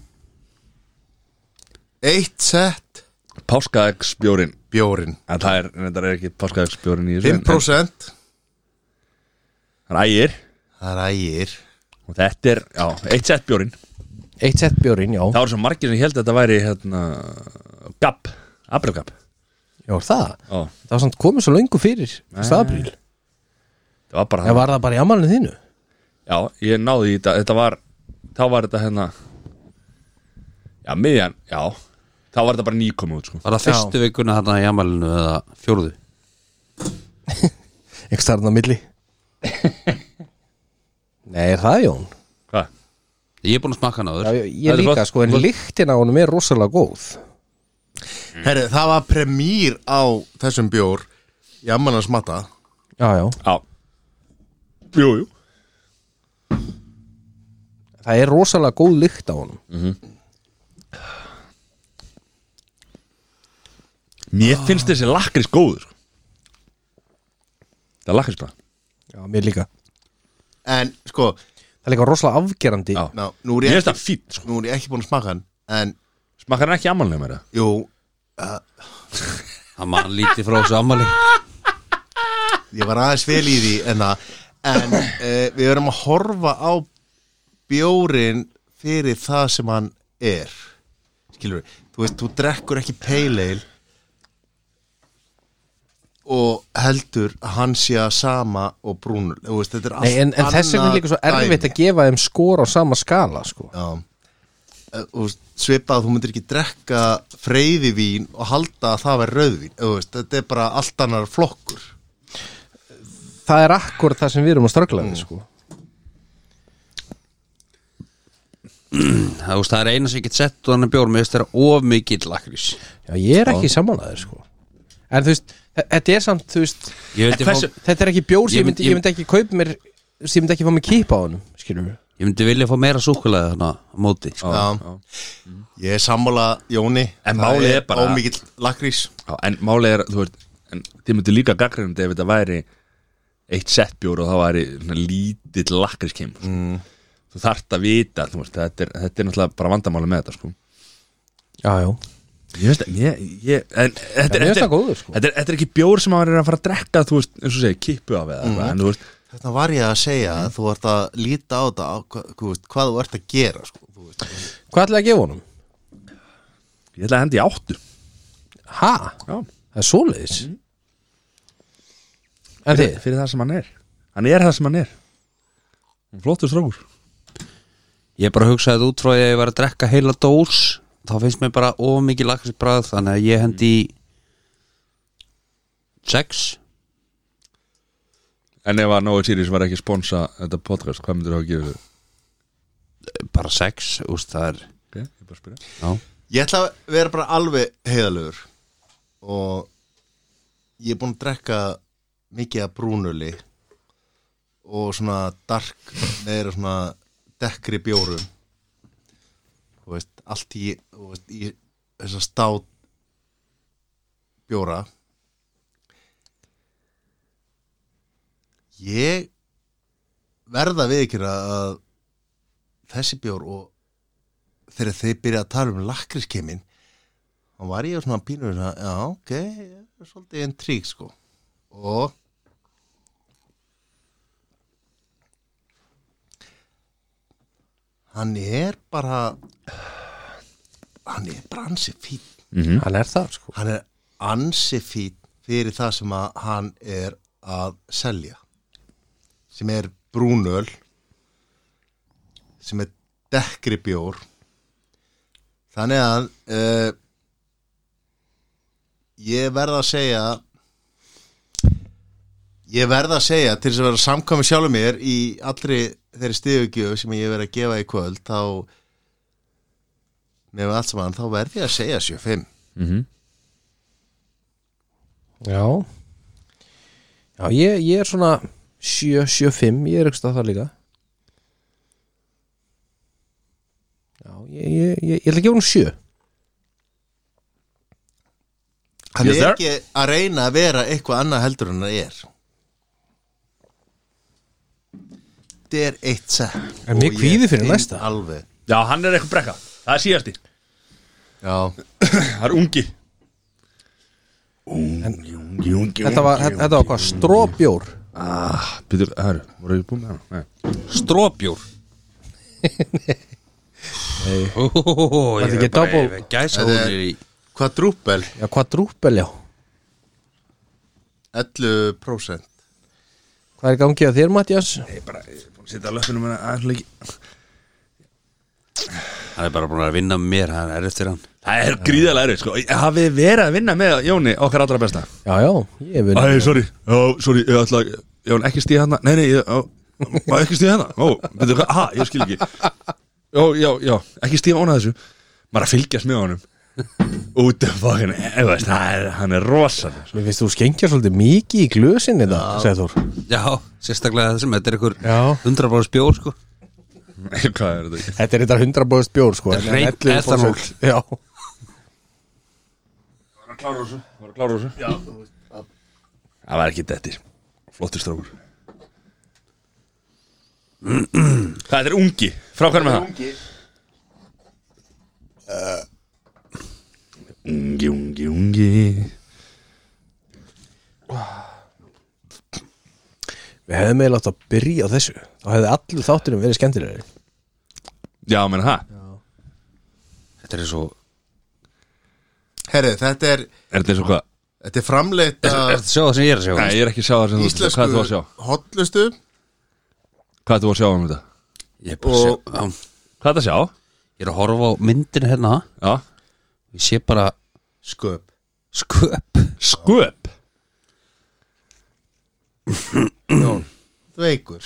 Speaker 3: Eitt sett
Speaker 1: Páskaegsbjórin
Speaker 3: bjórin
Speaker 1: En það er, en þetta er ekki páskaegsbjórin í
Speaker 3: Hérna.
Speaker 1: þessu en-
Speaker 3: 5%
Speaker 1: en Hann ægir
Speaker 3: Það er ægir
Speaker 1: Og þetta er, já, eitt sett bjórin
Speaker 2: Eitt sett bjórin, já
Speaker 1: Það voru svo margir sem held að þetta væri hérna Gap, aprilgap
Speaker 2: Já, er það
Speaker 1: Ó,
Speaker 2: Það var samt komið svo löngu fyrir Stabril
Speaker 1: það var bara
Speaker 2: Það
Speaker 1: það
Speaker 2: var það bara í amalinu þínu
Speaker 1: Já, ég náði í þetta, þetta var Þá var þetta hérna Já, miðjan, já Þá var þetta bara nýkomið út, sko
Speaker 4: Var það fyrstu vikuna þarna í amalinu eða fjórðu?
Speaker 2: Ekki starfna á milli Nei, er það Jón?
Speaker 1: Hvað?
Speaker 4: Ég er búin að smakka hann áður
Speaker 2: Já, ég, ég
Speaker 1: Það er
Speaker 2: líka
Speaker 1: flott,
Speaker 2: sko, en
Speaker 1: flott.
Speaker 2: lyktin á honum er rosalega góð
Speaker 3: Mm. Herri, það var premýr á þessum bjór Jamman að smatta
Speaker 2: Já, já
Speaker 1: Já Jú, jú
Speaker 2: Það er rosalega góð lykt á honum
Speaker 1: Mér finnst þessi lakrís góður sko. Það er lakrís bara
Speaker 2: Já, mér líka
Speaker 3: En sko,
Speaker 2: Það er líka rosalega afgerandi
Speaker 1: Já.
Speaker 3: ná, nú, er
Speaker 1: Mér
Speaker 3: ég
Speaker 1: finnst
Speaker 3: ekki,
Speaker 1: það fínt sko.
Speaker 3: nú er ég ekki búin að smaka hann En,
Speaker 1: Smakkar hann ekki amalnið mér
Speaker 3: jú,
Speaker 4: Hann mann lítið frá þessu amali
Speaker 3: ég var aðeins vel í því En, það- en uh, við erum að horfa á bjórin fyrir það sem hann er Skilur við, þú veist, þú drekkur ekki peileil Og heldur að hann sé að sama og brúnul Þú veist, þetta er allt
Speaker 2: Nei, en, en þess vegna er líka svo erfitt að gefa þeim skor á sama skala sko.
Speaker 3: Já Eh, þú veist, svipað að þú myndir ekki drekka freyðivín og halda að það verð rauðvín Þú veist, þetta er bara allt annar flokkur
Speaker 2: Það er akkur það sem við erum að ströggla við sko.
Speaker 4: Það, þú veist, það er eina sem ég get sett og hann er bjór með þess að það er of mikill lakrís
Speaker 2: Já, ég er ekki samanlegaður sko. En þú veist, þe- þetta er samt þú veist,
Speaker 4: ég myndi,
Speaker 1: Hversu-
Speaker 4: fá,
Speaker 2: Þetta er ekki bjór sem
Speaker 4: Ég
Speaker 2: ég
Speaker 4: mynd-
Speaker 2: myndi, ég myndi ekki kaupa mér sem ég myndi ekki fá mér kýpa á honum Skilur við
Speaker 4: ég myndi vilja fá meira súkulega þarna á móti sko.
Speaker 3: Já, Ég er sammála Jóni
Speaker 1: En málið er bara-
Speaker 3: Ómikill lakrís
Speaker 1: Já, En málið er, þú veist En þið myndir líka gaggrinandi ef þetta væri Eitt sett bjór og það væri svona, Lítill lakrís kem sko. Þú þarft að vita þú veist, þetta, er, þetta er náttúrulega bara vandamáli með þetta sko.
Speaker 2: Já, já
Speaker 1: Ég veist ekki, ég, ég en, þetta,
Speaker 2: mér
Speaker 1: er-
Speaker 2: finnst
Speaker 1: þetta,
Speaker 2: það góður, sko.
Speaker 1: þetta, er- þetta er ekki bjór sem maður er að fara að drekka Þú veist, eins og segja, kippu af eða mm. En þú veist,
Speaker 3: Þetta var ég að segja að þú ert að líta á þetta á, hvað, þú veist, hvað þú ert að gera sko, þú veist.
Speaker 2: Hvað ætlaði að gefa honum?
Speaker 1: ég ætla að hendi áttu
Speaker 2: Ha? Mm.
Speaker 1: Já,
Speaker 2: Það er svoleiðis En
Speaker 1: fyrir,
Speaker 2: þið?
Speaker 1: fyrir það sem hann er Hann er það sem hann er Flottur strókur
Speaker 4: Ég bara hugsaði þetta út frá því að ég var að drekka heila dós þá finnst mér bara of mikill lakrís bræð þannig að ég hendi í sex
Speaker 1: En ef að Nói Sirius var ekki sponsa þetta podcast, hvað myndir þú að gefa þau?
Speaker 4: bara sex, úst, það er
Speaker 1: Ok, ég bara spyrja
Speaker 4: já.
Speaker 3: Ég ætla að vera bara alveg heiðalögur og ég er búin að drekka mikið af brúnuli og svona dark meira svona dekkri bjórum þú veist, allt í, þú veist, í þessa stát bjóra ég verða við ekki að þessi bjór og þegar þeir byrja að tala um lakrískeimin hann var ég svona pínur svona, já, ok, ég er svolítið intrík sko og hann er bara hann er bara ansi fín
Speaker 2: Hann er það sko
Speaker 3: hann er ansi fín fyrir það sem að hann er að selja sem er brúnöl sem er dekkri bjór þannig að uh, ég verð að segja ég verð að segja til þess að vera samkvæmi sjálfur mér í allri þeirri stíðugjöf sem ég verð að gefa í kvöld þá með allt saman þá verð ég að segja 7-5
Speaker 1: Mhm.
Speaker 2: Já Já, ég, ég er svona 7, 7, 5, ég er ekki stað það líka Já, ég, ég, ég, ég ætla að gefa hún 7
Speaker 3: hann
Speaker 1: Yes,
Speaker 3: er
Speaker 1: sir.
Speaker 3: ekki að reyna að vera eitthvað annað heldur en það er þetta er eitt sett
Speaker 2: En mig
Speaker 3: og ég
Speaker 2: kvíði fyrir
Speaker 3: finn
Speaker 2: næsta.
Speaker 3: alveg
Speaker 1: Já, hann er eitthvað brekka, það er síðasti
Speaker 3: já,
Speaker 1: Það er ungi Ungi, ungi,
Speaker 2: Þetta var, þetta var hvað, stróbjór
Speaker 1: ah, Býtur, það eru, voru við búin með hana? Nei
Speaker 4: Stróbjór Nei Ó,
Speaker 2: Var þetta ekki double?
Speaker 4: Gæsa hún er í
Speaker 3: kvadrúpel
Speaker 2: Já, hvað drúpel, já
Speaker 3: 11%
Speaker 2: Hvað er í gangi að þér, Mattias?
Speaker 1: Ég er bara, ég er búin að setja hérna, að löpunum hennar aðeins leiki
Speaker 4: Hann er bara búin að vinna með mér, hann er eftir hann
Speaker 1: Það er gríðalega erfið, sko Ég hafi verið að vinna með Jóni, okkar allra besta
Speaker 2: Já, já, ég vil
Speaker 1: Æ, sorry, já, sorry, ég ætla að Jón, ekki stíð hana, nei, nei, ég, á, má ekki stíð hana Ó, betur hvað, ha, ég skil ekki Já, já, já, ekki stíð hana þessu Maður að fylgjast með honum Út af fokkin, ég veist, það er- hann er rosan
Speaker 2: Mér finnst þú skengja svolítið mikið í glösin þetta, segir Þór
Speaker 4: Já, sérstaklega þessum, þetta er ykkur
Speaker 2: Já.
Speaker 4: 100 bárs bjór sko
Speaker 1: Hvað er þetta ekki?
Speaker 2: Þetta er þetta 100 bóðist bjór, sko
Speaker 4: Þetta er hreint
Speaker 2: 11%. Já,
Speaker 1: Var að klára þessu? Var að klára þessu? Já Það var ekki dettir Flottur strókur Það er ungi Frá hvernig með það? Ungi Uh, Ungi, ungi, ungi
Speaker 2: við hefðum eiginlega átt að byrja á þessu Þá hefði allir þáttunum verið skemmtilegri
Speaker 1: Já, menn það
Speaker 4: Þetta er svo,
Speaker 3: herri, þetta er,
Speaker 1: Er þetta eins og hvað?
Speaker 3: þetta er framleitt
Speaker 4: er
Speaker 3: af
Speaker 4: þetta sjá það sem ég er að sjá?
Speaker 1: Nei, ég er ekki að sjá það sem þú ert- Hvað er þú að sjá?
Speaker 3: íslensku hotlustu
Speaker 1: Hvað er þú að sjá um þetta?
Speaker 4: Ég er bara að
Speaker 3: Og-
Speaker 4: sjá já,
Speaker 1: Hvað er þetta að sjá?
Speaker 4: Ég er að horfa á myndin hérna
Speaker 1: Já
Speaker 4: Ég sé bara
Speaker 3: sköp
Speaker 4: sköp
Speaker 1: Sköp
Speaker 3: veikur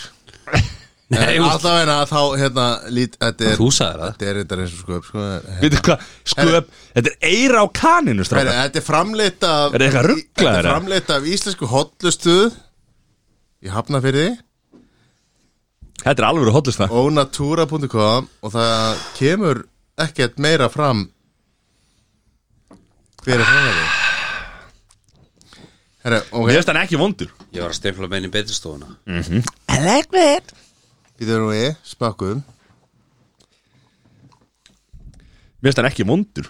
Speaker 4: Nei, þú-
Speaker 3: allavega þá, hérna, lít, þetta er
Speaker 4: þú sagðir það
Speaker 3: þetta er þetta eins og sköp sko.
Speaker 1: Veitir hvað? Sköp Þetta er eira á kaninu,
Speaker 3: herri,
Speaker 1: strákar
Speaker 3: þetta er framleitt af
Speaker 1: Er eitthvað ruglað,
Speaker 3: þetta er
Speaker 1: eða?
Speaker 3: framleitt af íslensku hotlustu ég hafna fyrir því
Speaker 1: Þetta er alveg hóllist það
Speaker 3: og natura.com og það kemur ekkert meira fram hver er framlega Herra, ok,
Speaker 1: Mér finnst hann ekki vondur
Speaker 4: Ég var að stefla með henni í betistofuna
Speaker 2: Mm.
Speaker 3: býður nú um. ég, spakkum
Speaker 1: Mér finnst hann ekki vondur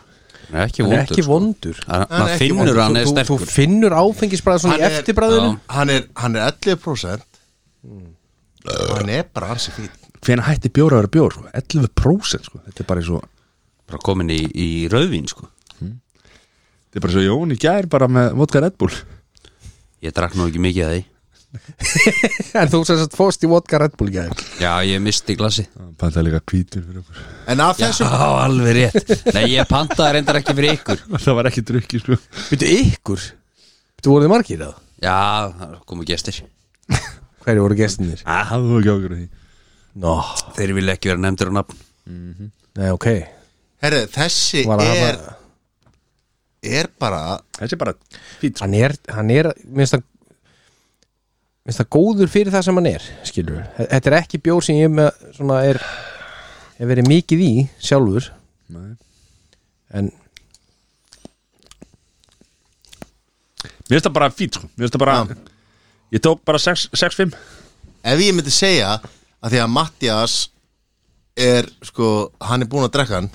Speaker 4: Hann er ekki
Speaker 2: Hann er
Speaker 4: vondur
Speaker 2: ekki vondur
Speaker 4: sko.
Speaker 3: Hann
Speaker 4: Hann-
Speaker 3: er
Speaker 4: Maður
Speaker 3: ekki
Speaker 4: finnur
Speaker 3: vondur.
Speaker 4: hann er
Speaker 2: Þú- Þú
Speaker 4: sterkur
Speaker 2: finnur áfengisbræð svona í
Speaker 3: Hann er-
Speaker 2: eftirbræðinu
Speaker 3: hann er, hann er 11% og hann er bara ansi fín
Speaker 1: Hvenær hætti bjór að vera bjór? Sko? 11% sko. Þetta er bara svo
Speaker 4: Bara komin í, í rauðvín sko
Speaker 1: Þetta er bara svo Jón í gær bara með vodka Red Bull
Speaker 4: Ég drakk nú ekki mikið að því
Speaker 2: En þú sem sagt fóst í vodka Red Bull gæði
Speaker 4: Já, ég misti glasi
Speaker 1: Panta líka hvítur fyrir okkur
Speaker 3: en af
Speaker 4: Já,
Speaker 3: þessum
Speaker 4: alveg rétt Nei, ég pantaði reyndar ekki fyrir ykkur
Speaker 1: Það var ekki drukki sko.
Speaker 2: Veitu ykkur Þú voruð þið margir það
Speaker 4: Já, það komu gestir
Speaker 2: Hverju voru gestinir?
Speaker 1: Það hafðu ekki ákveður því
Speaker 2: Nó,
Speaker 4: Þeir vilja ekki vera nefndir á nafn
Speaker 2: nei ok
Speaker 3: herri, þessi
Speaker 2: Var að
Speaker 3: er,
Speaker 2: hafa-
Speaker 3: er bara
Speaker 1: Þessi er bara sko. fít
Speaker 2: Hann er, hann er, minnst það Minnst það góður fyrir það sem hann er Skilur Þetta er ekki bjór sem ég með svona er Hef verið mikið í sjálfur
Speaker 1: Nei.
Speaker 2: En
Speaker 1: Mér finnst það bara fít sko. Mér finnst það bara Ég tók bara 6-5
Speaker 3: ef ég myndi segja að því að Mattias er sko, hann er búin að drekka hann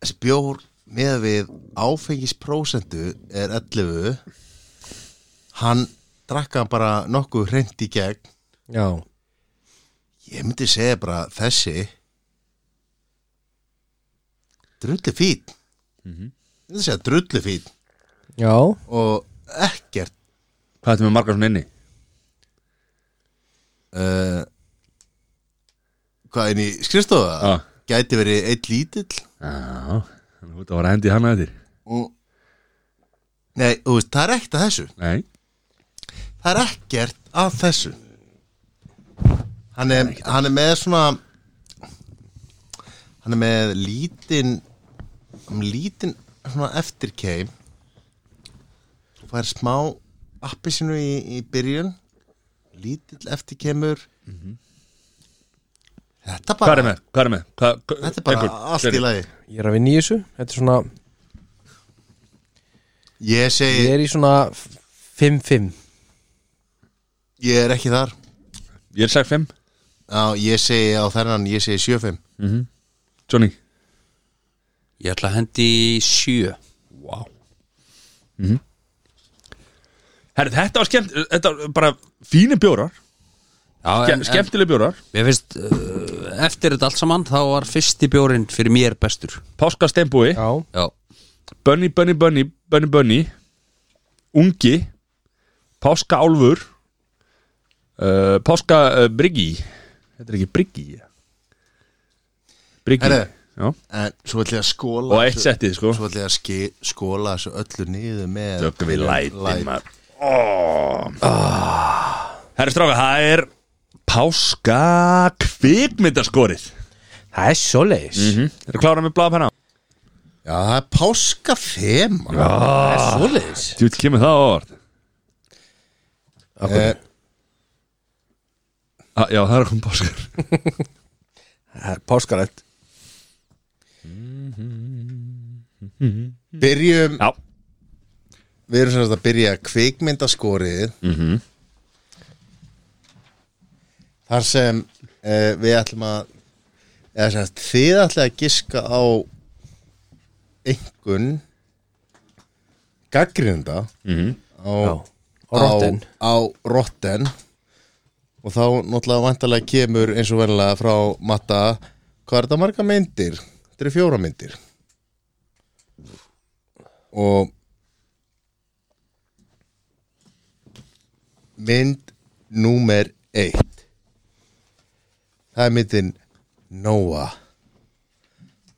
Speaker 3: þessi bjór með við áfengisprósentu er 11 hann drakk hann bara nokkuð hreint í gegn
Speaker 2: já,
Speaker 3: ég myndi segja bara þessi drullu fín ég myndi segja drullu fín
Speaker 2: já
Speaker 3: og ekkert
Speaker 1: Hvað ertu með margar svona inni?
Speaker 3: uh, hvað er í skrifstofa
Speaker 1: Já.
Speaker 3: gæti verið eitt lítill
Speaker 1: Já, þannig að það var að hendi hana eftir
Speaker 3: og Nei, þú veist, það er ekkert að þessu
Speaker 1: Nei,
Speaker 3: Það er ekkert að þessu Hann er, hann er með svona Hann er með lítinn um lítinn svona eftirkeim Svo fær smá appisinu í, í byrjun Lítill eftirkeimur Þetta
Speaker 1: Mhm. hvað er
Speaker 3: bara
Speaker 1: með? Hvað er með? Hvað, hvað-
Speaker 3: Þetta er bara
Speaker 1: einhvern?
Speaker 3: allt í lagi
Speaker 2: ég er að vinna í þessu þetta er svona,
Speaker 3: Ég segi,
Speaker 2: ég er í svona 5-5
Speaker 3: ég er ekki þar
Speaker 1: Ég er 6-5
Speaker 3: Já, ég segi á þennan, ég segi 7-5
Speaker 1: Johnny
Speaker 4: Ég ætla að hendi í sjö
Speaker 1: Vá wow. Herri, þetta var skemmt Þetta var bara fínir bjórar
Speaker 4: Já, en,
Speaker 1: en,
Speaker 4: en
Speaker 1: Skemmtileg bjórar
Speaker 4: mér finnst uh, eftir þetta allt saman þá var fyrsti bjórin fyrir mér bestur
Speaker 1: Páska steinbúi
Speaker 2: já,
Speaker 4: Já,
Speaker 1: Bunny, bunny, bunny, bunny, bunny Ungi Páska álfur uh, Páska uh, bryggi Þetta er ekki bryggi Bryggi
Speaker 3: Herri.
Speaker 1: Já.
Speaker 3: En svo ætlum ég að skóla
Speaker 1: Og eitt settið sko
Speaker 3: Svo ætlum ég að ski, skóla þessu öllu niður með
Speaker 1: Tökum við
Speaker 3: með
Speaker 1: lætin
Speaker 3: light.
Speaker 1: maður Herri stráka, það er Páska kvikmyndaskorið
Speaker 2: það er svo leiðis
Speaker 1: mm. Eru klára með blápenna?
Speaker 3: Já, það er páska þema
Speaker 2: Ah.
Speaker 3: Það er svoleiðis
Speaker 1: Þú kemur það á orð
Speaker 3: eh,
Speaker 1: ah, Já, það er komið páskar
Speaker 2: páskarætt
Speaker 3: Byrjum,
Speaker 1: Já,
Speaker 3: við erum sem sagt að byrja kvikmyndaskorið Þar sem eh, við ætlum að eða sem sagt, þið ætlum að giska á einhvern gaggrinda á,
Speaker 2: á Rotten.
Speaker 3: á, á rotten og þá náttúrulega vantarlega kemur eins og verðilega frá matta hvað er það marga myndir? Þetta eru fjóra myndir og mynd númer eitt það er myndin Noah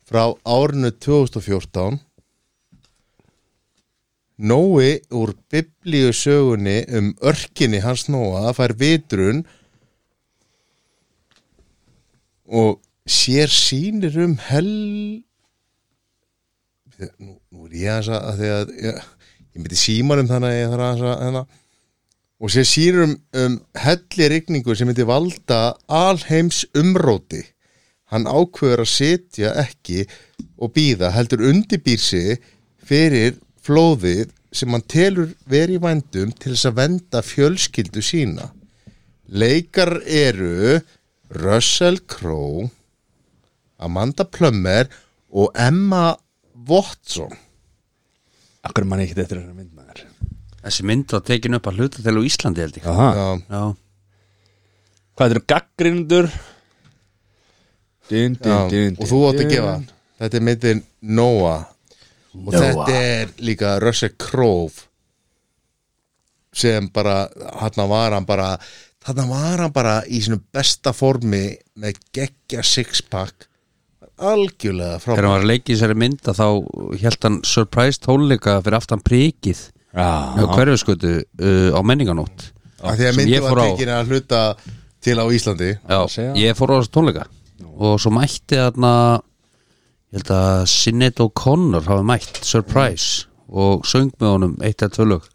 Speaker 3: frá árinu 2014 Nói úr biblíusögunni um örkinni hans Nóa fær vitrun og sér sýnir um hel nú, nú er ég aðeins að, að því að ég, ég myndi símanum þannig að ég þarf aðeins að hana. og sér sýnir um, um hellirigningu sem myndi valda alheims umróti hann ákveður að sitja ekki og býða heldur undirbýr sig fyrir flóðið sem hann telur veri í vændum til þess að venda fjölskyldu sína. Leikar eru Russell Crowe, Amanda Plummer og Emma Watson.
Speaker 1: akkur mann ekki eftir þessar mynd maður
Speaker 4: þessi mynd var tekin upp að hluta til á Íslandi held ég
Speaker 1: Aha.
Speaker 3: Já,
Speaker 4: Já,
Speaker 1: Hvað eru gaggrindur? Din, din,
Speaker 3: já,
Speaker 1: din, din,
Speaker 3: og þú átt að
Speaker 1: din.
Speaker 3: gefa hann. Þetta er myndin Noah og þetta er líka Russell Crowe sem bara hann var hann bara hann var hann bara í sinu besta formi með geggja sixpack algjörlega frá
Speaker 4: þegar hann var að leika í þessari mynda þá held hann surprise tónleika fyrir aftan prikið
Speaker 1: Já,
Speaker 4: á hverfiskötu uh, á menninganótt
Speaker 3: af því að
Speaker 4: sem
Speaker 3: myndi
Speaker 4: ég
Speaker 3: var
Speaker 4: fór á.
Speaker 3: tekin að hluta til á Íslandi
Speaker 4: Já,
Speaker 1: segja.
Speaker 4: ég fór á þessu tónleika og svo mætti þarna ég held að Sinead O'Connor hafi mætt, surprise og söng með honum eitt eða tvö lög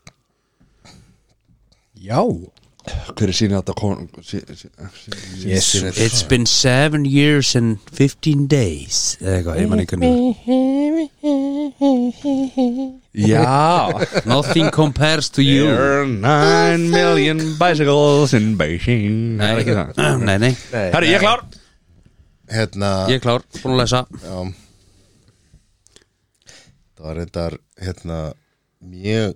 Speaker 2: já,
Speaker 1: hver er sína þetta kon... Sí, sí, sí.
Speaker 2: jésus
Speaker 4: It's been seven years and 15 days eða eitthvað, ég man ekki nýr
Speaker 1: Já
Speaker 4: Nothing compares to you
Speaker 1: There are nine million bicycles in Beijing Það er ekki það
Speaker 4: Nei, nei,
Speaker 1: Herri, ég er klár
Speaker 3: hérna
Speaker 4: ég er klár, búin að lesa
Speaker 3: já, það var reyndar hérna, mjög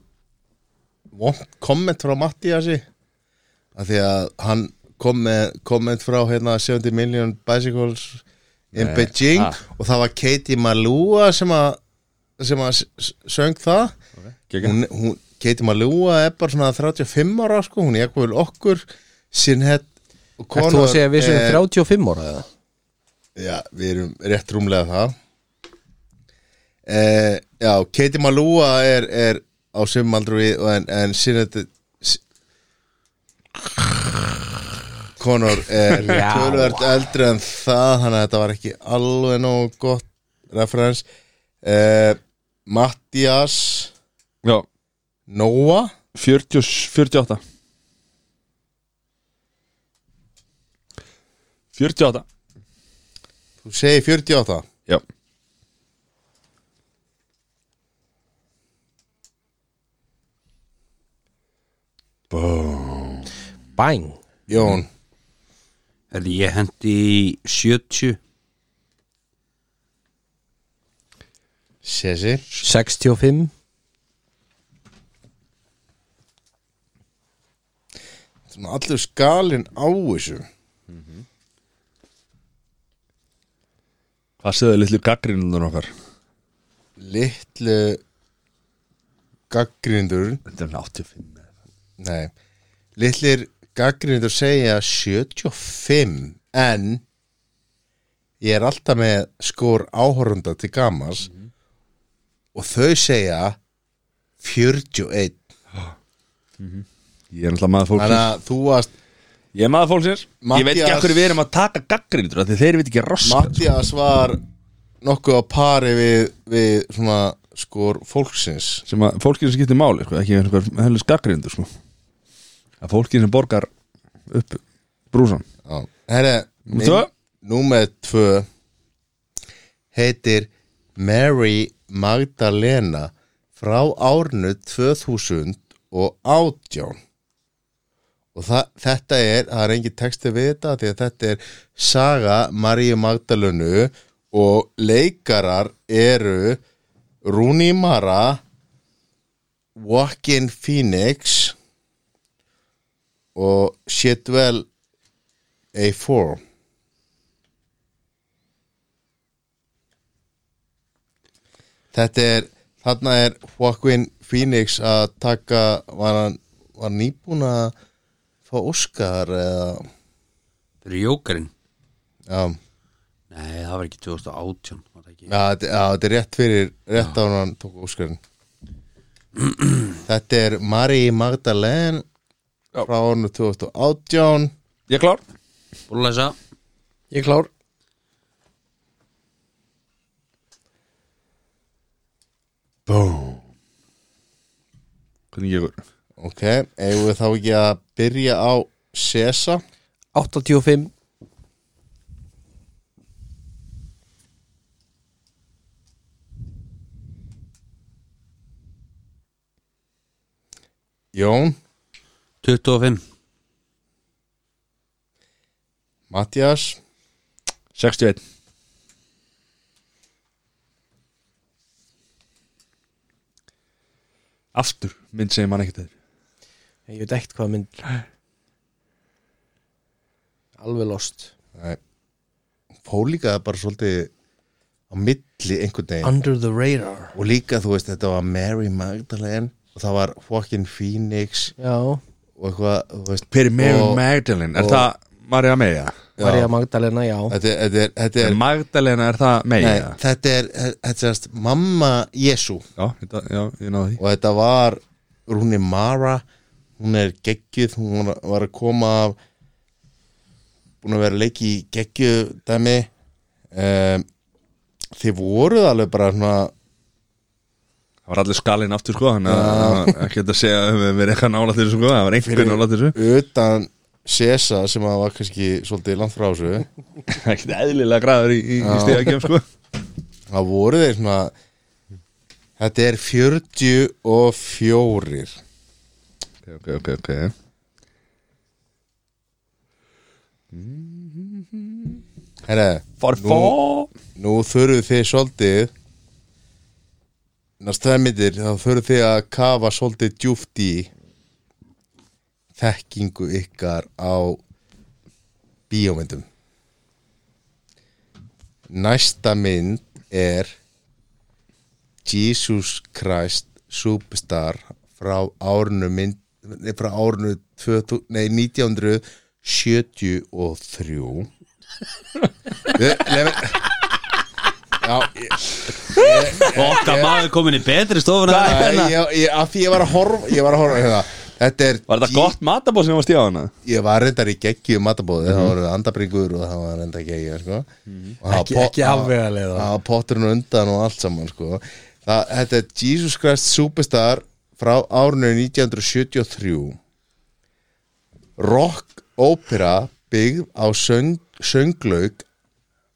Speaker 3: vond komment frá Mattiasi af því að hann kom með komment frá hérna, 70 million bicycles in
Speaker 1: Nei,
Speaker 3: Beijing
Speaker 1: ha.
Speaker 3: og það var Katie Malua sem að sem að s- s- söng það
Speaker 1: Geggjað.
Speaker 3: hún, hún, Katie Malua er bara svona 35 ára sko, hún er ekkur okkur sinnhett
Speaker 2: Ert þú að segja að við
Speaker 3: eh,
Speaker 2: séum 35 ára eða?
Speaker 3: Já, við erum rétt rúmlega það eh, Já, Katie Malua er, er á sumaldru við en, en Sinead S- Connor er
Speaker 2: Já.
Speaker 3: tölvöld eldri en það þannig að þetta var ekki alveg nóg gott referens eh, Mattias
Speaker 1: Já,
Speaker 3: Nóa
Speaker 1: 40, 48 48
Speaker 3: þú segir 48
Speaker 1: Já
Speaker 2: Bang
Speaker 3: Jón,
Speaker 4: Er ég hendi í 70
Speaker 3: Sessi
Speaker 2: 65
Speaker 3: svona allur skalinn á þessu
Speaker 1: Hvað segðu litlu gaggrinunum okkar?
Speaker 3: litlu gaggrindur
Speaker 1: Þetta er 85
Speaker 3: Nei, litlir gaggrindur segja 75 en ég er alltaf með skor áhorunda til gamans og þau segja 41
Speaker 1: Ég er náttúrulega maður
Speaker 3: Þannig
Speaker 1: fólksins
Speaker 3: að þú varst
Speaker 1: Ég er maður fólksins Ég veit ekki
Speaker 3: Matthías-
Speaker 1: af hverju við erum að taka gaggrinundur Þegar þeir veit ekki roska
Speaker 3: Mattias var nokkuð á pari við, við svona skor fólksins
Speaker 1: sem að fólkið sem skiptir máli sko, ekki einhver helvis gaggrindur sko. að fólkið sem borgar upp brúsan
Speaker 3: Já. Herre,
Speaker 1: Númer tvö.
Speaker 3: Númer tvö heitir Mary Magdalena frá árnu 2000 og átján og það, þetta er, það er engin texti við þetta því að þetta er saga Maríu Magdalenu og leikarar eru Rúni Mara Joaquin Phoenix og Shitwell A4 Þetta er, þarna er Joaquin Phoenix að taka, var hann var nýbúin að fá Óskar eða,
Speaker 4: Fyrir jókarinn
Speaker 3: já,
Speaker 4: Nei, það var ekki 2018 var það ekki.
Speaker 3: já, þetta- já, þetta er rétt fyrir, rétt á hann tók Óskarinn. Þetta er Marie Magdalene
Speaker 1: Já.
Speaker 3: frá árnu 2018
Speaker 1: Ég er klár
Speaker 4: Búin að lesa
Speaker 2: Ég klár
Speaker 1: Bú. Hvernig ég
Speaker 3: Ok, eigum við þá ekki að byrja á Sesa
Speaker 2: 85
Speaker 3: Jón,
Speaker 4: 25
Speaker 3: Mattias
Speaker 1: 61 Aftur mynd segir mann ekkert þeir
Speaker 2: Ég veit ekkert hvað mynd Alveg lost
Speaker 3: Nei. fór líka bara svolítið á milli einhvern veginn
Speaker 2: Under the radar
Speaker 3: og líka þú veist þetta var Mary Magdalene og það var Joaquin Phoenix
Speaker 2: Já,
Speaker 3: og eitthvað þú veist,
Speaker 1: Hver er Mary
Speaker 3: og-
Speaker 1: Magdalene? Er
Speaker 3: og-
Speaker 1: það Maria Meia?
Speaker 2: Maria Magdalena, já
Speaker 3: þetta, er- þetta er, þetta er,
Speaker 1: Magdalena er það Meia?
Speaker 3: nei, þetta er, þetta er sérst, mamma Jesu
Speaker 1: Já, þetta, já, ég náði því
Speaker 3: og þetta var Rúni Mara hún er geggjuð, hún var- var að koma af búin að vera að leiki í geggju dæmi um, þið voruð alveg bara svona
Speaker 1: Það var allir skalinn aftur sko Þannig að það var ekki hægt að segja að við höfum verið eitthvað nála til þessu sko Það var einhvern nála til þessu
Speaker 3: utan Sesa sem að var kannski svolítið langt frá þessu
Speaker 1: ekkert eðlilega græður í, í, í stegakjöf sko
Speaker 3: það voru þeir svona þetta er 44
Speaker 1: ok, ok, ok, ok
Speaker 3: Herre,
Speaker 1: for
Speaker 3: nú þurfið þið svolítið næst það myndir þá fyrir þið að kafa svolítið djúft í þekkingu ykkar á bíómyndum næsta mynd er Jesus Christ Superstar frá árinu mynd nei, frá árinu 2000, nei, 1973 Leifin Já, ég,
Speaker 4: Okkar maður komin í betri stofuna
Speaker 1: hérna-
Speaker 3: Æ, ég, ég, að því ég var að horfa ég var að horfa hérna Þetta er
Speaker 1: Var þetta
Speaker 3: G-
Speaker 1: gott matabóð sem var stíðan?
Speaker 3: Ég var reyndar í geggjum matabóði
Speaker 1: Mhm.
Speaker 3: Það voru andabringur og það var reyndar geggjum sko. Og það var
Speaker 2: Ekki-
Speaker 3: pot-
Speaker 2: ekki afvegaleiða.
Speaker 3: Það var potturinn og undan og allt saman sko. það, Þetta er Jesus Christ Superstar frá árinu 1973 Rock ópera byggð á söng, sönglauk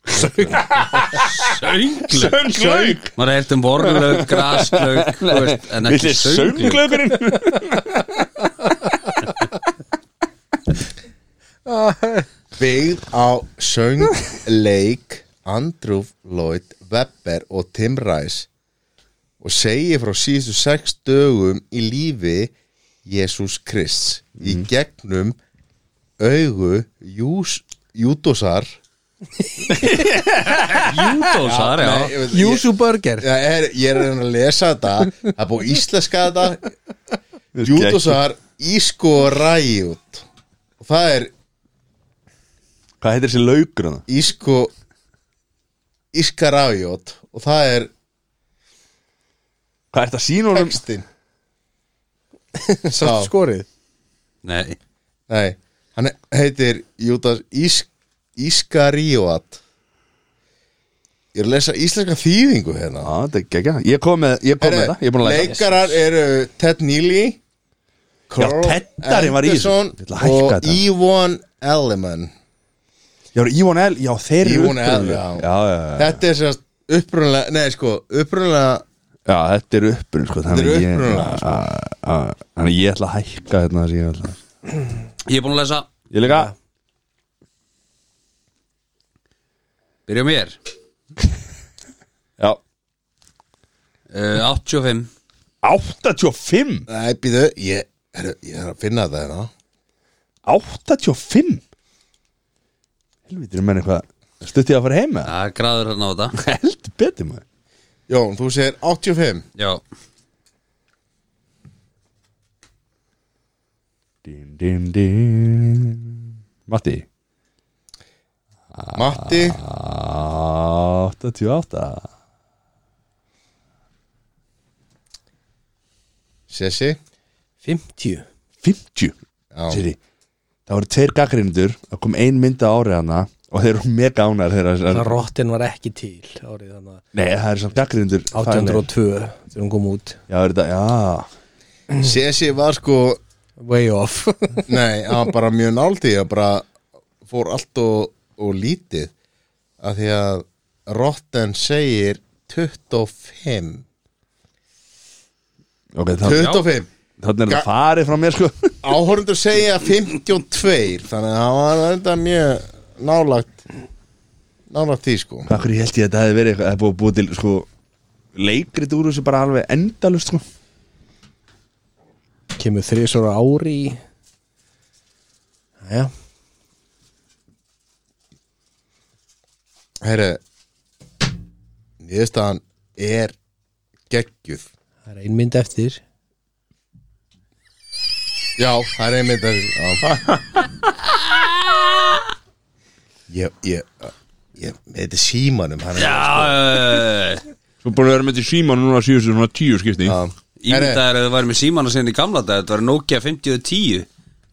Speaker 4: Sönglaug
Speaker 1: Sönglaug
Speaker 4: Maður heilt um vorlaug, graslaug þú veist, En ekki
Speaker 1: Villi
Speaker 4: sönglaug
Speaker 1: sönglaugurinn
Speaker 3: byggð á söngleik Andrew Lloyd Webber og Tim Rice og segir frá síðustu sex dögum í lífi Jésús Krist í gegnum augu Jús, Júdósar
Speaker 4: Júdósar,
Speaker 3: Nei,
Speaker 4: já
Speaker 3: ég veit- ég-
Speaker 2: Júsú Burger
Speaker 3: Já, ég er, ég er að reyna að lesa þetta það er búið íslenska þetta Júdósar Ísko Ræjút og það er
Speaker 1: Hvað heitir þessi laugur hann?
Speaker 3: Ísko Íska Ræjút og það er
Speaker 1: Hvað ert að sína honum?
Speaker 3: textin
Speaker 2: Sátt skorið
Speaker 4: Nei,
Speaker 3: Nei, hann heitir Júdas Ís, Ískaríoat Ég er að lesa íslenska þýðingu
Speaker 1: Já,
Speaker 3: hérna
Speaker 1: þetta er geggja Ég kom með, ég kom með
Speaker 3: Herre,
Speaker 1: þetta, ég er búin að læra
Speaker 3: Leikarar eru Ted Neely Carl
Speaker 1: Teddarinn var í þessu.
Speaker 3: Anderson
Speaker 1: Ég ætla að hækka
Speaker 3: og
Speaker 1: þetta.
Speaker 3: Yvonne Elliman
Speaker 1: Já, Ívon L, já þeir eru
Speaker 3: Yvonne L,
Speaker 1: upprunalega.
Speaker 3: já.
Speaker 1: já, já, já,
Speaker 3: Þetta er sérst upprunlega Nei, sko, upprunlega
Speaker 1: já, þetta er upprun sko,
Speaker 3: Þetta
Speaker 1: þannig
Speaker 3: eru
Speaker 1: ég-
Speaker 3: upprunalega,
Speaker 1: já, já, já. Þannig ég ætla að hækka hérna þessi, ég, ætla. að-
Speaker 4: ég er búin að lesa
Speaker 1: ég líka
Speaker 4: Byrja á mér
Speaker 1: Já,
Speaker 4: uh, 85
Speaker 1: 85
Speaker 3: Nei, býðu, ég, herru, ég er að finna þetta hérna
Speaker 1: 85 Helvítur menn eitthvað Stutt ég að fara heim með
Speaker 4: Það er graður hérna á þetta
Speaker 1: það? Heldur betur maður
Speaker 3: Jón, þú segir 85
Speaker 4: Já, sko.
Speaker 1: din, din, din. Matti Ah.
Speaker 3: Matti
Speaker 1: 88
Speaker 3: Sessi
Speaker 2: 50
Speaker 1: 50
Speaker 3: Já,
Speaker 1: Siri Það voru tveir gaggrindur Það kom ein mynda árið hana Og þeir eru mega ánægðir þeirra
Speaker 2: Það rottin var ekki til árið þannig
Speaker 1: Nei, það er samt gaggrindur
Speaker 2: 1802 þegar hún kom út
Speaker 1: Já, er þetta, já
Speaker 3: Sessi var sko
Speaker 2: Way off
Speaker 3: Nei, hann var bara mjög náldi hann bara fór allt og, og lítið af því að Rotten segir 25
Speaker 1: Ok, þannig
Speaker 3: 25
Speaker 1: þannig er
Speaker 3: Ga-
Speaker 1: þetta farið frá mér sko
Speaker 3: áhorundur segja 52 þannig að hann var þetta mjög nálagt nálagt því sko
Speaker 1: Akkur ég held ég að þetta hefði verið eitthvað Það er búið að búið til sko Leikrit úr þessu bara alveg endalust sko
Speaker 2: Kemur þrísvara ári í Jæja
Speaker 3: Herre niðurstaðan er geggjuð
Speaker 2: Það er ein mynd eftir
Speaker 3: Já, það er einmitt að já. Ég, ég, ég þetta er símanum hann er
Speaker 4: já
Speaker 1: Svo búin að vera með til síma núna síðustu svona tíu skipti
Speaker 3: Já. Herre,
Speaker 4: Ímyndaður að þau væri með símana sinni í gamla dag Þetta var Nokia 50 og 10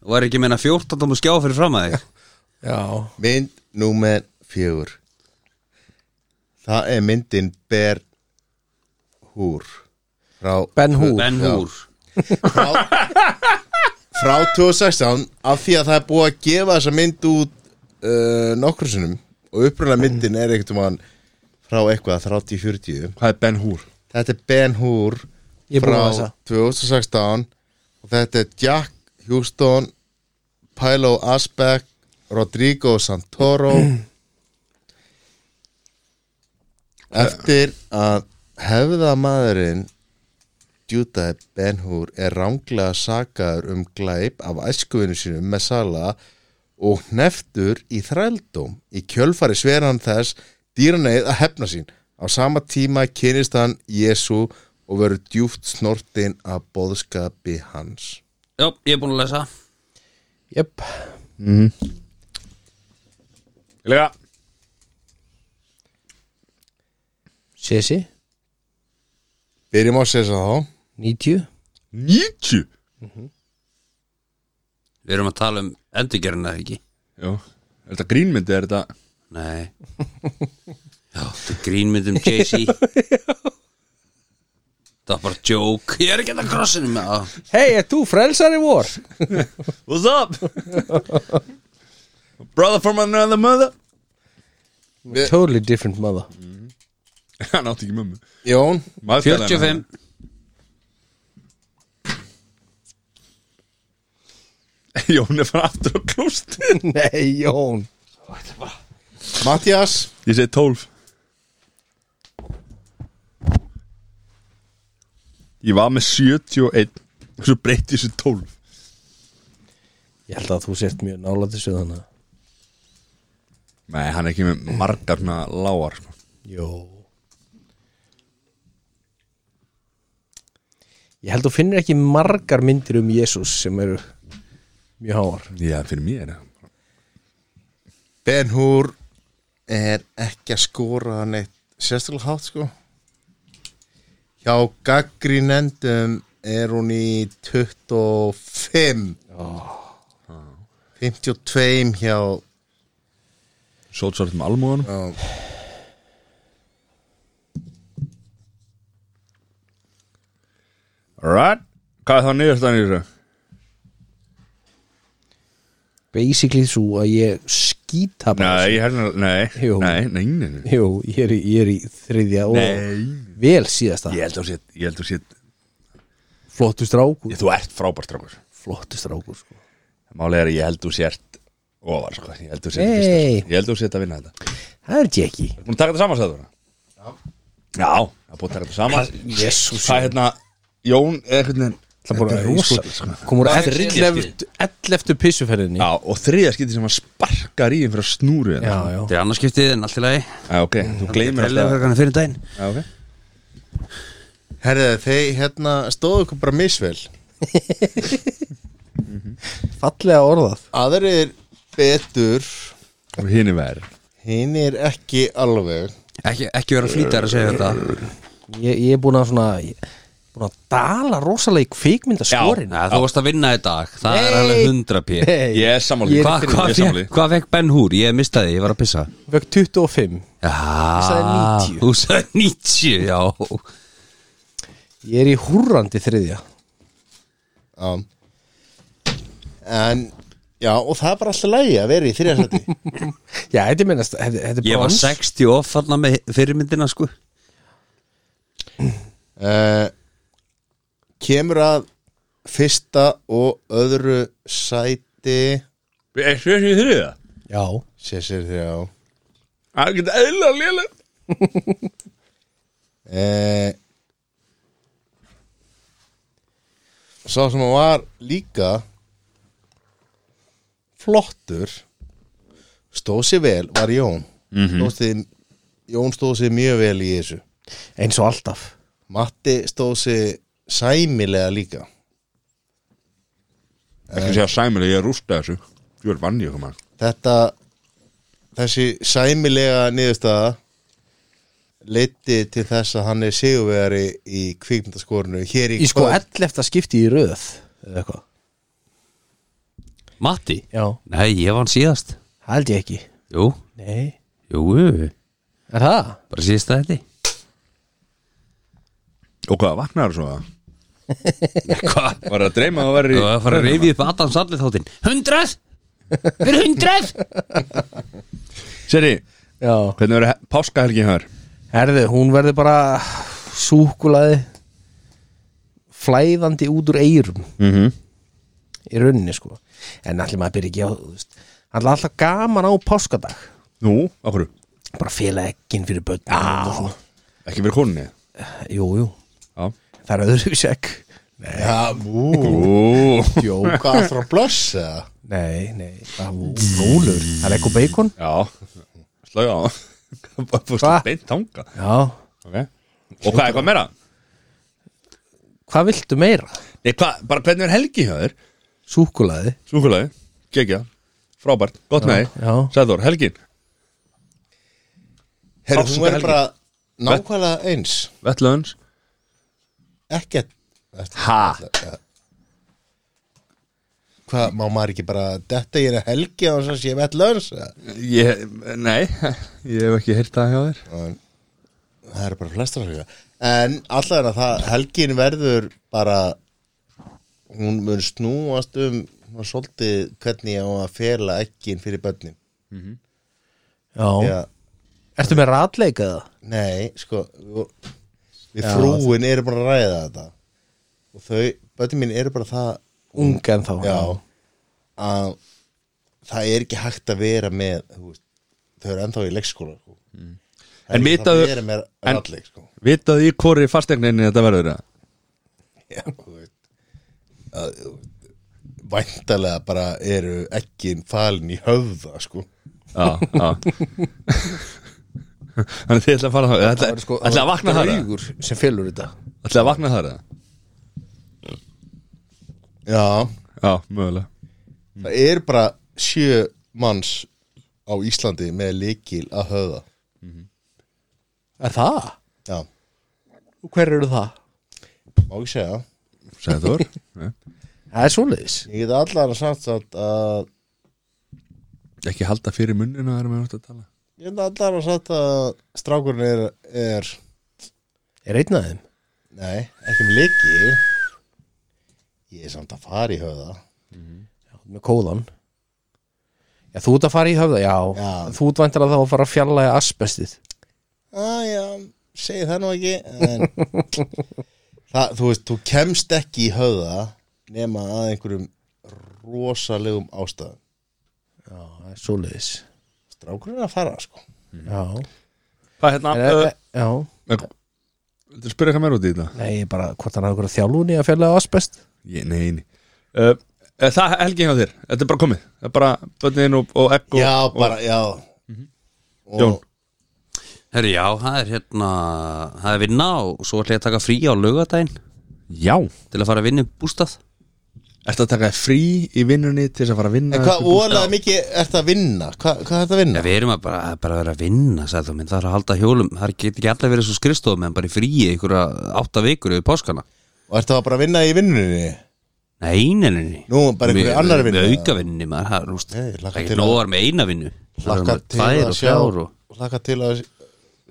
Speaker 4: Og var ekki meina 14 tómur skjá fyrir fram að þig
Speaker 2: Já
Speaker 3: Mynd númer fjögur Það er myndin Ben Húr frá,
Speaker 2: Ben Hur
Speaker 4: Ben Húr
Speaker 3: frá, frá 2016 af því að það er búið að gefa þessa mynd út uh, nokkru sinnum og upprunalega myndin er einhvern veginn frá eitthvað 30-40
Speaker 1: Hvað er Ben Hur?
Speaker 3: Þetta er Ben Hur
Speaker 2: Ég er búinn að
Speaker 3: frá
Speaker 2: lesa.
Speaker 3: 2016 og þetta er Jack Houston Pilo Asbeck Rodrigo Santoro Eftir að hefða maðurinn Júdaði Ben-Hur er ránglega sakaður um glæp af æskuvinu sínum með Sala og hneftur í þrældóm. Í kjölfari sver hann þess dýraneið að hefna sín. Á sama tíma kynist hann Jésu og verður djúft snortin að boðskapi hans.
Speaker 4: Já, ég er búin að lesa
Speaker 2: Jöp,
Speaker 1: Lega
Speaker 2: Sessi,
Speaker 3: Byrjum á að segja þá.
Speaker 2: 90
Speaker 1: 90
Speaker 4: Við erum að tala um endurgerðina ekki
Speaker 1: Jó, er þetta grínmyndi er þetta
Speaker 4: Nei Já, þetta er grínmynd um Jay-Z Það var bara joke Ég er ekki að krossinu með það
Speaker 2: Hei, er þú frelsari vor?
Speaker 1: What's up? Brother from another mother
Speaker 2: Totally different mother
Speaker 1: Hann átti ekki mömmu
Speaker 3: Jón,
Speaker 1: Maður talaði með
Speaker 4: 45
Speaker 1: hann. Jón er frá aftur á klúst
Speaker 2: Nei, Jón
Speaker 3: Mattias,
Speaker 1: Ég segi 12 Ég var með 71 og svo breytti ég sér 12
Speaker 2: Ég held að þú sért mjög nála þessu þannig
Speaker 1: Nei, hann er ekki með margar svona lágar sko.
Speaker 2: Jó Ég held að þú finnir ekki margar myndir um Jésús sem eru mjög háar
Speaker 1: Já, fyrir mér er það
Speaker 3: Ben-Hur er ekki að skora neitt sérstaklega hátt sko hjá gaggrinendum er hún í 25 52 hjá
Speaker 1: Sótsvart með almúðan
Speaker 3: uh,
Speaker 1: Alright Hvað er það niðurstaðan í þessu?
Speaker 2: Basically svo að ég skýta bara
Speaker 1: Nei, hérna, nei,
Speaker 2: Jú.
Speaker 1: nei, nei, nei, nei.
Speaker 2: Jú, ég er, í- ég er í þriðja og
Speaker 1: Nei.
Speaker 2: vel síðasta
Speaker 1: Ég held að sé, ég held að sé
Speaker 2: Flottu strákur
Speaker 1: ég, Þú ert frábært strákur
Speaker 2: Flottu strákur sko.
Speaker 1: Málega er að ég held að þú sért ofar sko. Ég held að þú sért
Speaker 2: Hey.
Speaker 1: fyrsta sko. Ég held að þú sért að vinna þetta
Speaker 2: Það er Jackie
Speaker 1: Búin að taka þetta saman, sagði þú? Já Já, það er búin að taka þetta saman
Speaker 2: Jésús
Speaker 1: Það er hérna, Jón er einhvern veginn Það er búin að rosa sko.
Speaker 2: Komur
Speaker 4: Það er þriðja
Speaker 2: 11. 11. pissuferðinni
Speaker 1: Já, og þriða skipti sem hann sparkar í fyrir að snúru
Speaker 2: já, Mm.
Speaker 1: hérna.
Speaker 2: já
Speaker 4: Þetta er annarskiptið en allt í lagi
Speaker 1: Já, ok, þú gleymir alltaf
Speaker 4: hvernig fyrir daginn
Speaker 1: Já, ok
Speaker 3: herriði þeir hérna stóðu ykkur bara misvel
Speaker 2: Fallega orðað
Speaker 3: aðrir betur
Speaker 1: Og hinn er verið
Speaker 3: hinn er ekki alveg
Speaker 4: Ekki, ekki vera flýtar að segja þetta
Speaker 2: Ég, ég er búin að svona ég er Búin að dala rosalega í kvikmyndaskorin
Speaker 4: Nei, Þú varst að vinna í dag Það er
Speaker 2: Nei.
Speaker 4: alveg 100 p
Speaker 1: Ég er sammála
Speaker 2: Ég er
Speaker 4: Hvað
Speaker 2: fyrir-
Speaker 1: Ég
Speaker 4: hva,
Speaker 1: er sammála
Speaker 4: fekk hva fek Ben Hur? Ég mistaði, ég var að pissa
Speaker 2: Vögg 25
Speaker 4: Já,
Speaker 2: Ég sagði 90.
Speaker 4: þú sagði 90 Já,
Speaker 2: Ég er í húrandi þriðja
Speaker 3: já. en já og það er bara alltaf lægi að vera í þriðarsætti
Speaker 2: Já, þetta er minnast Þetta þetta er
Speaker 4: ég var
Speaker 2: brons
Speaker 4: 60 off þarna með fyrirmyndina sko
Speaker 3: uh, kemur að fyrsta og öðru sæti
Speaker 1: Er sér sér þriða?
Speaker 2: Já
Speaker 3: sér sér þrjá
Speaker 1: Það er ekki eðla lélega
Speaker 3: uh, sá sem hann var líka flottur stóð sér vel var Jón mm -hmm. Jón stóð sér mjög vel í þessu
Speaker 2: Eins og alltaf
Speaker 3: Matti stóð sér sæmilega líka
Speaker 1: Ekki segja sæmur, ég er rústa þessu Ég er vann ég kom að
Speaker 3: þetta þessi sæmilega niðurstaða leiti til þess að hann er sigurvegari í kvikmyndaskorinu hér í,
Speaker 2: Í sko
Speaker 3: kvöld.
Speaker 2: 11. skipti í röð Eða eitthvað
Speaker 4: Matti?
Speaker 2: Já
Speaker 4: Nei, ég vann síðast
Speaker 2: Það held ég ekki
Speaker 4: Jú,
Speaker 2: Nei
Speaker 4: jú, jú.
Speaker 2: Er það?
Speaker 4: bara síðast að þetta
Speaker 1: Og hvað vaknar svo það?
Speaker 4: Hvað?
Speaker 1: Var það að dreyma að vera í
Speaker 4: Þú var að fara að reyfið upp Adam Sandli þáttinn Hundrað? Fyrir hundrað?
Speaker 1: Seri,
Speaker 2: Já
Speaker 1: hvernig verður páskahelgin hér?
Speaker 2: Herðu, hún verður bara Súkulaði Flæðandi út úr eyrum
Speaker 1: Mm -hmm.
Speaker 2: í rauninni sko en allir maður byrja ekki á þú veist, allir alltaf gaman á páskadag
Speaker 1: Nú, okkur,
Speaker 2: bara félaginn fyrir börn já,
Speaker 1: ekki verið konunni
Speaker 2: jú, jú
Speaker 1: Já,
Speaker 2: það er öðru sekk
Speaker 3: Já, ú,
Speaker 1: Ú,
Speaker 3: djóka aftur að blössa
Speaker 2: nei, nei, það er gólur það er ekko beikon
Speaker 1: já Slöga á Bara fórstu
Speaker 2: Hva?
Speaker 1: beint þanga
Speaker 2: já.
Speaker 1: okay. Og hvað, eitthvað meira?
Speaker 2: hvað viltu meira?
Speaker 1: Nei, hvað, bara hvernig er helgi hjá þér?
Speaker 2: súkulaði
Speaker 1: Súkulagi, gegja, frábært, gott með
Speaker 2: já.
Speaker 1: þig Sæður, helgin,
Speaker 3: Herru,
Speaker 1: Sástu
Speaker 3: hún er
Speaker 1: helgi?
Speaker 3: bara nákvæmlega eins
Speaker 1: vettlöðins
Speaker 3: Ekkert
Speaker 1: Ha?
Speaker 3: Hvað, má maður ekki bara detta í einu helgi og þess að sé vett löns Það
Speaker 1: Ég, nei, ég hef ekki heyrt það hjá þér
Speaker 3: eru bara flestra hluga En allavega það, helgin verður bara Hún mun snúast um hún svolítið hvernig ég á að fela ekkin fyrir börnin
Speaker 2: já.
Speaker 3: Já,
Speaker 2: ertu með ratleika eða?
Speaker 3: Nei, sko við við frúin eru bara að ræða þetta og þau, bötin mín eru bara það
Speaker 2: unga en þá
Speaker 3: já, að það er ekki hægt að vera með þú veist, þau eru ennþá í leikskóla sko. Það er
Speaker 1: En
Speaker 3: ekki hægt
Speaker 1: vitaðu-
Speaker 3: að vera með
Speaker 1: en-
Speaker 3: ralleik sko.
Speaker 1: Vitað í hvori fastegninni þetta verður það?
Speaker 3: já, þú veist að, þú veist, væntalega bara eru ekki falin í höfða sko.
Speaker 1: Já, já Þannig að þið ætla að fara það Ætla, sko, ætla að vakna það eða?
Speaker 2: draugur sem fylgur þetta
Speaker 1: Ætla að vakna það eða?
Speaker 3: já,
Speaker 1: Já, mögulega
Speaker 3: það er bara sjö manns á Íslandi með líkil að höfða
Speaker 2: er það?
Speaker 3: já
Speaker 2: og hver eru það?
Speaker 3: Má ekki segja
Speaker 1: Sæður
Speaker 2: það er svoleiðis
Speaker 3: Ég get allan að sagt samt að
Speaker 1: Ekki halda fyrir munnina erum við að tala
Speaker 3: Ég get allan að sagt að Strákurinn er, er
Speaker 2: er einn af þeim?
Speaker 3: Nei, ekki með leiki Ég er samt að fara í höfða
Speaker 2: Já, með kóðan já, þú ert að fara í höfða, já,
Speaker 3: Já.
Speaker 2: þú ert vantar að þá að fara að fjalla í asbestið
Speaker 3: ah, já, segi það nú ekki En það, Þú veist, þú kemst ekki í höfða Nema að einhverjum Rosalegum ástæðum
Speaker 2: já, það er svoleiðis
Speaker 3: Strákurinn er að fara, sko
Speaker 2: já,
Speaker 1: Hvað hérna?
Speaker 2: er, er, Eh, já
Speaker 1: Viltu uh, spyrja hvað meir út í þetta?
Speaker 2: nei, ég bara, hvort hann hafa ykkur þjálfun í að fjalla í asbest
Speaker 1: Ég, nei, nei uh, eh, Það er helgi hjá þér, þetta er bara komið Það er bara bönnin og, og ekko
Speaker 3: Já, bara, já og,
Speaker 1: Jón.
Speaker 4: Herri, já, það er hérna það er vinna og svo ætla ég að taka frí á laugardaginn
Speaker 1: Já
Speaker 4: til að fara að vinna í bústað
Speaker 1: Ertu að taka þér frí í vinnunni til þess að fara að vinna
Speaker 3: En hvað ólega mikið ert að vinna? Hva, hvað ert að
Speaker 4: Já,
Speaker 3: vinna?
Speaker 4: við erum að bara, það er bara að vera að vinna sagði þú minn, það er að halda hjólum, það getur ekki allir verið svo skrifstofum en bara í fríi ykkur átta vikur yfir páskana.
Speaker 3: Og ert að bara að vinna í vinnunni?
Speaker 4: Nei, nei, nei, nei.
Speaker 3: Nú, bara einhverju annarri vinnu,
Speaker 4: Með
Speaker 3: eða?
Speaker 4: aukavinni, maður, það er, úst,
Speaker 3: Nei, hlakka
Speaker 4: það
Speaker 3: til
Speaker 4: er ekki
Speaker 3: að-
Speaker 4: nógar með eina vinnu Það eru
Speaker 3: Laka
Speaker 4: með
Speaker 3: til
Speaker 4: tvær
Speaker 3: að
Speaker 4: og
Speaker 3: sjá
Speaker 4: fjár og
Speaker 3: Laka til að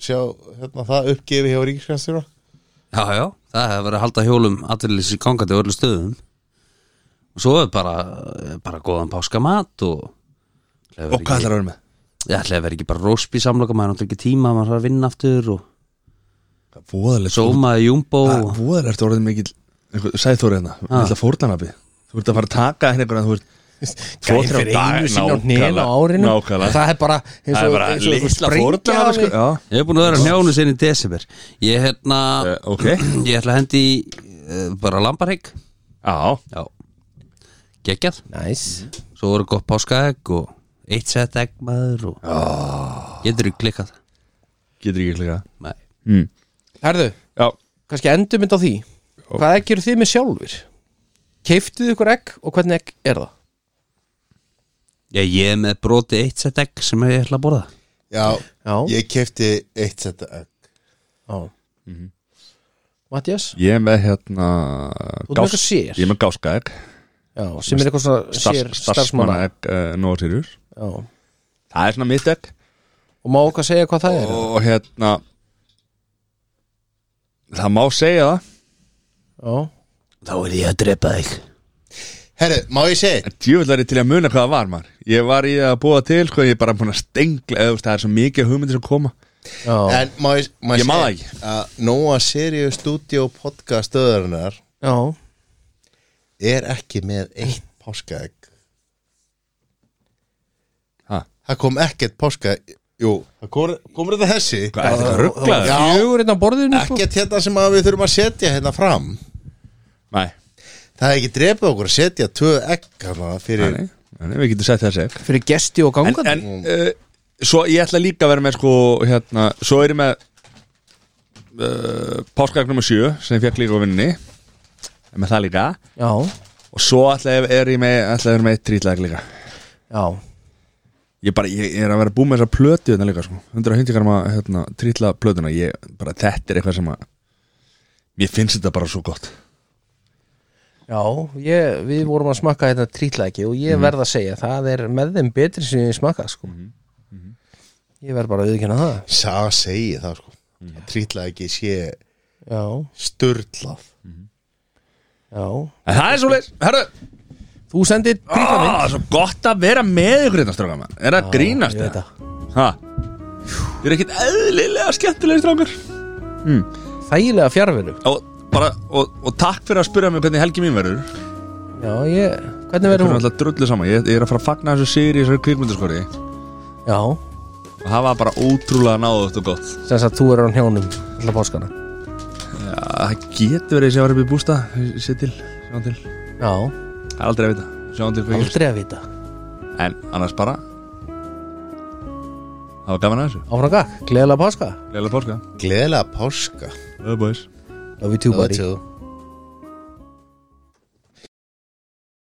Speaker 3: sjá hérna, það uppgefi hjá Ríkiskanstjóra
Speaker 4: Já, já, það hefur verið að halda hjólum allir gangandi á öllu stöðum og svo er bara, bara góðan páskamat og
Speaker 1: Og hvað ætlar að vera með?
Speaker 4: Ég ætlaði að vera ekki bara róspi samloka, maður er náttúrulega ekki tíma, maður þarf að vinna aftur og
Speaker 1: Voðalegt
Speaker 4: sómaði jumbo og...
Speaker 1: Voðalegt orðið mikill einhver- Sæð Þóri hérna, þetta fórnarnabi Þú ert að fara að taka hérna einhvern þú ert
Speaker 2: Gæði
Speaker 1: Tvo, þrjá
Speaker 2: fyrir
Speaker 1: daga,
Speaker 2: einu sinni á hnén á
Speaker 1: nákvæmlega,
Speaker 2: árinu
Speaker 1: nákvæmlega.
Speaker 2: Það er bara eins
Speaker 1: Það er
Speaker 2: og,
Speaker 1: bara
Speaker 2: eins og einhver
Speaker 1: litla
Speaker 2: sprengja
Speaker 1: fórnarnabi
Speaker 2: hafi-
Speaker 1: sko. Já,
Speaker 4: Ég hef búin að vera á hnjánum sinni í desember Ég hérna
Speaker 1: Eh, ok.
Speaker 4: Ég ætla að hendi í, eh, bara lambarhegg
Speaker 1: já
Speaker 4: Já Gekkjað
Speaker 2: Næs
Speaker 4: Svo voru gott páskaegg og eitt sett egg maður og oh.
Speaker 1: Ah.
Speaker 4: Getur þú klikkað
Speaker 1: Getur ekki líka
Speaker 4: Nei
Speaker 1: mm.
Speaker 2: Herðu,
Speaker 1: Já,
Speaker 2: kannski endur mynd á því Hvað egg eru þið með sjálfur? Keiftuðu ykkur egg og hvernig egg er það?
Speaker 4: Ég, ég er með broti eitt sett egg sem ég ætla að borða
Speaker 3: Já,
Speaker 2: Já,
Speaker 3: ég kefti eitt setta egg
Speaker 2: Já. Mattias?
Speaker 1: ég er með hérna
Speaker 2: Þú ert með eitthvað sér?
Speaker 1: Ég er með gáska egg
Speaker 2: Já, sem er eitthvað svona sér
Speaker 1: Starfsmanna
Speaker 2: starfsmanna
Speaker 1: egg uh, Nóa Sirius
Speaker 2: Já. Og
Speaker 1: Það er svona mitt egg
Speaker 2: má okkar segja hvað það er?
Speaker 1: Og hérna Það má segja það
Speaker 2: Já,
Speaker 4: Þá er ég að drepa þig
Speaker 3: Herru, má ég segja?
Speaker 1: En djöfullari til að muna hvað það var maður Ég var í að búa til sko Ég er bara búin að stengla eða, þú veist, Það er svo mikið hugmyndir sem koma
Speaker 2: já,
Speaker 3: En má ég, má
Speaker 1: Ég
Speaker 3: ég
Speaker 1: man það
Speaker 3: segja að Nóa Sirius Studio podcast stöðarinnar
Speaker 2: já
Speaker 3: er ekki með eitt páskaegg
Speaker 1: Ha.
Speaker 3: Það kom ekkert páska Jú, það kom, komur þetta þessi
Speaker 1: Hvað er þetta rugglaður?
Speaker 3: Já.
Speaker 2: Fjögur hérna á borðinu sko.
Speaker 3: Ekkert hérna sem að við þurfum að setja hérna fram
Speaker 1: Nei,
Speaker 3: Það er ekki drepið okkur að setja tvö egg hana, fyrir
Speaker 1: nei, nei, við getum sett þessi
Speaker 2: Fyrir gesti og
Speaker 1: En,
Speaker 2: gangandi
Speaker 1: en uh, svo ég ætla líka að vera með sko hérna, svo er ég með uh, páskagnum og sjö sem ég fekk líka á vinninni Ég er með það líka
Speaker 2: Já,
Speaker 1: og svo ætla ég, er ég með, ætla ég að vera með eitt trítlag líka
Speaker 2: já
Speaker 1: ég, bara, ég er að vera búið með þessa plötu þetta líka sko, 150 grama hérna, trítla plötuna, ég, bara þetta er eitthvað sem að mér finnst þetta bara svo gott
Speaker 2: Já, ég, við vorum að smakka þetta trítlæki og ég verð að segja það er með þeim betri sem ég smakka sko. Ég verð bara að viðkynna það
Speaker 3: Sá segi það sko mm. Trítla ekki sé
Speaker 2: Já,
Speaker 3: störlað
Speaker 2: já
Speaker 1: en það er svo leis, herru
Speaker 2: Þú sendir
Speaker 1: Ah,
Speaker 2: trítla minn
Speaker 1: Ó, svo gott að vera með ykkur hérna strákar maður. er að grínast
Speaker 2: ég veit
Speaker 1: eða? Ha? Ég er ekkert eðlilega skemmtilega strákar
Speaker 2: Þægilega fjárveru
Speaker 1: og, bara, og, og takk fyrir að spyrja mig hvernig helgi mín verður Við
Speaker 2: Já, ég, hvernig verður
Speaker 1: erum
Speaker 2: hún?
Speaker 1: alltaf drullu saman ég, ég er að fara að fagna þessu sigri í þessari kvikmyndaskori
Speaker 2: Já,
Speaker 1: og það var bara ótrúlega náðugt og gott
Speaker 2: sem sagt þú er á hnjánum alltaf páskana
Speaker 1: Já, Það getur verið að ég var upp í bústa sé til, sjáum til
Speaker 2: Já,
Speaker 1: Það er aldrei að vita, sjáum til hvað ég
Speaker 2: aldrei að vita
Speaker 1: En annars bara Það var gaman að þessu
Speaker 2: Áfram gakk, gleðilega páska
Speaker 1: Leila Páska
Speaker 3: Gleðilega páska
Speaker 1: Öðbóis
Speaker 2: Love you too buddy
Speaker 3: Love you too.